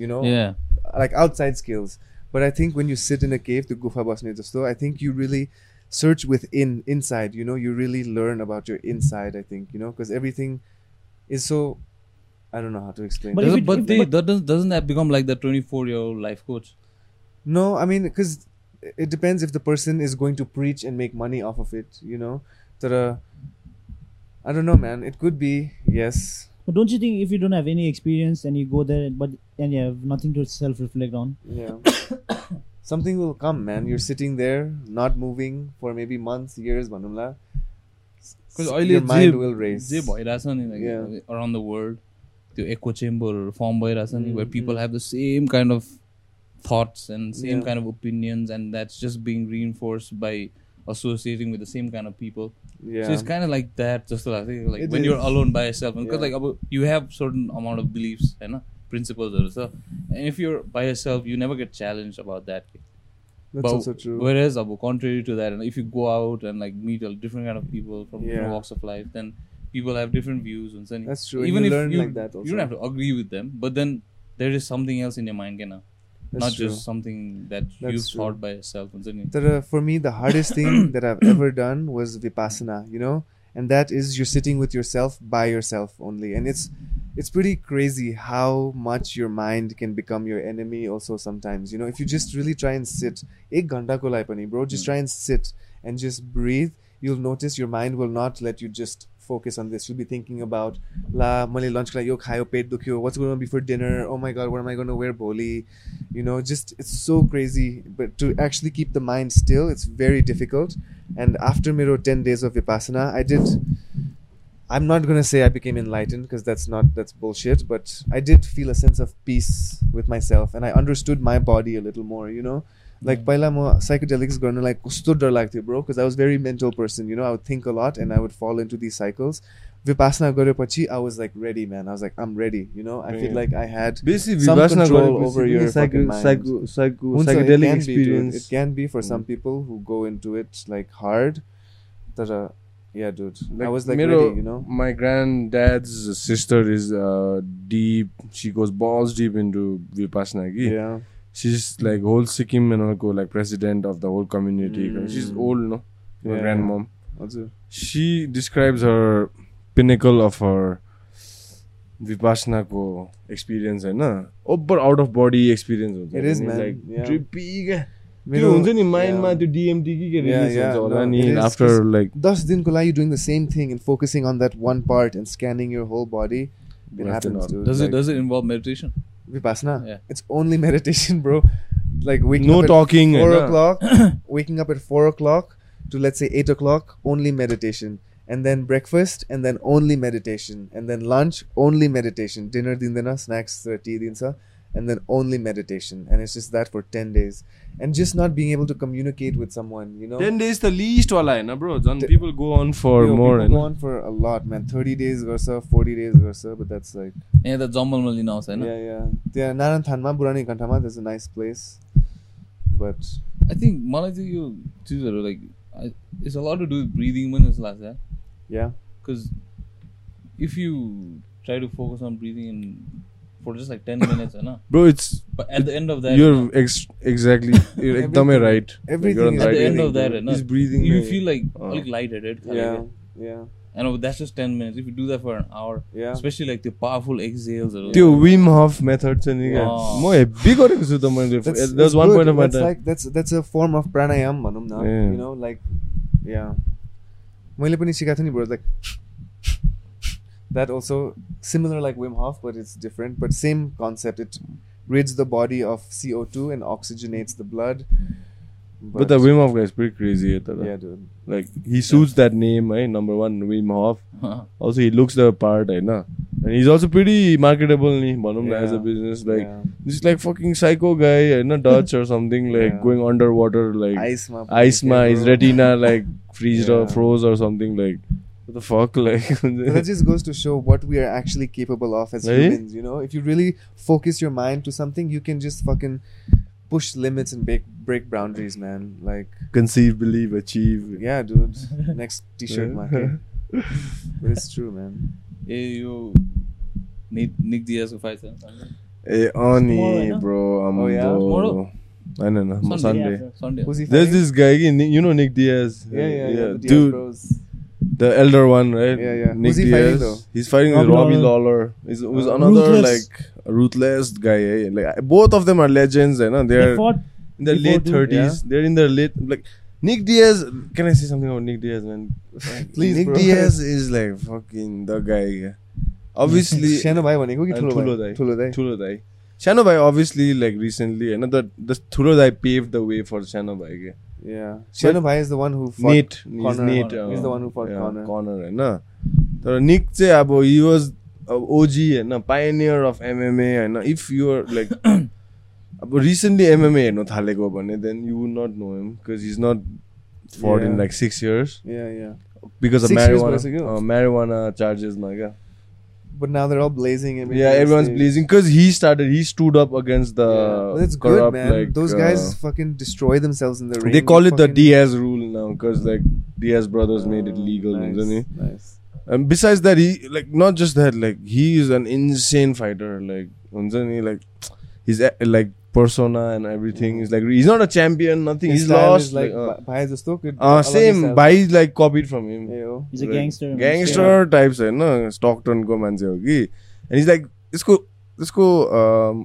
B: you know
C: Mm. Yeah.
B: like outside skills. But I think when you sit in a cave, the gufa basne jasto, I think you really search within, inside. You know, you really learn about your inside. I think you know because everything is so. I don't know how to explain.
D: But
C: But,
D: if
B: that.
D: it-
C: but
D: if-
C: they
D: but-
C: doesn't doesn't that become like the 24 year old life coach?
B: no, I mean because it depends if the person is going to preach and make money off of it. You know, that uh, I don't know, man. It could be yes.
D: But don't you think if you don't have any experience and you go there, but and you have nothing to self-reflect on,
B: Yeah. something will come, man. You're sitting there, not moving for maybe months, years, Manumla.
C: Because
B: your mind will
C: अहिले
B: race.
C: जे जे भइरहेछ नि
B: Yeah.
C: Like around the world त्यो echo चेम्बरहरू form भइरहेछ नि
B: Mm-hmm.
C: Where people have the same kind of thoughts and same
B: Yeah.
C: Kind of opinions and that's just being reinforce by associating with the same kind of people
B: Yeah.
C: So it's kind of like that, just like, like
B: It
C: when you're
B: is.
C: alone by yourself. Because
B: Yeah.
C: like about, you have certain amount of beliefs and principles or so. And if you're by yourself, you never get challenged about that.
B: That's
C: But
B: also true.
C: Whereas about contrary to that, and if you go out and like meet a different kind of people from different
B: Yeah.
C: walks of life, then people have different views and so
B: That's true. And you learn like that
C: you
B: also.
C: don't have to agree with them, but then there is something else in your mind, you know?
B: That's
C: not
B: true.
C: just something that
B: That's
C: you've
B: true.
C: thought by yourself. And so
B: that uh, for me the hardest thing that I've ever done was vipassana, you know, and that is you're sitting with yourself by yourself only, and it's it's pretty crazy how much your mind can become your enemy also sometimes you know if you just really try and sit ek ghanta ko lai pani bro just try and sit and just breathe you'll notice your mind will not let you just focus on this you'll be thinking about la male lunch like yo khayo pet dukhyo what's going on before dinner oh my god what am i going to wear boli you know just it's so crazy but to actually keep the mind still it's very difficult and after miro 10 days of vipassana i did I'm not gonna say I became enlightened because that's not that's bullshit, but I did feel a sense of peace with myself and I understood my body a little more, you know.
A: Mm.
B: Like पहिला म psychedelics गर्न like कस्तो डर लाग्थ्यो bro because I was very mental person, you know. I would think a lot and I would fall into these cycles. Vipassana गरेपछि I was like ready, man. I was like I'm ready, you know. I feel
A: Yeah.
B: like I had
A: बेसी
B: some
A: Vipassana
B: control over your
A: गरेपछि psycho
B: fucking mind.
A: Psycho psycho
B: हुन्छ, it
A: psychedelic
B: can be, dude.
A: Experience
B: It can be for
A: Mm.
B: some people who go into it like hard. But uh, yeah, dude. I was like
A: मेरो
B: ready, you know.
A: my granddad's sister is uh, deep. She goes balls deep into vipassana. ki.
B: Yeah.
A: She's like whole Sikkim and all go like president of the whole community.
B: Mm.
A: She's old, no? My
B: Yeah.
A: grandmom.
B: Also,
A: She describes her pinnacle of her vipassana ko experience, है ना? Over out of body experience. हुन्छ
B: It is,
A: नि,
B: man.
A: Like
B: Yeah.
A: trippy क्या? त्यो
B: मेरो-
A: हुन्छ नि माइन्डमा
B: yeah.
A: त्यो डिएमटी के के
B: Yeah,
A: रिलिज
B: yeah,
A: हुन्छ होला
B: no,
A: नि
B: it is,
A: after
B: 'cause-
A: like
B: दस दिनको लागि doing the same thing and focusing on that one part and scanning your whole body it
A: Left and
B: happens
A: all.
B: dude.
C: does it
B: Like,
C: does it involve meditation?
B: vipassana
C: Yeah.
B: it's only meditation bro like waking
A: no
B: up at
A: talking
B: four
A: होइन?
B: o'clock waking up at four o'clock to let's say eight o'clock only meditation and then breakfast and then only meditation and then lunch only meditation dinner dindana snacks uh, tea dinsa and then only meditation and it's just that for 10 days and just not being able to communicate with someone you know
A: 10 days the least वाला है ना bro John
B: Te-
A: people go on for
B: Yo,
A: more
B: people
A: होइन
B: go on for a lot, man. Thirty days or so, forty days or so, but that's like
C: Yeah, the जम्बलमा लिन आउँछ होइन
B: yeah, yeah. Yeah, Naran Thanma, Burani Kantama, that's a nice place. But
C: I think मलाई चाहिँ यो चिजहरू like it's a lot to do breathing पनि जस्तो लाग्छ
B: yeah,
C: because if you try to focus on breathing in for just like ten minutes होइन
A: bro it's
C: but at the end of
A: you're
C: that
A: ex- exactly you're एकदमै
B: Everything-
A: right
B: everything
A: You're on
B: is
A: the
C: at the
A: right
C: end of
A: It's
B: breathing, dude.
C: That होइन
A: breathing oh.
C: You
A: नै-
C: feel like
A: अँ।
C: अलिक light headed
B: yeah, yeah,
C: and that's just ten minutes if you do that for an hour
B: yeah.
C: Especially like त्यो powerful एक्सेल्सहरू
A: त्यो Vim हफ method छ नि क्या
C: अँ।
A: म हेब्बी गरेको छु त मैले
B: That's,
A: there's
B: it's
A: one
B: good.
A: point of my
B: that's
A: time
B: like that's that's a form of pranayam, manum na.
A: Yeah.
B: You know, like yeah. मैले पनि सिकाएको थिएँ नि bro, like that also similar like Wim Hof, but it's different, but same concept. It rids the body of CO2 and oxygenates the blood.
A: but the Wim Hof guy is pretty crazy है तर
B: yeah, dude.
A: like he suits that name है number one Wim Hof also he looks the part होइन and he's also pretty marketable नि भनौँ न
B: Yeah.
A: as a business like
B: Yeah.
A: this is like fucking psycho guy होइन Dutch or something like
B: Yeah.
A: going underwater like
B: आइसमा
A: Isma, his retina like freezed or
B: Yeah.
A: froze or something like what the fuck like
B: that just goes to show what we are actually capable of as
A: Eh?
B: humans you know if you really focus your mind to something you can just fucking push limits and break break boundaries man like
A: conceive believe achieve
B: yeah dude next t-shirt market but it's true man
C: ए यो Nick Nick दियाजको fight छ
A: hey, Ani,
D: Tomorrow, no?
A: bro um,
B: Oh, yeah?
A: bro.
C: Tomorrow?
A: I don't know Sunday,
C: Sunday.
A: Sunday.
C: Sunday
B: Who's he
A: There's
B: fighting?
A: this guy, again, Nick- you know Nick Diaz.
B: yeah yeah, yeah, the Diaz
A: dude,
B: bros.
A: the elder one, right?
B: Yeah, yeah.
A: Nick
B: Who's he
A: Diaz.
B: fighting, though?
A: He's fighting with
D: Robbie
A: Robbie Lawler. He's, who's
B: Uh,
A: another
D: Ruthless.
A: like ruthless guy. Eh? Like both of them are legends, you know. They're
D: They fought
A: in their
D: Before
A: late
D: doing-
A: thirties. They're in their late like Nick Diaz. Can I say something about Nick Diaz, man?
B: Please,
A: Nick
B: bro.
A: Diaz is like fucking the guy. Obviously,
B: सानो भाइ भनेको कि
A: And
B: ठुलो
A: ठुलो
B: भाइ
A: दाइ।
B: ठुलो दाइ
A: Tulo Dai. सानो भाइ अभियसली लाइक रिसेन्टली होइन द द ठुलो दाइ पेभ द वे फर सानो भाइ के
B: Yeah. Shano Bhai is the one who fought
A: Nate
B: Connor.
A: Nate
B: He's the one who fought Connor.
A: Connor होइन तर निक चाहिँ अब हि वाज ओजी होइन पाइनियर अफ एमएमए होइन इफ युआर लाइक अब रिसेन्टली एमएमए हेर्नु थालेको हो भने then you would not know him because is nut for in
B: Yeah.
A: Like six years
B: Yeah, yeah.
A: Because of
B: Six years
A: marijuana
B: भइसक्यो।
A: म्यारिवाना चार्जेसमा क्या
B: But now they're all blazing him. in
A: Yeah,
B: the
A: everyone's
B: stage.
A: blazing because he started. He stood up against the
B: Yeah. But it's good,
A: corrupt.
B: man.
A: Uh, Like
B: Those
A: uh,
B: guys fucking destroy themselves in the ring.
A: they call it the
B: fucking-
A: Diaz rule now because like Diaz brothers made it
B: Oh,
A: legal,
B: nice,
A: isn't he?
B: Nice.
A: And besides that, he like not just that. Like he is an insane fighter. Like isn't he? Like his a- like persona and everything is like he's not a champion. Nothing.
B: His
A: he's
B: style
A: lost.
B: is like
A: Like, uh,
B: Bhai Dosto could-
A: uh,
B: Alani
A: same.
B: style.
A: Bhai like copied from him.
B: Yo.
D: He's a
A: Like, eh,
D: gangster.
A: Gangster type छ होइन स्टकटनको मान्छे हो कि अनि is like यसको यसको um,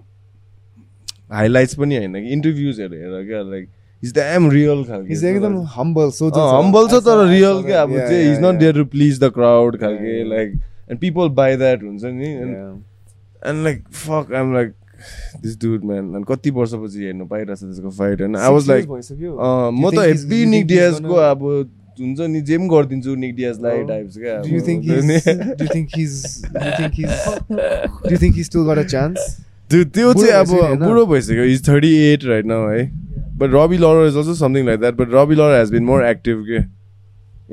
A: highlights पनि होइन कि इन्टरभ्युजहरू हेर क्या like is the M real
B: He's एकदम humble. So uh,
A: हम्बल छ तर रियल क्या अब
B: Yeah,
A: चाहिँ
B: yeah,
A: is not
B: yeah.
A: Dare to please the crowd खालके
B: Yeah, yeah.
A: Like and people by that हुन्छ नि
B: Yeah.
A: And like fuck I'm like this dude man अनि कति वर्षपछि हेर्नु पाइरहेको छ त्यसको फाइट होइन I was
B: Six years
A: like
B: भइसक्यो।
A: अँ,
B: Do you
A: म त
B: think he's-
A: happy
B: do you
A: Nick
B: think he's
A: डियाजको
B: gonna-
A: अब हुन्छ नि जे पनि गरिदिन्छु निक डियाजलाई
B: Oh.
A: टाइप्स क्या
B: Do you
A: अब
B: think
A: हुन्छ
B: he's?
A: नि।
B: Do you think he's? Do you think he's? Do you think he's still got a chance?
A: त्यो त्यो
B: बुढो
A: चाहिँ अब
B: भइसक्यो होइन?
A: बुढो भइसक्यो is thirty eight right now है but Robbie Lawler is also something like that but Robbie Lawler has been more active के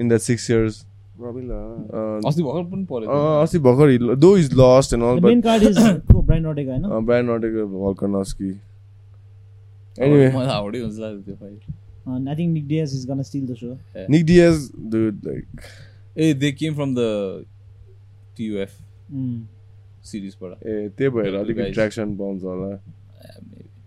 A: in that six years
B: Robbie Lawler.
A: Uh,
C: अस्ति भर्खर पनि पऱ्यो
A: अस्ति भर्खर though is lost and all
D: men
A: but
D: card is ब्राइन्ड नटेका होइन
A: Brian नटेको भल्कनस्की
C: एनिवे
B: Oh,
A: एनिवे
C: मलाई हाउडै हुन्छ लाग्यो त्यो फाइल
D: I think Nick Diaz is gun still the so
A: Nick Diaz dude like
C: A they came from the TUF
D: Hmm.
C: सिरिजबाट
A: ए त्यही भएर अलिकति
C: Guys.
A: ट्र्याक्सन पाउँछ होला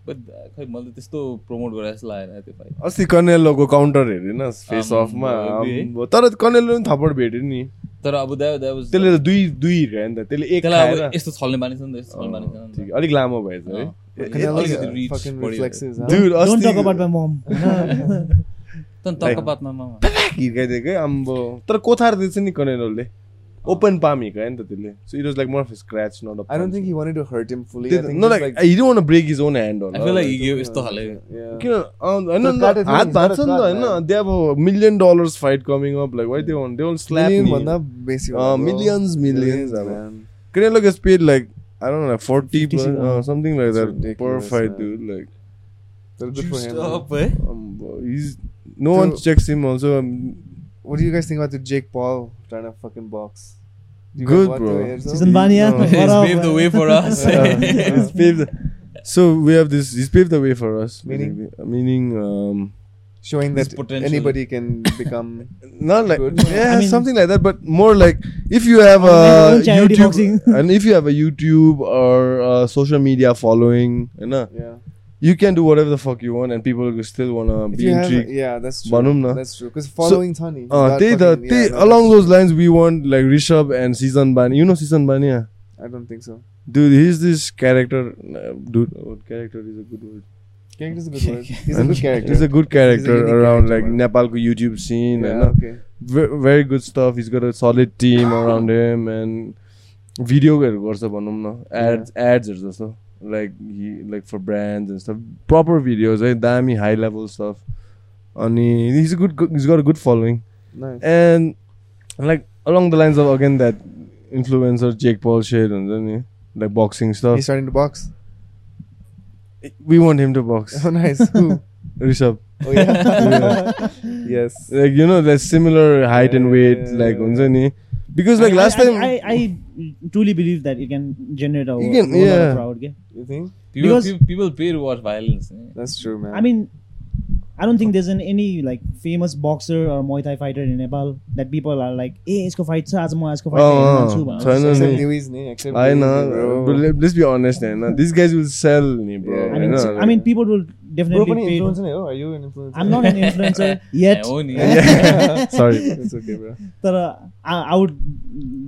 C: बट खै मैले त्यस्तो प्रमोट गरेर जस्तो लागेन त्यो फाइल
A: अस्ति कनेलोको काउन्टर हेरेन फेस
B: Um,
C: आम्म,
A: अफमा
C: रबी है।
A: आम्म, तर कनेलो पनि थप्पड भेट्यो नि
C: तर अब द्याट द्याट वाज
A: त्यसले त दुई दुई हिर्कायो नि त त्यसले एक
C: त्यसलाई
A: खाएर-
C: अब तो यस्तो छल्ने बानी छ नि त यस्तो छल्ने बानी
A: अँ,
C: छ
A: ठिक, अलिक लामो भएछ है
B: Oh.
C: अँ,
A: ए-
C: Yeah,
B: Canelo's
C: अलिकति
B: uh,
C: reach
B: fucking
C: बढी
B: reflexes. huh?
A: Dude,
D: don't talk about
A: अस्ति
D: माई मम
C: तर
A: Like-
C: टक्क बातमा मामा
A: हिर्काइदिएको है आम्बो तर कोथार दिएछ नि कनेलोले ओपन पाम हिर्कायो नि त त्यसले so it was like more of scratch not
B: Oh. I don't think he wanted to hurt him fully. I think
A: no
B: just
A: like he don't break his own hand
C: I feel
A: होला
C: like यो यस्तो खाले
B: yeah.
A: किन अँ, होइन
B: So
A: न,
B: that is-
A: हात
B: that is
A: भाँच्छ नि त
B: not
A: होइन
B: bad.
A: दे अब million dollars fight coming up like why they want they want slap
B: Million भन्दा बेसी
A: अँ,
B: भयो, bro.
A: Oh, millions, millions, अब।
B: man.
A: Canelo gets paid like I don't know, like forty,
D: 50,
A: plus, uh,
D: uh,
A: something like
B: it's
A: that per
B: ridiculous,
A: fight,
B: man.
A: dude. Like,
B: So good for him.
C: up, eh?
A: um, bro, he's no one
B: Dude.
A: checks him also. Um,
B: What do you guys think about the Jake Paul trying to fucking box? Do you guys
A: good,
B: want to
A: bro.
B: hear some?
D: Season one, yeah.
A: No.
C: He's paved the way for us.
A: Yeah, he's paved. the- So we have this. He's paved the way for us.
B: Meaning?
A: basically. meaning, um,
B: Showing
C: His
B: that
C: potential.
B: anybody can become.
A: not like
B: Good.
A: yeah,
D: I mean-
A: something like that, but more like if you have
D: Or their
A: a
D: own charity
A: YouTube
D: boxing.
A: and if you have a YouTube or uh social media following, you know,
B: Yeah.
A: you can do whatever the fuck you want, and people will still wanna
B: If
A: be
B: you have,
A: intrigued.
B: yeah, that's true.
A: भनौँ न।
B: That's true. Because following Tony.
A: Uh, they, the, they, along those lines, we want like Rishabh and Season Bani. You know Season Bani, yeah?
B: I don't think so.
A: Dude, he's this character. uh, dude, oh, character is a good word.
B: Character's a good word. He's a good character.
A: He's a good character
B: unique
A: around
B: character,
A: like Nepal's YouTube scene.
B: Yeah,
A: and, uh,
B: okay.
A: ve- very good stuff. He's got a solid team around him and video गर्छ भनौँ न ads ads जस्तो like he like for brands and stuff proper videos है दामी high level stuff अनि he's a good he's got a good following
B: Nice.
A: and like along the lines of again that influencer Jake Paul shit and then yeah, like boxing
B: He's
A: stuff.
B: starting to box.
A: We want him to box
B: Oh, nice. Who?
A: Rishabh.
B: Oh, yeah. yes.
A: Like you know, there's similar height and weight. Like हुन्छ नि because like last time
D: I, I, I truly believe that you can generate a
A: You
D: whole
A: can-
D: whole lot of
A: yeah.
D: crowd. Okay?
B: You think?
C: People,
D: Because-
C: people, people pay to watch violence. eh?
B: That's true, man.
D: I mean, I don't think there's an any like famous boxer or Muay Thai fighter in Nepal that people are like, "Hey, isko fight sa, aaj ma isko fight
A: अँ,
D: हेर्न जान्छु"
A: अँ,
D: भनेर।
A: छैन
B: except
A: नि
B: Louis, ne? Except
A: होइन
B: Louis, bro.
A: but let- let's be honest होइन these eh, guys will sell नि bro
B: Yeah.
D: I mean,
A: होइन
D: I mean, people will
B: Bro
D: definitely
B: पनि
D: paid.
B: influencer नै हो? Are you an influencer?
D: I'm not an influencer yet,
C: हो नि
A: सरी
B: It's okay, bro.
D: तर uh, I, I would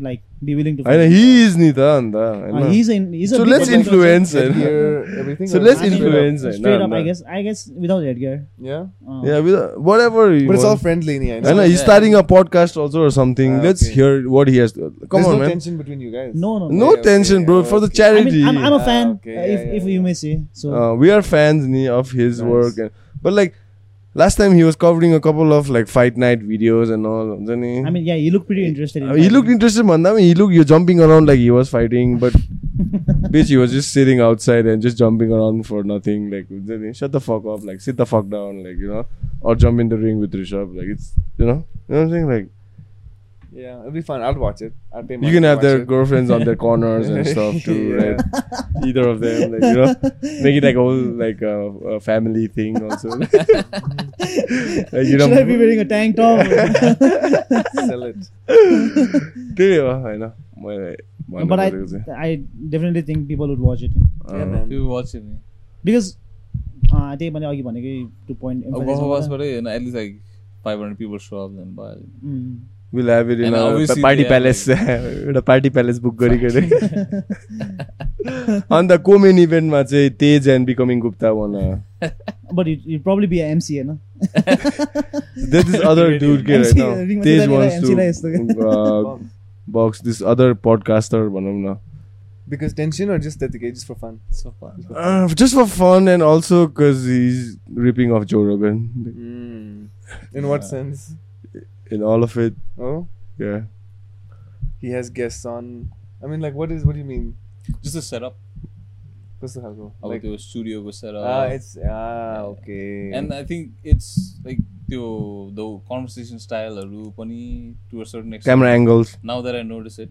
D: like be willing to.
A: होइन he is नि त अन्त
D: Uh,
A: होइन
D: he's in. He's a
A: So
D: big
A: let's
D: influencer.
A: influence
B: Head
A: होइन
B: gear, everything
A: So
B: or
A: let's
B: just straight up?
A: influence होइन
D: Straight up, I
A: होइन
D: guess. I guess without headgear.
B: Yeah.
D: Uh,
A: Yeah, with, uh, whatever you
B: But it's all
A: want.
B: friendly, ni, I know.
A: होइन he's
C: Yeah.
A: starting a podcast also or something
B: Ah,
A: let's
B: okay.
A: hear what he has to, come
B: There's
A: on
B: no
A: man
B: tension between you guys.
D: No, no.
A: no
B: Okay, okay,
A: tension bro for the
B: okay.
D: I
A: charity
D: mean, I'm, I'm a
B: Ah,
D: fan.
B: okay,
D: uh,
B: yeah,
D: if
B: yeah,
D: if
B: yeah.
D: you may say so.
A: Uh, we are fans ni, of his
B: Nice.
A: work and, but like last time he was covering a couple of like fight night videos and all हुन्छ नि
D: I mean, yeah, you look pretty interested. In
A: Uh, he looked interested भन्दा पनि he looked you jumping around like he was fighting but bitch he was just sitting outside and just jumping around for nothing like हुन्छ नि, shut the fuck up like sit the fuck down like you know or jump in the ring with Rishabh like it's you know you know what I'm saying like
B: Yeah, it'll be fun. I'll watch it. I'll pay money
A: you can
B: to
A: have
B: watch
A: their
B: it.
A: girlfriends on their corners and stuff too
B: Yeah.
A: right either of them like you know make it like a whole like a, a family thing also Like, you
D: Should
A: know-
D: I be wearing a tank top?
B: Sell it.
A: त्यही हो होइन मैले भन्नु
D: but I,
A: खोजेको चाहिँ।
D: I definitely think people would watch it
B: Yeah,
A: अँ।
B: man.
C: त्यो watch नि
D: because uh, त्यही मैले अघि भनेकै टु पोइन्ट
C: Uh, वाचबाटै होइन at least like five hundred people so of then भयो
D: Mm.
A: We'll have it in
C: And
A: a
C: obviously
A: party
C: they are
A: palace. एउटा party palace बुक गरिकन अन्त को मेन इभेन्टमा चाहिँ Tej and becoming Gupta one
D: but it it problem be MC होइन
A: this is other dude के
D: MC ringमा
A: तेज
D: चाहिँ
A: वान्ट्स
D: MC लाई यस्तो के।
A: To box this other podcaster भनौँ न
B: Because tension or just that just for fun?
A: Uh, just for fun and also because he's ripping off Joe Rogan Hmm.
B: Mm. In what sense?
A: in all of it.
B: Oh,
A: Yeah.
B: he has guests on. I mean, like, what is? What do you mean?
C: जस्तो setup
B: What's the hell?
C: अब
B: Like,
C: त्यो स्टुडियोको
A: uh,
B: ah,
C: setup
B: it's ah, okay.
C: And I think it's like त्यो the conversation स्टाइलहरू पनि to certain
A: Camera angles.
C: Now that I notice it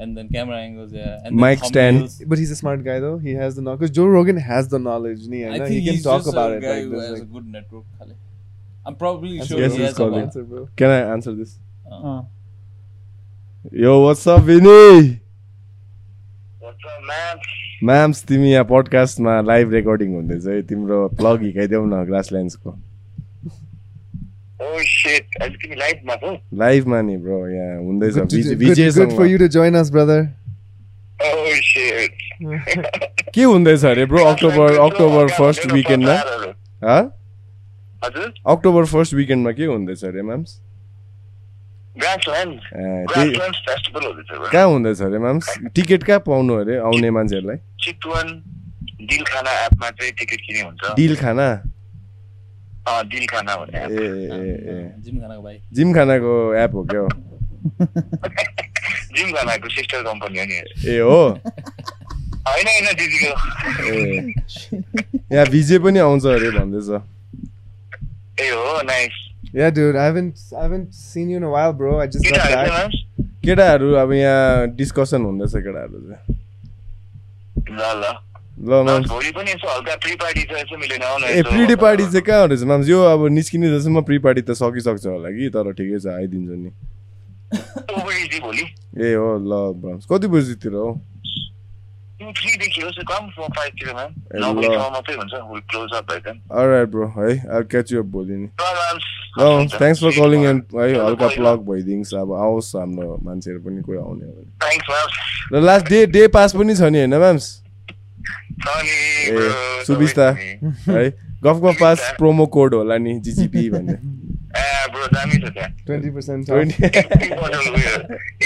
C: and then camera angles and
A: Mic stand.
B: but he's a smart guy though. He has the knowledge. Because Joe Rogan has the knowledge. Nee, I
C: I
B: know.
C: think
B: He can
C: he's
B: talk
C: just
B: about
C: a
B: it.
C: guy
B: Like,
C: who
B: there's,
C: has a
B: like,
C: good network. Khale. I'm probably
B: Answer
C: sure
A: Yes,
C: he
A: he's
C: has a
A: calling.
C: lot.
B: answer, bro.
A: Can I answer this?
C: Uh,
A: Yo, what's up, Vinny?
F: What's up, man?
A: म्याम्स तिमी यहाँ पडकास्टमा live recording हुँदैछ है तिम्रो plug हिर्काइदेऊ न ग्रासल्यान्ड्सको
F: Oh shit! अहिले तिमी लाइभमा छौ
A: लाइभमा नि ब्रो यहाँ हुँदैछ
B: Good, to,
A: Vij-
B: good,
A: विजयसँग।
B: good for you to join us, brother.
F: Oh shit!
A: के हुँदैछ अरे ब्रो अक्टोबर अक्टोबर फर्स्ट विकेन्डमा हँ?
F: हजुर
A: अक्टोबर फर्स्ट विकेन्डमा के हुँदैछ अरे म्याम्स
F: ग्रासल्यान्ड
A: ए, त्यही-
F: ग्रासल्यान्ड फेस्टिभल हुँदैछ
A: कहाँ हुँदैछ अरे म्याम्स टिकट कहाँ पाउनु अरे आउने मान्छेहरूलाई
F: चितवन डिल खाना एपमा चाहिँ टिकट किने हुन्छ
A: डिल खाना
F: अँ, डिल खाना भन्ने app।
A: ए
C: Ah,
A: ए ए
C: जिम खानाको भाइ
A: जिम खानाको एप हो क्या हो
F: जिम खानाको सिस्टर कम्पनी हो नि यो।
A: ए हो
F: होइन होइन दिदीको
A: ए यहाँ भिजे पनि आउँछ अरे भन्दैछ
F: ए हो nice
B: Yeah, dude. I haven't I haven't seen you in a while, bro. I just got
F: केटाहरू चाहिँ
B: back.
F: मान्स?
A: केटाहरू अब यहाँ डिस्कसन हुँदैछ केटाहरू चाहिँ
F: ल
A: ल
F: ल
A: म्याम
F: मान्स, भोलि पनि यसो हल्का प्रि पार्टी छ यसो मिलेन आउनु
A: ए
F: यसो।
A: प्री डे पार्टी
F: uh,
A: चाहिँ कहाँ रहेछ म्याम यो अब निस्किने जसम्म प्री पार्टी त सकिसक्छ होला कि तर ठिकै छ आइदिन्छु नि
F: ओभर इजी भोलि
A: ए हो ल ब्रम्स कति बजीतिर हौ
F: टु थ्रीदेखि होस् कम फोर फाइभतिर म्याम
A: ए, ल।
F: नौ बजीसम्म मात्रै हुन्छ विल क्लोज अप भाइ
A: अराइट ब्रो है अब क्याच अप भोलि नि ल thanks
F: thanks
A: for calling and है हल्का प्लग भइदिनुहोस् अब आओस् हाम्रो मान्छेहरू पनि कोही आउने हो भने
F: थ्याङ्क्स
A: र लास्ट डे डे पास पनि छ नि होइन म्याम्स ए, सुबिस्ता। है गफ गफ पास प्रोमो कोड होला नि जिजिपी भन्ने
F: ए ब्रो दामी छ त्यहाँ
B: Twenty percent off.
A: ट्वेन्टी
F: एक बोतल उयो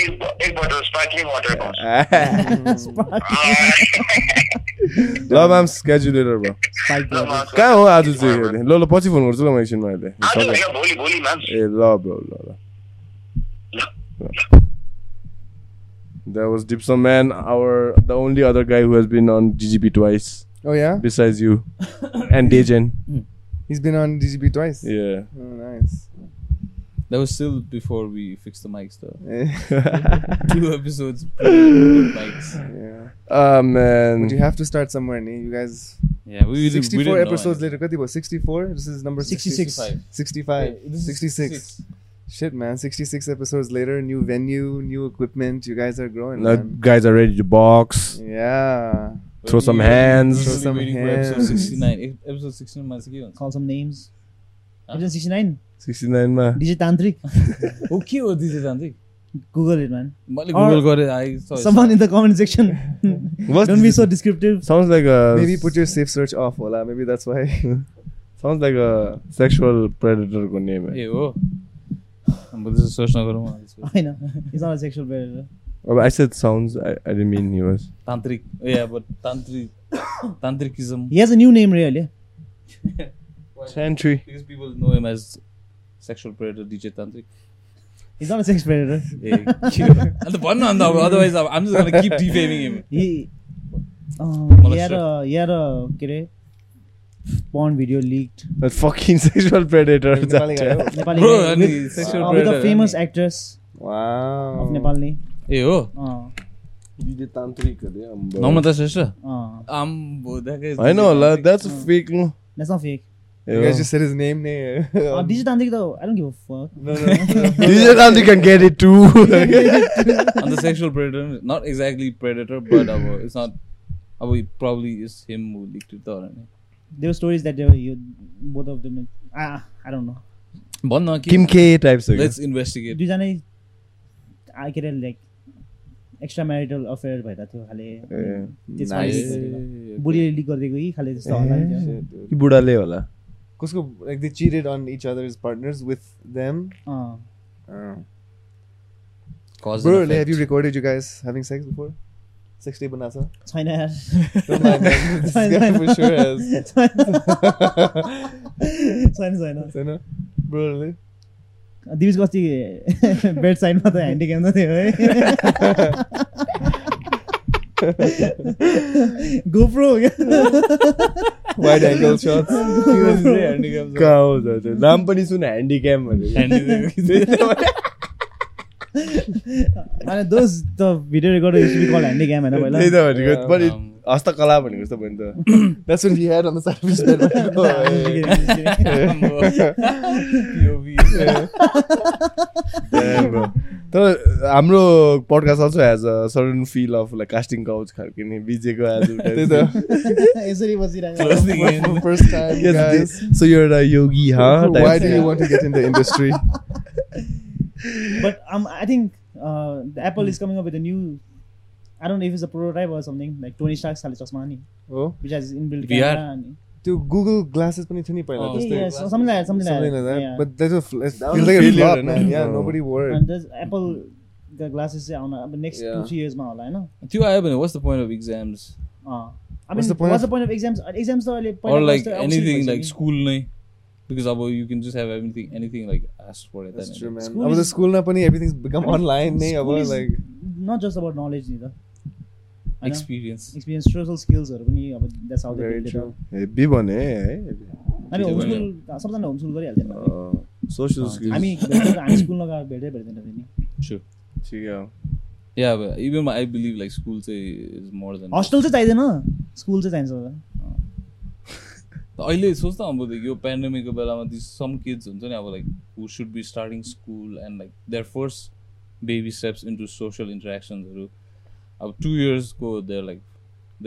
F: एक ब- एक बोतल स्पार्कलिङ वाटर पाउँछ
A: ल म्याम्स क्याजुलेटर ब्रो
F: ल, मान्स।
A: कहाँ हो आज चाहिँ ल ल पछि फोन गर्छु ल म एकछिनमा अहिले
F: आज
A: सकेँ।
F: होइन, भोलि भोलि मान्छ
A: ए ल ब्रो ल ल That was Dipsum Man, our the only other guy who has been on GGP twice
B: Oh yeah,
A: besides you and Dejan.
B: he's been on DGP twice.
A: Yeah.
B: Oh, nice.
C: That was still before we fixed the mics though.
B: Eh,
C: Two episodes pre- mics.
B: yeah.
A: Oh
B: But you
A: man.
B: have to start somewhere, nee. You guys.
C: Yeah, we really, we didn't
B: Sixty-four
C: know
B: episodes
C: anything.
B: later, kati bo? Sixty-four. This is number
D: 66.
B: 65. 65.
C: Hey, this is
B: 66. Shit, man. Sixty-six episodes later, new venue, new equipment. You guys are growing.
A: Now
B: man.
A: guys are ready to box.
B: Yeah.
A: Throw some hands.
B: Throw some
C: episode
B: hands.
C: 69 episode 69 मा चाहिँ के हुन्छ
D: call some names episode sixty nine
A: sixty नाइनमा
D: DJ तान्त्रिक
C: हो के हो DJ जान्दै
D: गुगल इट म्यान
C: मैले
D: Or-
C: गुगल गरेँ I
D: summon in the comment section
A: What's
D: don't be
A: this-
D: so descriptive
A: Sounds like a
B: Maybe put your safe search off, Ola. Maybe that's why.
A: sounds like a sexual predator को name है
C: ए हो अब त्यसो सोच नगरौँ अब।
D: होइन इज नट सेक्सुअल प्रेडेटर
A: अब Oh, I said sounds I, I didn't mean he was
C: तान्त्रिक ए अब Tantric tantricism
D: he has a new name रे अहिले
A: Sentry
C: because people know him as sexual predator DJ Tantric.
D: Is not sex predator
C: Hey, cute. अन्त भन्नु अन्त अब otherwise अब I'm just gonna keep defaming him.
D: हि
C: Molester.
D: यार यार के अरे porn video leaked
A: a fucking sexual predator
B: Nepali guy हो?
D: नेपाली
C: Bro,
D: guy
C: अनि
D: with-
C: sexual
D: uh, with a
C: predator,
D: famous actress
B: wow.
D: of Nepal ने
C: ए हो
D: अँ,
A: DJ Tantric अरे अम्बो।
C: नम्रता श्रेष्ठ
D: अँ,
C: आम्बो that
A: I know la that's a fake no
D: that's not fake.
B: You guys just said his name. nay.
D: Uh, DJ Tantric though, I don't give a fuck.
B: no, no.
A: DJ Tantric can get it too
C: अन्त sexual predator not exactly predator but अब it's not अब it probably is him who leaked it or anything.
D: There were stories that they were you, both of them. Ah, I don't know.
C: भन्न कि
A: Kim K type छ
C: let's investigate.
D: दुईजनै I के अरे like extra marital affair भएर थियो खाले
A: ए,
D: त्यसमा
B: nice.
D: leak गरेको। बुढीले लिक गरिदिएको कि खाले त्यस्तो होला नि त्यो।
B: Shit, dude.
A: कि बुढाले होला
B: Kusko, like they cheated on each other's partners with them.
D: Uh,
C: Cause and
B: Bro,
C: effect.
B: have you recorded you guys having sex before? Sex tape banasa?
D: छैन यार
B: Don't lie, man. This guy for sure has.
D: छैन छैन
B: So, no? Bro, really?
D: दिविजको अस्ति bed साइडमा त handy क्याम त थियो है गोप्रो
B: wide angle shots.
A: कहाँ हो त त्यो? नाम पनि सुन ह्यान्डिक्याम
D: अनि दोज त video recorder use be call handy cam होइन पहिला
A: त्यही त भनेको
B: Yeah.
A: पनि हस्तकला भनेको जस्तो भयो नि त
B: Um, That's what he had on the side of his bed. Right?
C: uh,
A: Damn, bro. तर हाम्रो podcast also has a certain feel of like casting couch खालको नि बिजेको
B: त्यही त।
D: यसरी बसिरहेको
B: For first time, guys.
A: सो यो एउटा योगी हा
B: Why do you want to get in the industry?
D: But um, I think uh, the Apple is coming up with a new. I don't know if it's a prototype or something like Tony Stark's Kali Chasmani,
B: Oh,
D: which has inbuilt
C: VR?
D: camera and
B: to Google glasses पनि थियो नि पहिला
C: Oh.
D: yeah,
B: जस्तै।
D: yeah, so something like that, something,
B: Something
D: like
B: like
D: that.
B: that.
D: Yeah.
B: But that's a fl- it
A: was
B: feels
A: a
B: like a
A: failure,
B: flop,
A: no?
B: man. Yeah,
A: Oh.
B: nobody wore it.
D: and there's Apple the glasses चाहिँ आउन अब next
B: Yeah.
D: Two three इयर्समा होला होइन
C: त्यो आयो भने what's the point of exams
D: uh. I
B: What's
D: mean,
B: the point
D: what's
B: of-
D: the point of exams? Uh, Exams त अहिले
C: or
D: पहिलाको
C: like
D: जस्तो
C: anything
D: obsolete
C: like
D: भइसक्यो।
C: school नै because अब you can just have everything anything like asked for it
B: That's true, man.
D: School
B: अब त
D: is-
B: स्कुलमा पनि everything's become
D: I mean,
B: online नै अब
D: School is
B: like
D: not just about knowledge नि त होइन?
C: experience
D: experience social skills पनि अब that's how they
B: very
D: build it
B: true.
D: up
A: heavy भने है
D: हामी
C: त्यो
D: होमस्कुल सबजना होमस्कुल गरिहाल्दैन
A: सोसियल
D: हामी
A: स्किल्स
D: भेटेर- हामी स्कुल नगएर भेटै भेट्दैन फेरि
C: sure
A: ठिक हो
C: yeah but even my, I believe like school चाहिँ is more than
D: हस्टेल चाहिँ चाहिँदैन स्कुल चाहिँ चाहिन्छ होला।
C: अहिले सोच्दा अब यो पेन्डेमिकको बेलामा दिस सम किड्स हुन्छ नि अब like who should be starting school and like their first baby steps into social इन्टरेक्सन्सहरू अब टु इयर्सको there like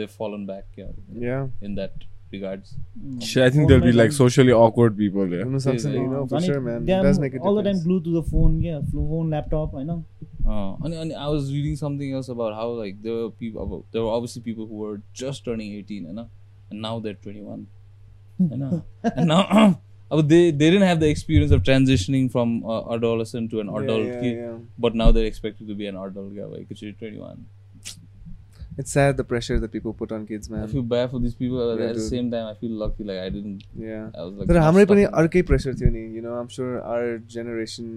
C: they fallen back क्या
B: Yeah.
C: In that regards
A: I think there be like socially awkward people yeah.
B: हुन सक्छ नि, you know, for
D: अनि
B: sure, man.
D: they
B: It
D: are
B: does make a
D: all the time
B: difference.
D: glued to the phone क्या phone laptop होइन
C: Uh, and, and I was reading something else about how like there were people about, there were obviously people who were just turning 18 you know, and now they're 21 you know? and now uh, they they didn't have the experience of transitioning from uh, adolescent to an
B: Yeah,
C: adult
B: yeah,
C: kid
B: yeah.
C: but now they're expected to be an adult guy like you're 21
B: It's sad the pressure that people put on kids,
C: I
B: man.
C: feel bad for these people
B: Um,
C: but
B: Yeah,
C: at the
B: dude.
C: same time I feel lucky like I didn't
B: Yeah.
C: I was like
B: तर
C: not
B: हाम्रै पनि
C: stuck in-
B: अर्कै pressure थियो नि you know I'm sure our generation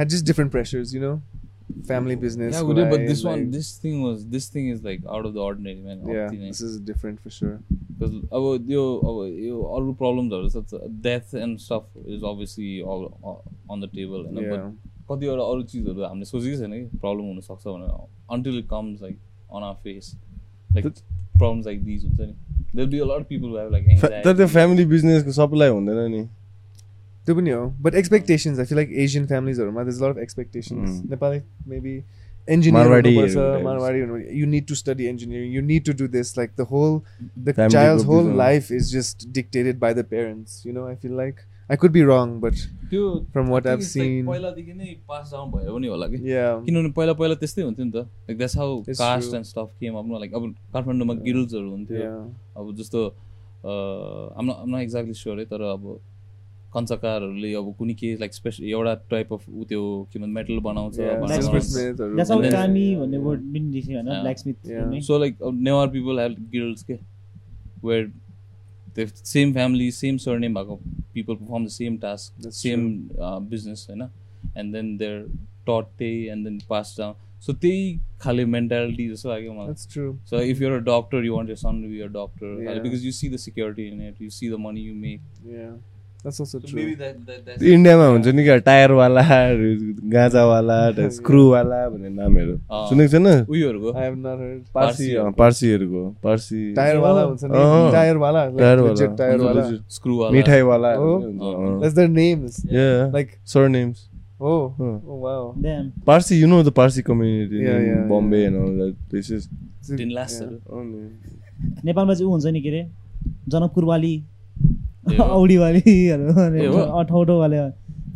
B: had just different pressures you know family business
C: yeah we did, but this one this thing was this thing is like out of the ordinary man Opti-
B: this is different for sure
C: Because अब यो अब यो अरू प्रब्लम्सहरू छ त death and stuff is obviously on the table होइन but कतिवटा अरू चिजहरू हामीले सोचेकै छैन कि प्रब्लम हुनसक्छ भनेर until it comes like on our face like problems like these हुन्छ नि there be a lot people have like
A: Fa- तर त्यो फ्यामिली बिजनेसको सबैलाई हुँदैन नि
B: त्यो पनि हो but expectations I feel like Asian फ्यामिलीजहरूमा this lot of expectations
A: Mm.
B: Nepali maybe engineer
A: Marwari
B: हुनुपर्छ,
A: हुनुपर्छ।
B: मारवाडी हुनुपर्छ। you need to study engineering you need to do this like the whole the
A: Family
B: child's
A: group is
B: whole
A: on.
B: life is just dictated by the parents you know i feel like i could be wrong but
C: त्यो
B: from what
C: I
B: i've
C: think it's like
B: seen
C: पहिलादेखि नै पास down भयो पनि होला कि
B: yeah
C: किनभने पहिला पहिला त्यस्तै हुन्थ्यो नि त like that's how
B: It's
C: caste
B: true.
C: And stuff came आफ्नो लाइक अब काठमाडौँमा गिल्ड्सहरू हुन्थ्यो
B: yeah
C: अब जस्तो uh, आम आम एक्ज्याक्टली स्योर है तर अब कञ्चकारहरूले अब कुनै के लाइक स्पेसल एउटा टाइप अफ उ त्यो के भन्छ मेटल बनाउँछ
B: yeah
D: That's
B: silver
D: what-
C: बनाउँछ
B: smithहरू
D: That's how
C: And then-
D: कामी भन्ने वर्ड पनि देखेँ होइन
C: Yeah.
D: Blacksmith
B: Yeah.
C: So like Newar people have guilds के where the same family same surname भएको people perform the same task
B: That's
C: same business होइन and then they're taught त्यही and then pass down so त्यही खाले mentality जस्तो लाग्यो मलाई
B: that's true
C: So if you're a doctor, you want your son to be a doctor
B: Yeah.
C: uh, because you see the security in it, you see the money you make.
B: yeah that's also
C: So
B: true
C: maybe that, that that's
A: इन्डियामा हुन्छ नि क्या टायरवाला गाँजावाला स्क्रुवाला भन्ने नामहरू
C: अँ।
A: सुनेको छैन
C: उयोहरूको
B: i have not heard
A: Parsi
C: Parsi-
A: uh, पार्सीहरूको Parsi
B: tire wala
C: Oh.
B: हुन्छ नि
A: अँ।
B: tire wala like
A: टायरवाला
B: legit tire wala
A: हुन्छ,
C: screwवाला।
A: मिठाईवाला
B: हो? that's their names like
A: surnames
B: oh
A: Huh.
B: oh wow
A: Parsi you know the Parsi community
B: Yeah, yeah, yeah.
A: Bombay and all that places
B: So-
C: Tin
B: yeah.
C: लासहरू।
D: नेपालमा चाहिँ ऊ हुन्छ नि के अरे जनकपुरवाली
C: ए हो।
D: औडीवालीहरू
C: ए हो।
D: अठौटोवाले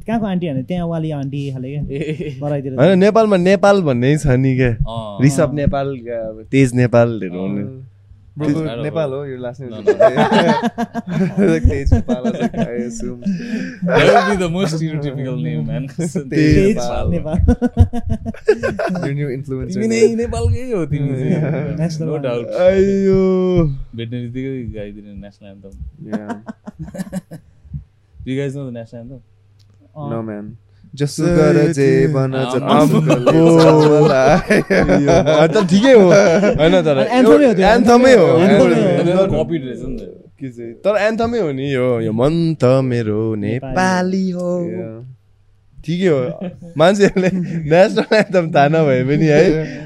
D: कहाँको आन्टी भने त्यहाँ वाली आन्टी खाले क्या
C: ए,
D: बराइतिर
A: होइन नेपालमा नेपाल भन्ने छ नि क्या
C: अँ।
A: रिषभ नेपाल क्या अब तेज नेपालहरू हुने
B: Um, Bro,
C: I don't
B: Nepal,
C: know.
B: oh, your last name
C: No,
B: is
C: no.
B: Nepal. like Tej Nepal, I was like, I assume.
C: That would be the most stereotypical name, man.
B: Tej
D: Tej
B: Nepal.
D: Nepal
B: Your new influencer.
C: तिमी नै
B: name.
C: नेपालकै हो तिमी चाहिँ।
D: National
C: No
D: anthem.
C: doubt.
A: आइयो
C: भेट्ने बित्तिकै गाइदिने national anthem
B: Yeah.
C: You guys know the national anthem
B: No, man. Oh. Just gara je bana
C: Um,
B: Oh. jata
A: यो, अन्त ठिकै हो होइन तर
D: Anthem नै हो त्यो,
A: एन्थमै हो
D: anthem नै हो।
A: anthem हो।
C: कपी रहेछ नि त
A: के चाहिँ तर एन्थमै हो नि यो यो मन त मेरो नेपाली हो
B: Yeah.
A: ठिकै हो मान्छेहरूले नेसनल एन्थम थाहा नभए पनि है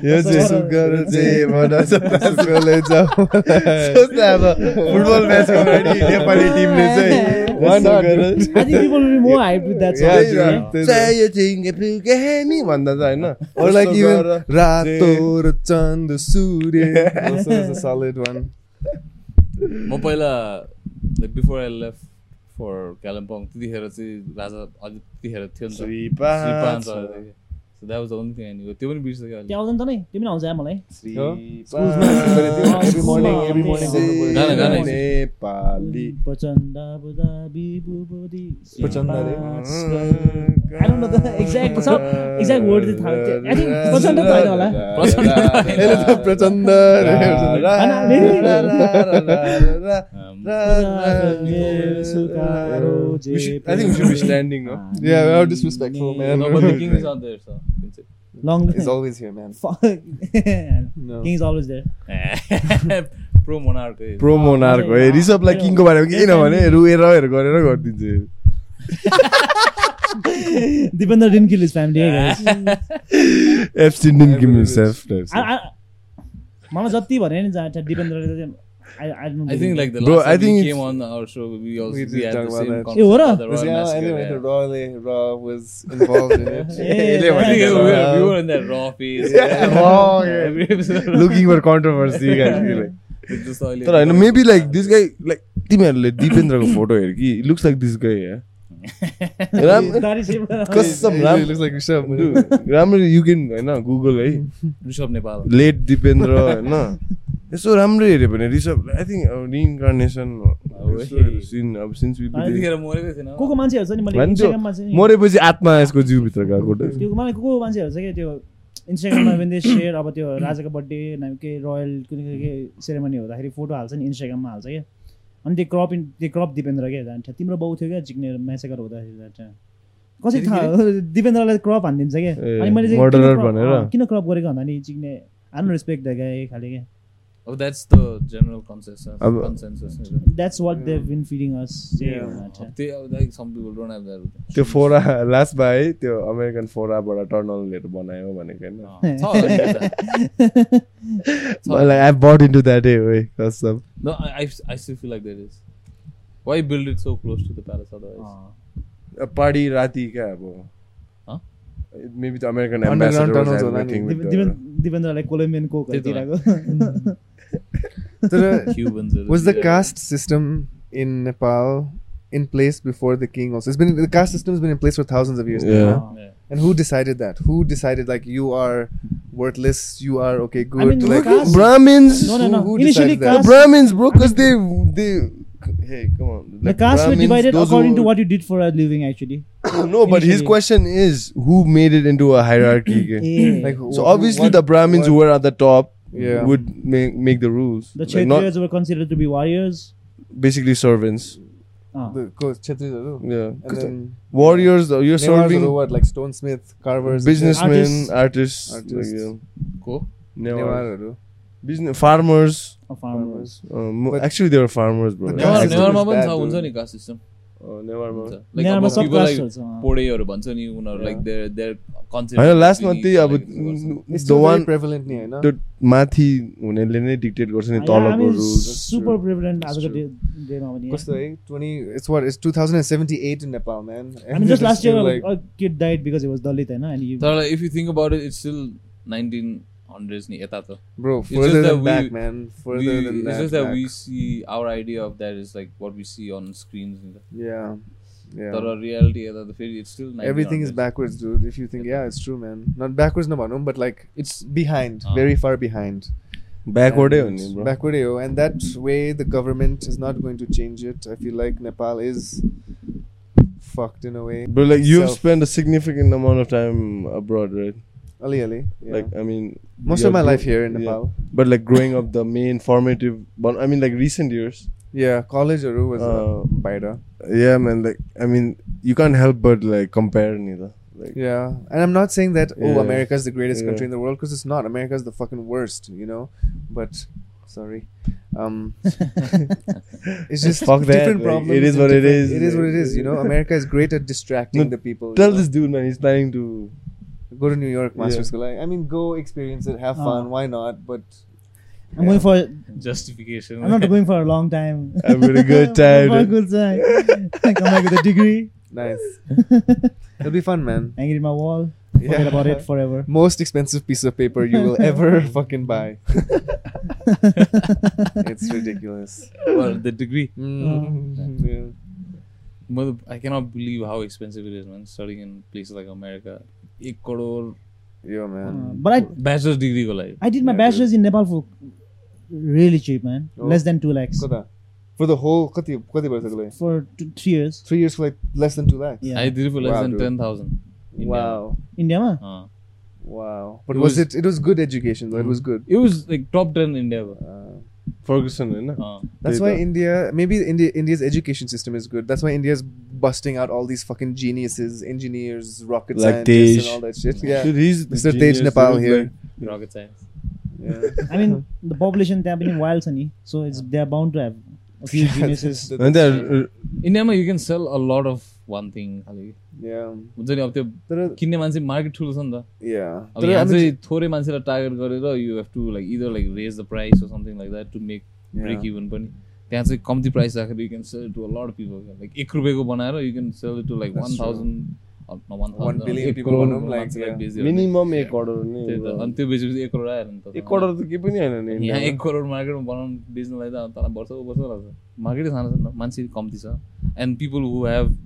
A: यो चाहिँ सुगर चाहिँ भन्छ
B: Sukale jao.
A: सोच्दा अब फुटबल म्याच अगाडि नेपाली टिमले चाहिँ वान गरेर
D: I think people will be more hyped with that song.
B: Yeah,
D: you know?
B: yeah.
A: चाहियो चाहियो चाहियो भन्दा त होइन
B: Or like even
A: Jay.
B: Rato Chand Surya. Also is a solid one.
C: म पहिला like before I left for Kalimpong त्यतिखेर चाहिँ राजा अझै त्यतिखेर थियो नि त
A: Shripad.
C: So that was the only thing I त्यो पनि बिर्सक्यो अहिले।
D: त्यो आउँदैन त नै तिमी नै आउँछ है मलाई
B: Every morning, every morning.
C: गाना, गाना है।
A: नेपाली
D: प्रचण्ड बुधा बिबु बुधि
B: प्रचण्ड अरे।
D: I don't know the exact- so- exact word चाहिँ थाहा- I think प्रचण्ड त होइन होला।
C: प्रचण्ड त होइन।
A: यसले त प्रचण्ड रे।
D: होइन, really?
A: रा, रा, रा, रा, रा,
C: Um,
A: रा,
D: सुकारो
A: We should- I think we should be standing, no?
B: Yeah, we are disrespectful, man.
C: no, but the king is not there, so you can sit.
D: Long
B: It's always here, man.
D: Fuck.
B: No.
D: King is always there.
C: Pro monarch. is-
A: pro monarch हो ए, रिषभलाई किङको बारेमा किनभने रुएर गरेर गरिदिन्छु
D: Dipender didn't kill his family, hey guys.
A: FC didn't give himself
D: I- I- मलाई जति भने नि जहाँ डिपेन्डरले चाहिँ I- I don't
C: I think like the last
A: Bro, I
C: time
A: think
C: he
A: it's-
C: came on our show, we also
B: We
C: we
B: did
C: had
B: talk
C: the
B: about
C: same
B: that.
C: conversation
D: Eh, what
C: about
D: up?
C: the
B: Because
C: Royal
B: yeah,
C: Massacre,
B: anyway, the
C: yeah.
B: Raw,
A: eh,
B: Raw was involved in it.
D: Yeah,
C: I think
D: yeah,
C: we were, we
B: Raw.
C: were in that raw phase.
A: Oh, yeah.
C: Every episode.
A: Looking for controversy
C: It's just all-
A: तर होइन maybe like this guy like तिमीहरूले दिपेन्द्रको photo हेर कि looks like this guy राम्रो
D: That is it.
A: कसम
B: It really
A: राम्रो
B: looks like Rishabh.
A: राम्रो यु क्यान होइन गुगल है
C: Rishabh Nepal.
A: लेट दिपेन्द्र होइन यसो राम्रो हेऱ्यो भने रिसभ आई थिङ्क अब रिइन्कार्नेसन सिन अब सिन्स
C: त्यतिखेर मरेको थिएन
D: को को मान्छेहरू छ नि मैले
A: होइन त्यो
D: इन्स्टाग्राममा चाहिँ
A: मरेपछि आत्मा यसको जिउभित्र गएको
D: त्यो मलाई को को मान्छेहरू छ क्या त्यो इन्स्टाग्राममा पनि त्यो सेयर अब त्यो राजाको बर्थडे नभए के रोयल कुनै कुनै के सेरेमनी हुँदाखेरि फोटो हाल्छ नि इन्स्टाग्राममा हाल्छ क्या अनि त्यो क्रप इन त्यो क्रप दिपेन्द्र क्या जान्छ तिम्रो बाउ थियो क्या चिक्ने म्यासेकर हुँदाखेरि जान्छ कसरी थाहा हो? दिपेन्द्रलाई क्रप हानिदिन्छ क्या
A: ए,
D: अनि मैले चाहिँ
A: murderer
D: किन crop-
A: भनेर?
D: अँ, किन क्रप गरेको भन्दा नि चिक्ने I don't respect the guy खाले क्या
C: अब द्याट्स द जेनरल कन्सेन्सस
A: अब-
C: consensus
D: that's what they been feeling us
B: Yeah.
C: त्यही अब like some people don't have that
A: त्यो फोरा लास्टमा है त्यो अमेरिकन फोराबाट टर्नलहरू बनायो भनेको होइन
C: छ होला नि त्यता।
A: मलाई I but in to that a way कसम
C: No, I, I, I still feel like that is. Why build it so close to the palace otherwise?
A: Party राति क्या अब
C: Huh?
A: मेबी त्यो अमेरिकन
B: Underground tunnels होला नि।
D: Dipen-
A: ambassador
D: दिपेन्द्रलाई Colombian coke
C: त्यही त।
D: दिइरहेको
B: तर
C: Cubans.
B: was the caste system in Nepal in place before the king also? It's been the caste system has been in place for thousands of years. now,
A: Yeah.
B: huh?
C: Yeah.
B: And who decided that? Who decided like you are worthless, you are okay, good,
D: mean,
B: like
D: caste-
A: Brahmins
D: No, no,
B: Who-
D: no.
B: who
D: Initially,
B: decided that?
A: The
D: caste,
A: Brahmins, bro, because they they. Hey, come on.
D: the caste were
A: Brahmins,
D: divided
A: those who-
D: according to what you did for a living, actually.
A: No, but his
D: initially.
A: question is who made it into a hierarchy?
D: Yeah.
B: like
A: so
B: wh-
A: obviously
B: what-
A: the Brahmins who
B: what-
A: were at the top
B: Yeah.
A: would make make the rules.
D: the
A: Like, not
D: Kshatriyas were considered to be warriors.
A: basically servants.
D: Ah.
B: the co- Kshatriyas, uh,
A: Yeah.
B: and then
A: Warriors, though, you're
B: Newars were
A: serving
B: what like stonesmith, carvers,
A: businessmen,
D: Artists.
A: artists,
B: Artists.
A: like, yeah.
C: Co?
A: Newars.
B: Newars.
A: business farmers.
D: a farmers.
A: Um, mo-
B: But-
A: actually, they were farmers, bro.
B: But
A: Yeah.
C: Newar
B: system
C: नेवारमा
B: is
C: पनि
B: bad,
C: छ हुन्छ
B: dude.
C: नि caste system
A: Oh, नेवारमा।
C: हुन्छ like अब
D: नेवारमा सब
C: people like
D: कास्टहरू छ, अँ।
C: पोडेहरू भन्छ नि उनीहरू लाइक देयर देयर कन्सेप्ट
A: होइन लास्टमा त्यही अब
B: It's
A: the
B: still very
A: one
B: prevalent, yeah, no?
A: त्यो माथि हुनेले नै डिक्टेट गर्छ नि
D: Yeah, I
A: तलको
D: mean,
A: रुल्स
D: super prevalent आजको
B: true.
D: day- dayमा पनि,
B: What's
D: yeah.
B: the eight- 20 it's what it's 2078 in Nepal, man.
D: I mean, just last year,
B: Still,
D: a- a kid died because he was Dalit, होइन? And he-
C: तर if you think about it it's still 1900s नि यता त
B: Bro,
C: just
B: further
C: that
B: than back,
C: we-
B: man. Further
C: We-
B: than that.
C: it's just that
B: back.
C: we see our idea of that is like what we see on screens नि त।
B: yeah. Yeah.
C: तर reality यता त फेरि it's still 1900s.
B: Everything is backwards, dude. If you think, yeah, it's true, man. Not backwards, no, no, but like it's behind,
C: Ah.
B: very far behind.
A: ब्याकवर्डै हो
B: And
A: नि eh, bro.
B: Backward, yeah. and that way the government is not going to change it. I feel like Nepal is fucked in a way.
A: But like you've
B: itself.
A: spent a significant amount of time abroad, right?
B: Ali, Ali, yeah.
A: Like I mean,
B: most
A: your
B: of my
A: gro-
B: life here in
A: yeah.
B: Nepal.
A: But like growing up, the main formative, but I mean, like recent years.
B: Yeah, college Aru was uh,
A: Uh,
B: Baida.
A: Yeah, man. Like I mean, you can't help but like compare neither. Like
B: Yeah, and I'm not saying that oh
A: Yeah.
B: America is the greatest
A: Yeah.
B: country in the world because it's not. America is the fucking worst, you know. But sorry, um, it's just
A: Fuck that,
B: different
A: like,
B: problems.
A: it is
B: and
A: what it is.
B: different- It is what it is. You know, America is great at distracting
A: No,
B: the people. you
A: tell
B: know.
A: this dude, man, he's planning to.
B: Go to New York, master
A: Yeah. Oh.
B: school. I, I mean, go experience it, have
D: Ah.
B: fun. Why not? But
D: I'm going for.
C: justification
D: I'm not going for a long time.
A: I'm having a good time.
D: I'm having a good time. I come back with a degree,
B: nice, it'll be fun, man.
D: hang it in my wall, forget about it forever.
B: Most expensive piece of paper you will ever fucking buy. It's ridiculous.
C: well, the degree
A: Oh,
B: Mm, yeah.
C: Mother, I cannot believe how expensive it is, man. Studying in places like America, एक crore
B: Yo,
D: Uh,
A: oh,
B: man.
D: but I,
C: bachelor's degree को लागि
D: I did my
B: Yeah,
D: bachelor's in Nepal for really cheap, man.
B: Oh.
D: Less than two lakhs
B: Kota? For the whole, कति कति वर्षको लागि?
D: for two, three years.
B: Three years for like less than two lakhs.
D: Yeah.
C: I did it for less
B: Wow,
C: than
B: dude.
C: ten thousand.
B: Wow,
D: India, ma?
C: Uh,
B: wow. But
C: It
B: was,
C: was-
B: it? It was good education. though. It was good.
C: it was like top ten in India. bro.
B: Uh,
A: Ferguson, right?
C: Uh,
B: that's
A: Data.
B: why India, maybe India, India's education system is good. That's why India's busting out all these fucking geniuses, engineers, rocket
A: Like
B: scientists,
A: Tej.
B: and all that shit. Yeah,
A: Dude, he's
B: Mr. Tej
A: genius,
B: Nepal
A: dude,
B: here.
A: like-
C: rocket science.
B: yeah.
D: I mean, the population they have been wild, sunny, so it's they're bound to have a few geniuses.
A: And they're, uh,
C: इन्डियामा you can sell a lot of one thing खालि
B: yeah.
C: हुन्छ नि अब त्यो
B: तर-
C: किन्ने मान्छे market ठुलो छ नि त
B: Yeah.
C: अब
B: But I
C: यहाँ
B: mean,
C: चाहिँ थोरै मान्छेलाई टार्गेट गरेर you have to like either like raise the price or something like that to make break even पनि त्यहाँ चाहिँ कम्ती प्राइस राखेर you can sell to a lot people like एक रुपियाँको बनाएर you can sell to like one
B: That's true.
C: Thousand one
B: One billion people भनौँ, like, yeah.
C: Thousand
A: minimum एक करोड नै bro.
C: अनि त्यो बेचेपछि एक करोड आयो नि त
A: एक करोड त केही पनि होइन नि
C: यहाँ एक करोड मार्केटमा बनाउनु बेच्नुलाई त तल वर्ष वर्ष लाग्छ मार्केटै सानो छ नि त मान्छे कम्ती छ and people who have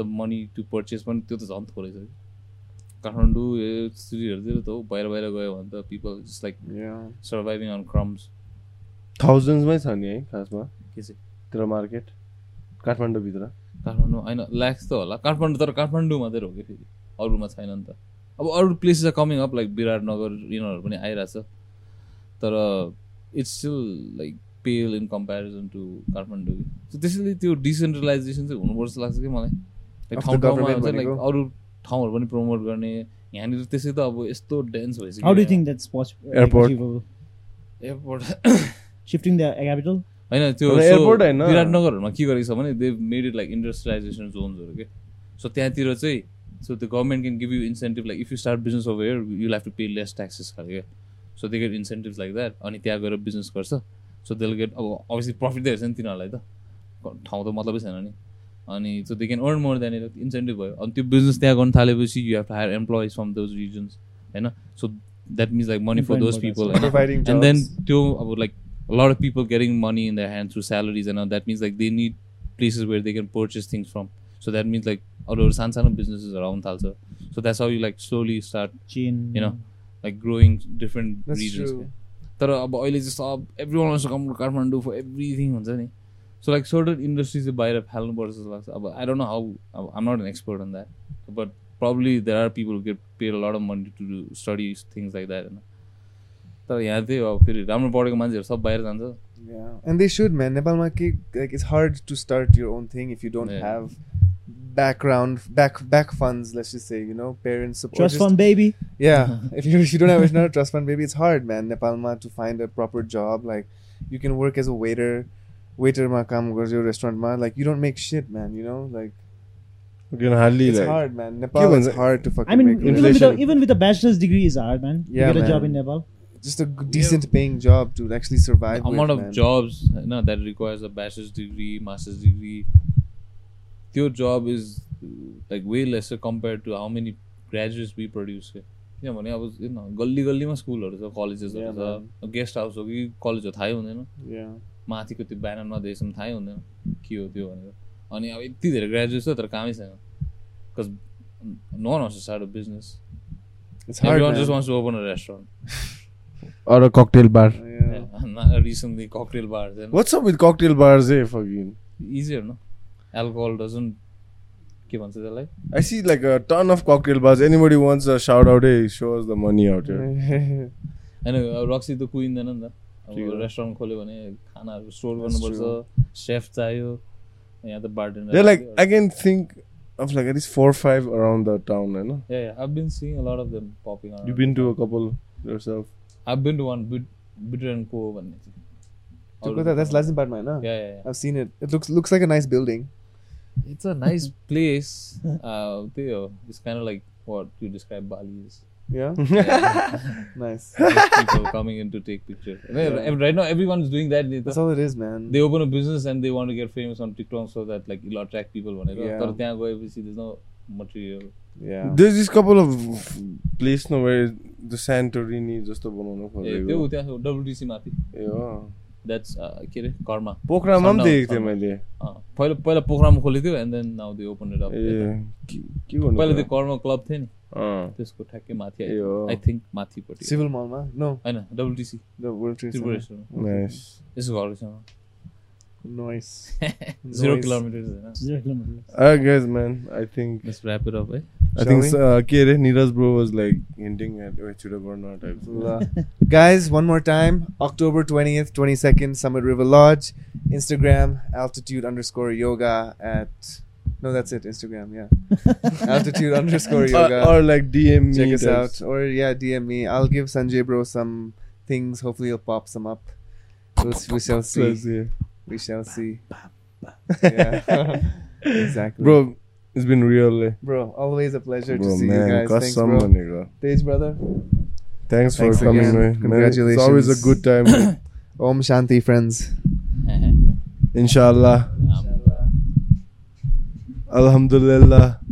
C: the money to purchase पनि त्यो त झन् थोरै छ कि। काठमाडौँ यो सिटीहरूतिर त हो बाहिर बाहिर गयो भने त people it's like
B: yeah.
C: Surviving on crumbs
A: थाउजन्डमै छ नि है खासमा
C: के चाहिँ
A: तर मार्केट काठमाडौँभित्र
C: काठमाडौँ होइन ल्याक्स त होला काठमाडौँ तर काठमाडौँ मात्रै हो कि फेरि अरूमा छैन नि त अब अरू places are coming up like Biratnagar यिनीहरू पनि आइरहेछ तर it's still like pale in comparison to Kathmandu कि So त्यसैले त्यो डिसेन्ट्रलाइजेसन चाहिँ हुनुपर्छ लाग्छ कि मलाई लाइक
B: Of the
C: ठाउँ ठाउँमा
B: government
C: हुन्छ लाइक
B: भनेको।
C: अरू ठाउँहरू पनि प्रमोट गर्ने यहाँनिर त्यसै त अब यस्तो डेन्स भइसक्यो
D: How do you think that's uh, possible?
A: Airport.
C: Airport
D: Shifting the capital?
C: होइन त्यो
A: अब
C: so
A: एयरपोर्ट होइन।
C: विराटनगरमा के गरेको छ भने they made it like industrialization जोन्सहरू के सो त्यहाँतिर चाहिँ so the government can give you incentive like if you start business over here you have to pay less taxes खाले क्या so they get incentive like that अनि त्यहाँ गएर business गर्छ सो दे गेट अब obviously profit त हेर्छ नि तिनीहरूलाई त ठाउँ त मतलबै छैन नि अनि so they can earn more त्यहाँनिर इन्सेन्टिभ भयो अनि त्यो बिजनेस त्यहाँ गर्नु थालेपछि you have to hire employees from those reasons होइन so that means like money for
D: Different
C: those
D: workers.
C: People होइन
B: providing jobs.
C: and then too about like a lot of people getting money in their hand through salaries and all that means like they need places where they can purchase things from so that means like our san sano businesses around also so that's how you like slowly start
D: Chin.
C: You know, like growing different
B: That's
C: regions
B: true.
C: तर अब अहिले जस्तो अब everyone come Kathmandu for everything हुन्छ नि so like certain industry चाहिँ बाहिर फाल्नुपर्छ जस्तो लाग्छ अब आई डोन्ट नो हाउ अब I'm not an expert on that but probably there are people get pay lot of money to do study things like that होइन तर यहाँ त्यही हो, अब फेरि राम्रो पढेको मान्छेहरू सब बाहिर जान्छ
B: Yeah, and they should, man. Nepalma ke, like it's hard to start your own thing if you don't
C: Yeah.
B: have background back back funds. Let's just say you know parents support.
D: Trust
B: just-
D: fund baby.
B: Yeah, if you if you don't have if you're not a trust fund baby, it's hard, man. Nepalma to find a proper job. Like you can work as a waiter, waiter ma kam garjo restaurant ma. Like you don't make shit, man. You know, like
A: You can hardly
B: it's
A: like
B: hard, man. Nepal
A: Given
B: it's
A: that-
B: hard to fucking
D: I mean,
B: make.
D: even
B: money.
D: with, a,
A: Inflation.
D: even with a bachelor's degree is hard, man.
B: Yeah,
D: you get a
B: man.
D: job in Nepal.
B: just a g- decent paying job to actually survive.
C: The amount
B: with,
C: of
B: man.
C: jobs you know, that requires a bachelor's degree, master's degree. Your job is uh, like way lesser compared to how many graduates we produce. here. किनभने अब you know, गल्ली गल्लीमा स्कुलहरू छ कलेजेसहरू
B: Yeah, man.
C: छ guest house हो कि कलेज हो थाहै हुँदैन
B: Yeah.
C: माथिको त्यो ब्यानरमा देखेसम्म थाहै हुँदैन के हो त्यो भनेर अनि अब यति धेरै ग्रेजुएट छ तर कामै छैन because no one wants to start a business
B: It's hard,
C: everyone
B: man.
C: Just wants to open a restaurant
A: or a cocktail bar.
B: Yeah.
C: Recently cocktail bar छैन
A: What's up with cocktail bars? Eh, fucking.
C: easier no alcohol doesn't के भन्छ त्यसलाई
A: I see like a ton of cocktail bars. Anybody wants a shout out? Hey, show us the money out here.
C: होइन अब रक्सी त कुहिँदैन नि त
A: ठिक
C: अब
A: हो।
C: रेस्टुरेन्ट खोल्यो भने खानाहरू स्टोर
B: That's
C: गर्नुपर्छ सेफ चाहियो यहाँ त बार्टेन्डर
A: They're like I can think of like at least four or five around the town. You know,
C: yeah, yeah, I've been seeing a lot of them popping around.
A: you've been to a couple yourself.
C: I've been to one bit bitter and co भन्ने थियो।
B: Kolkata, that's Lazenbad, man. Huh?
C: Yeah, yeah,
B: I've seen it. It looks looks like a nice building.
C: yeah. It's a nice place. Uh, त्यही हो. It's kind of like what you describe Bali is.
B: Yeah,
C: Yeah.
B: nice.
C: people coming in to take pictures.
B: Yeah.
C: Right now, everyone's doing that. नि त।
B: That's all it is, man.
C: they open a business and they want to get famous on TikTok so that like it'll attract people whenever.
B: Yeah.
C: तर त्यहाँ गएपछि there's no material.
B: Yeah,
A: There's this couple of place no where the Santorini just a banana for
C: ए, त्यो त्यहाँ डब्लुटिसी माथि
A: Yeah.
C: That's के अरे घरमा
A: पोखरामा पनि
C: Sundown,
A: देखेको थिएँ
C: sundown.
A: मैले
C: अँ, पहिला पहिला पोखरामा खोलेको थियो and then now they open it up
A: ए के के
C: पहिला
A: गर्नु
C: त्यो कर्म क्लब थियो नि
A: अँ।
C: त्यसको ठ्याक्कै माथि
A: ए हो।
C: आई थिङ्क माथिपट्टि
B: Civil Mall, ma? No,
C: होइन डब्लुटिसी
B: the World Trade Center.
C: त्रिपुरेश्वरमा
A: Nice.
C: त्यसको घरसँग
B: Nice.
C: Zero
B: Nice.
C: किलोमिटर होइन
D: Zero kilometers.
A: Alright, Ah, guys, man. I think
C: Let's wrap it up, eh?
A: I
B: Shall
A: think
B: we?
A: uh, ke re, Neeraj bro was like hinting at oh, it should have gone out type.
B: La- Guys, one more time. October 20th, 22nd, Summit River Lodge. Instagram, altitude underscore yoga at. No, that's it. Instagram, yeah. altitude underscore yoga.
A: Or, or like DM me.
B: Check us
A: types.
B: out. Or, yeah, DM me. I'll give Sanjay Bro some things. Hopefully, he'll pop some up. We'll, we shall
A: So,
B: see.
A: yeah.
B: We shall see. Yeah. exactly.
A: Bro, it's been real. eh.
B: Bro, always a pleasure
A: Bro,
B: to see
A: man,
B: you guys. Thanks,
A: कसम
B: bro.
A: भनेको।
B: Stage brother.
A: Thanks for
B: Thanks
A: coming,
B: again.
A: man. man. It's
B: Congratulations.
A: always a good time. man.
B: Om Shanti, friends.
A: Inshallah.
C: Um,
A: Alhamdulillah.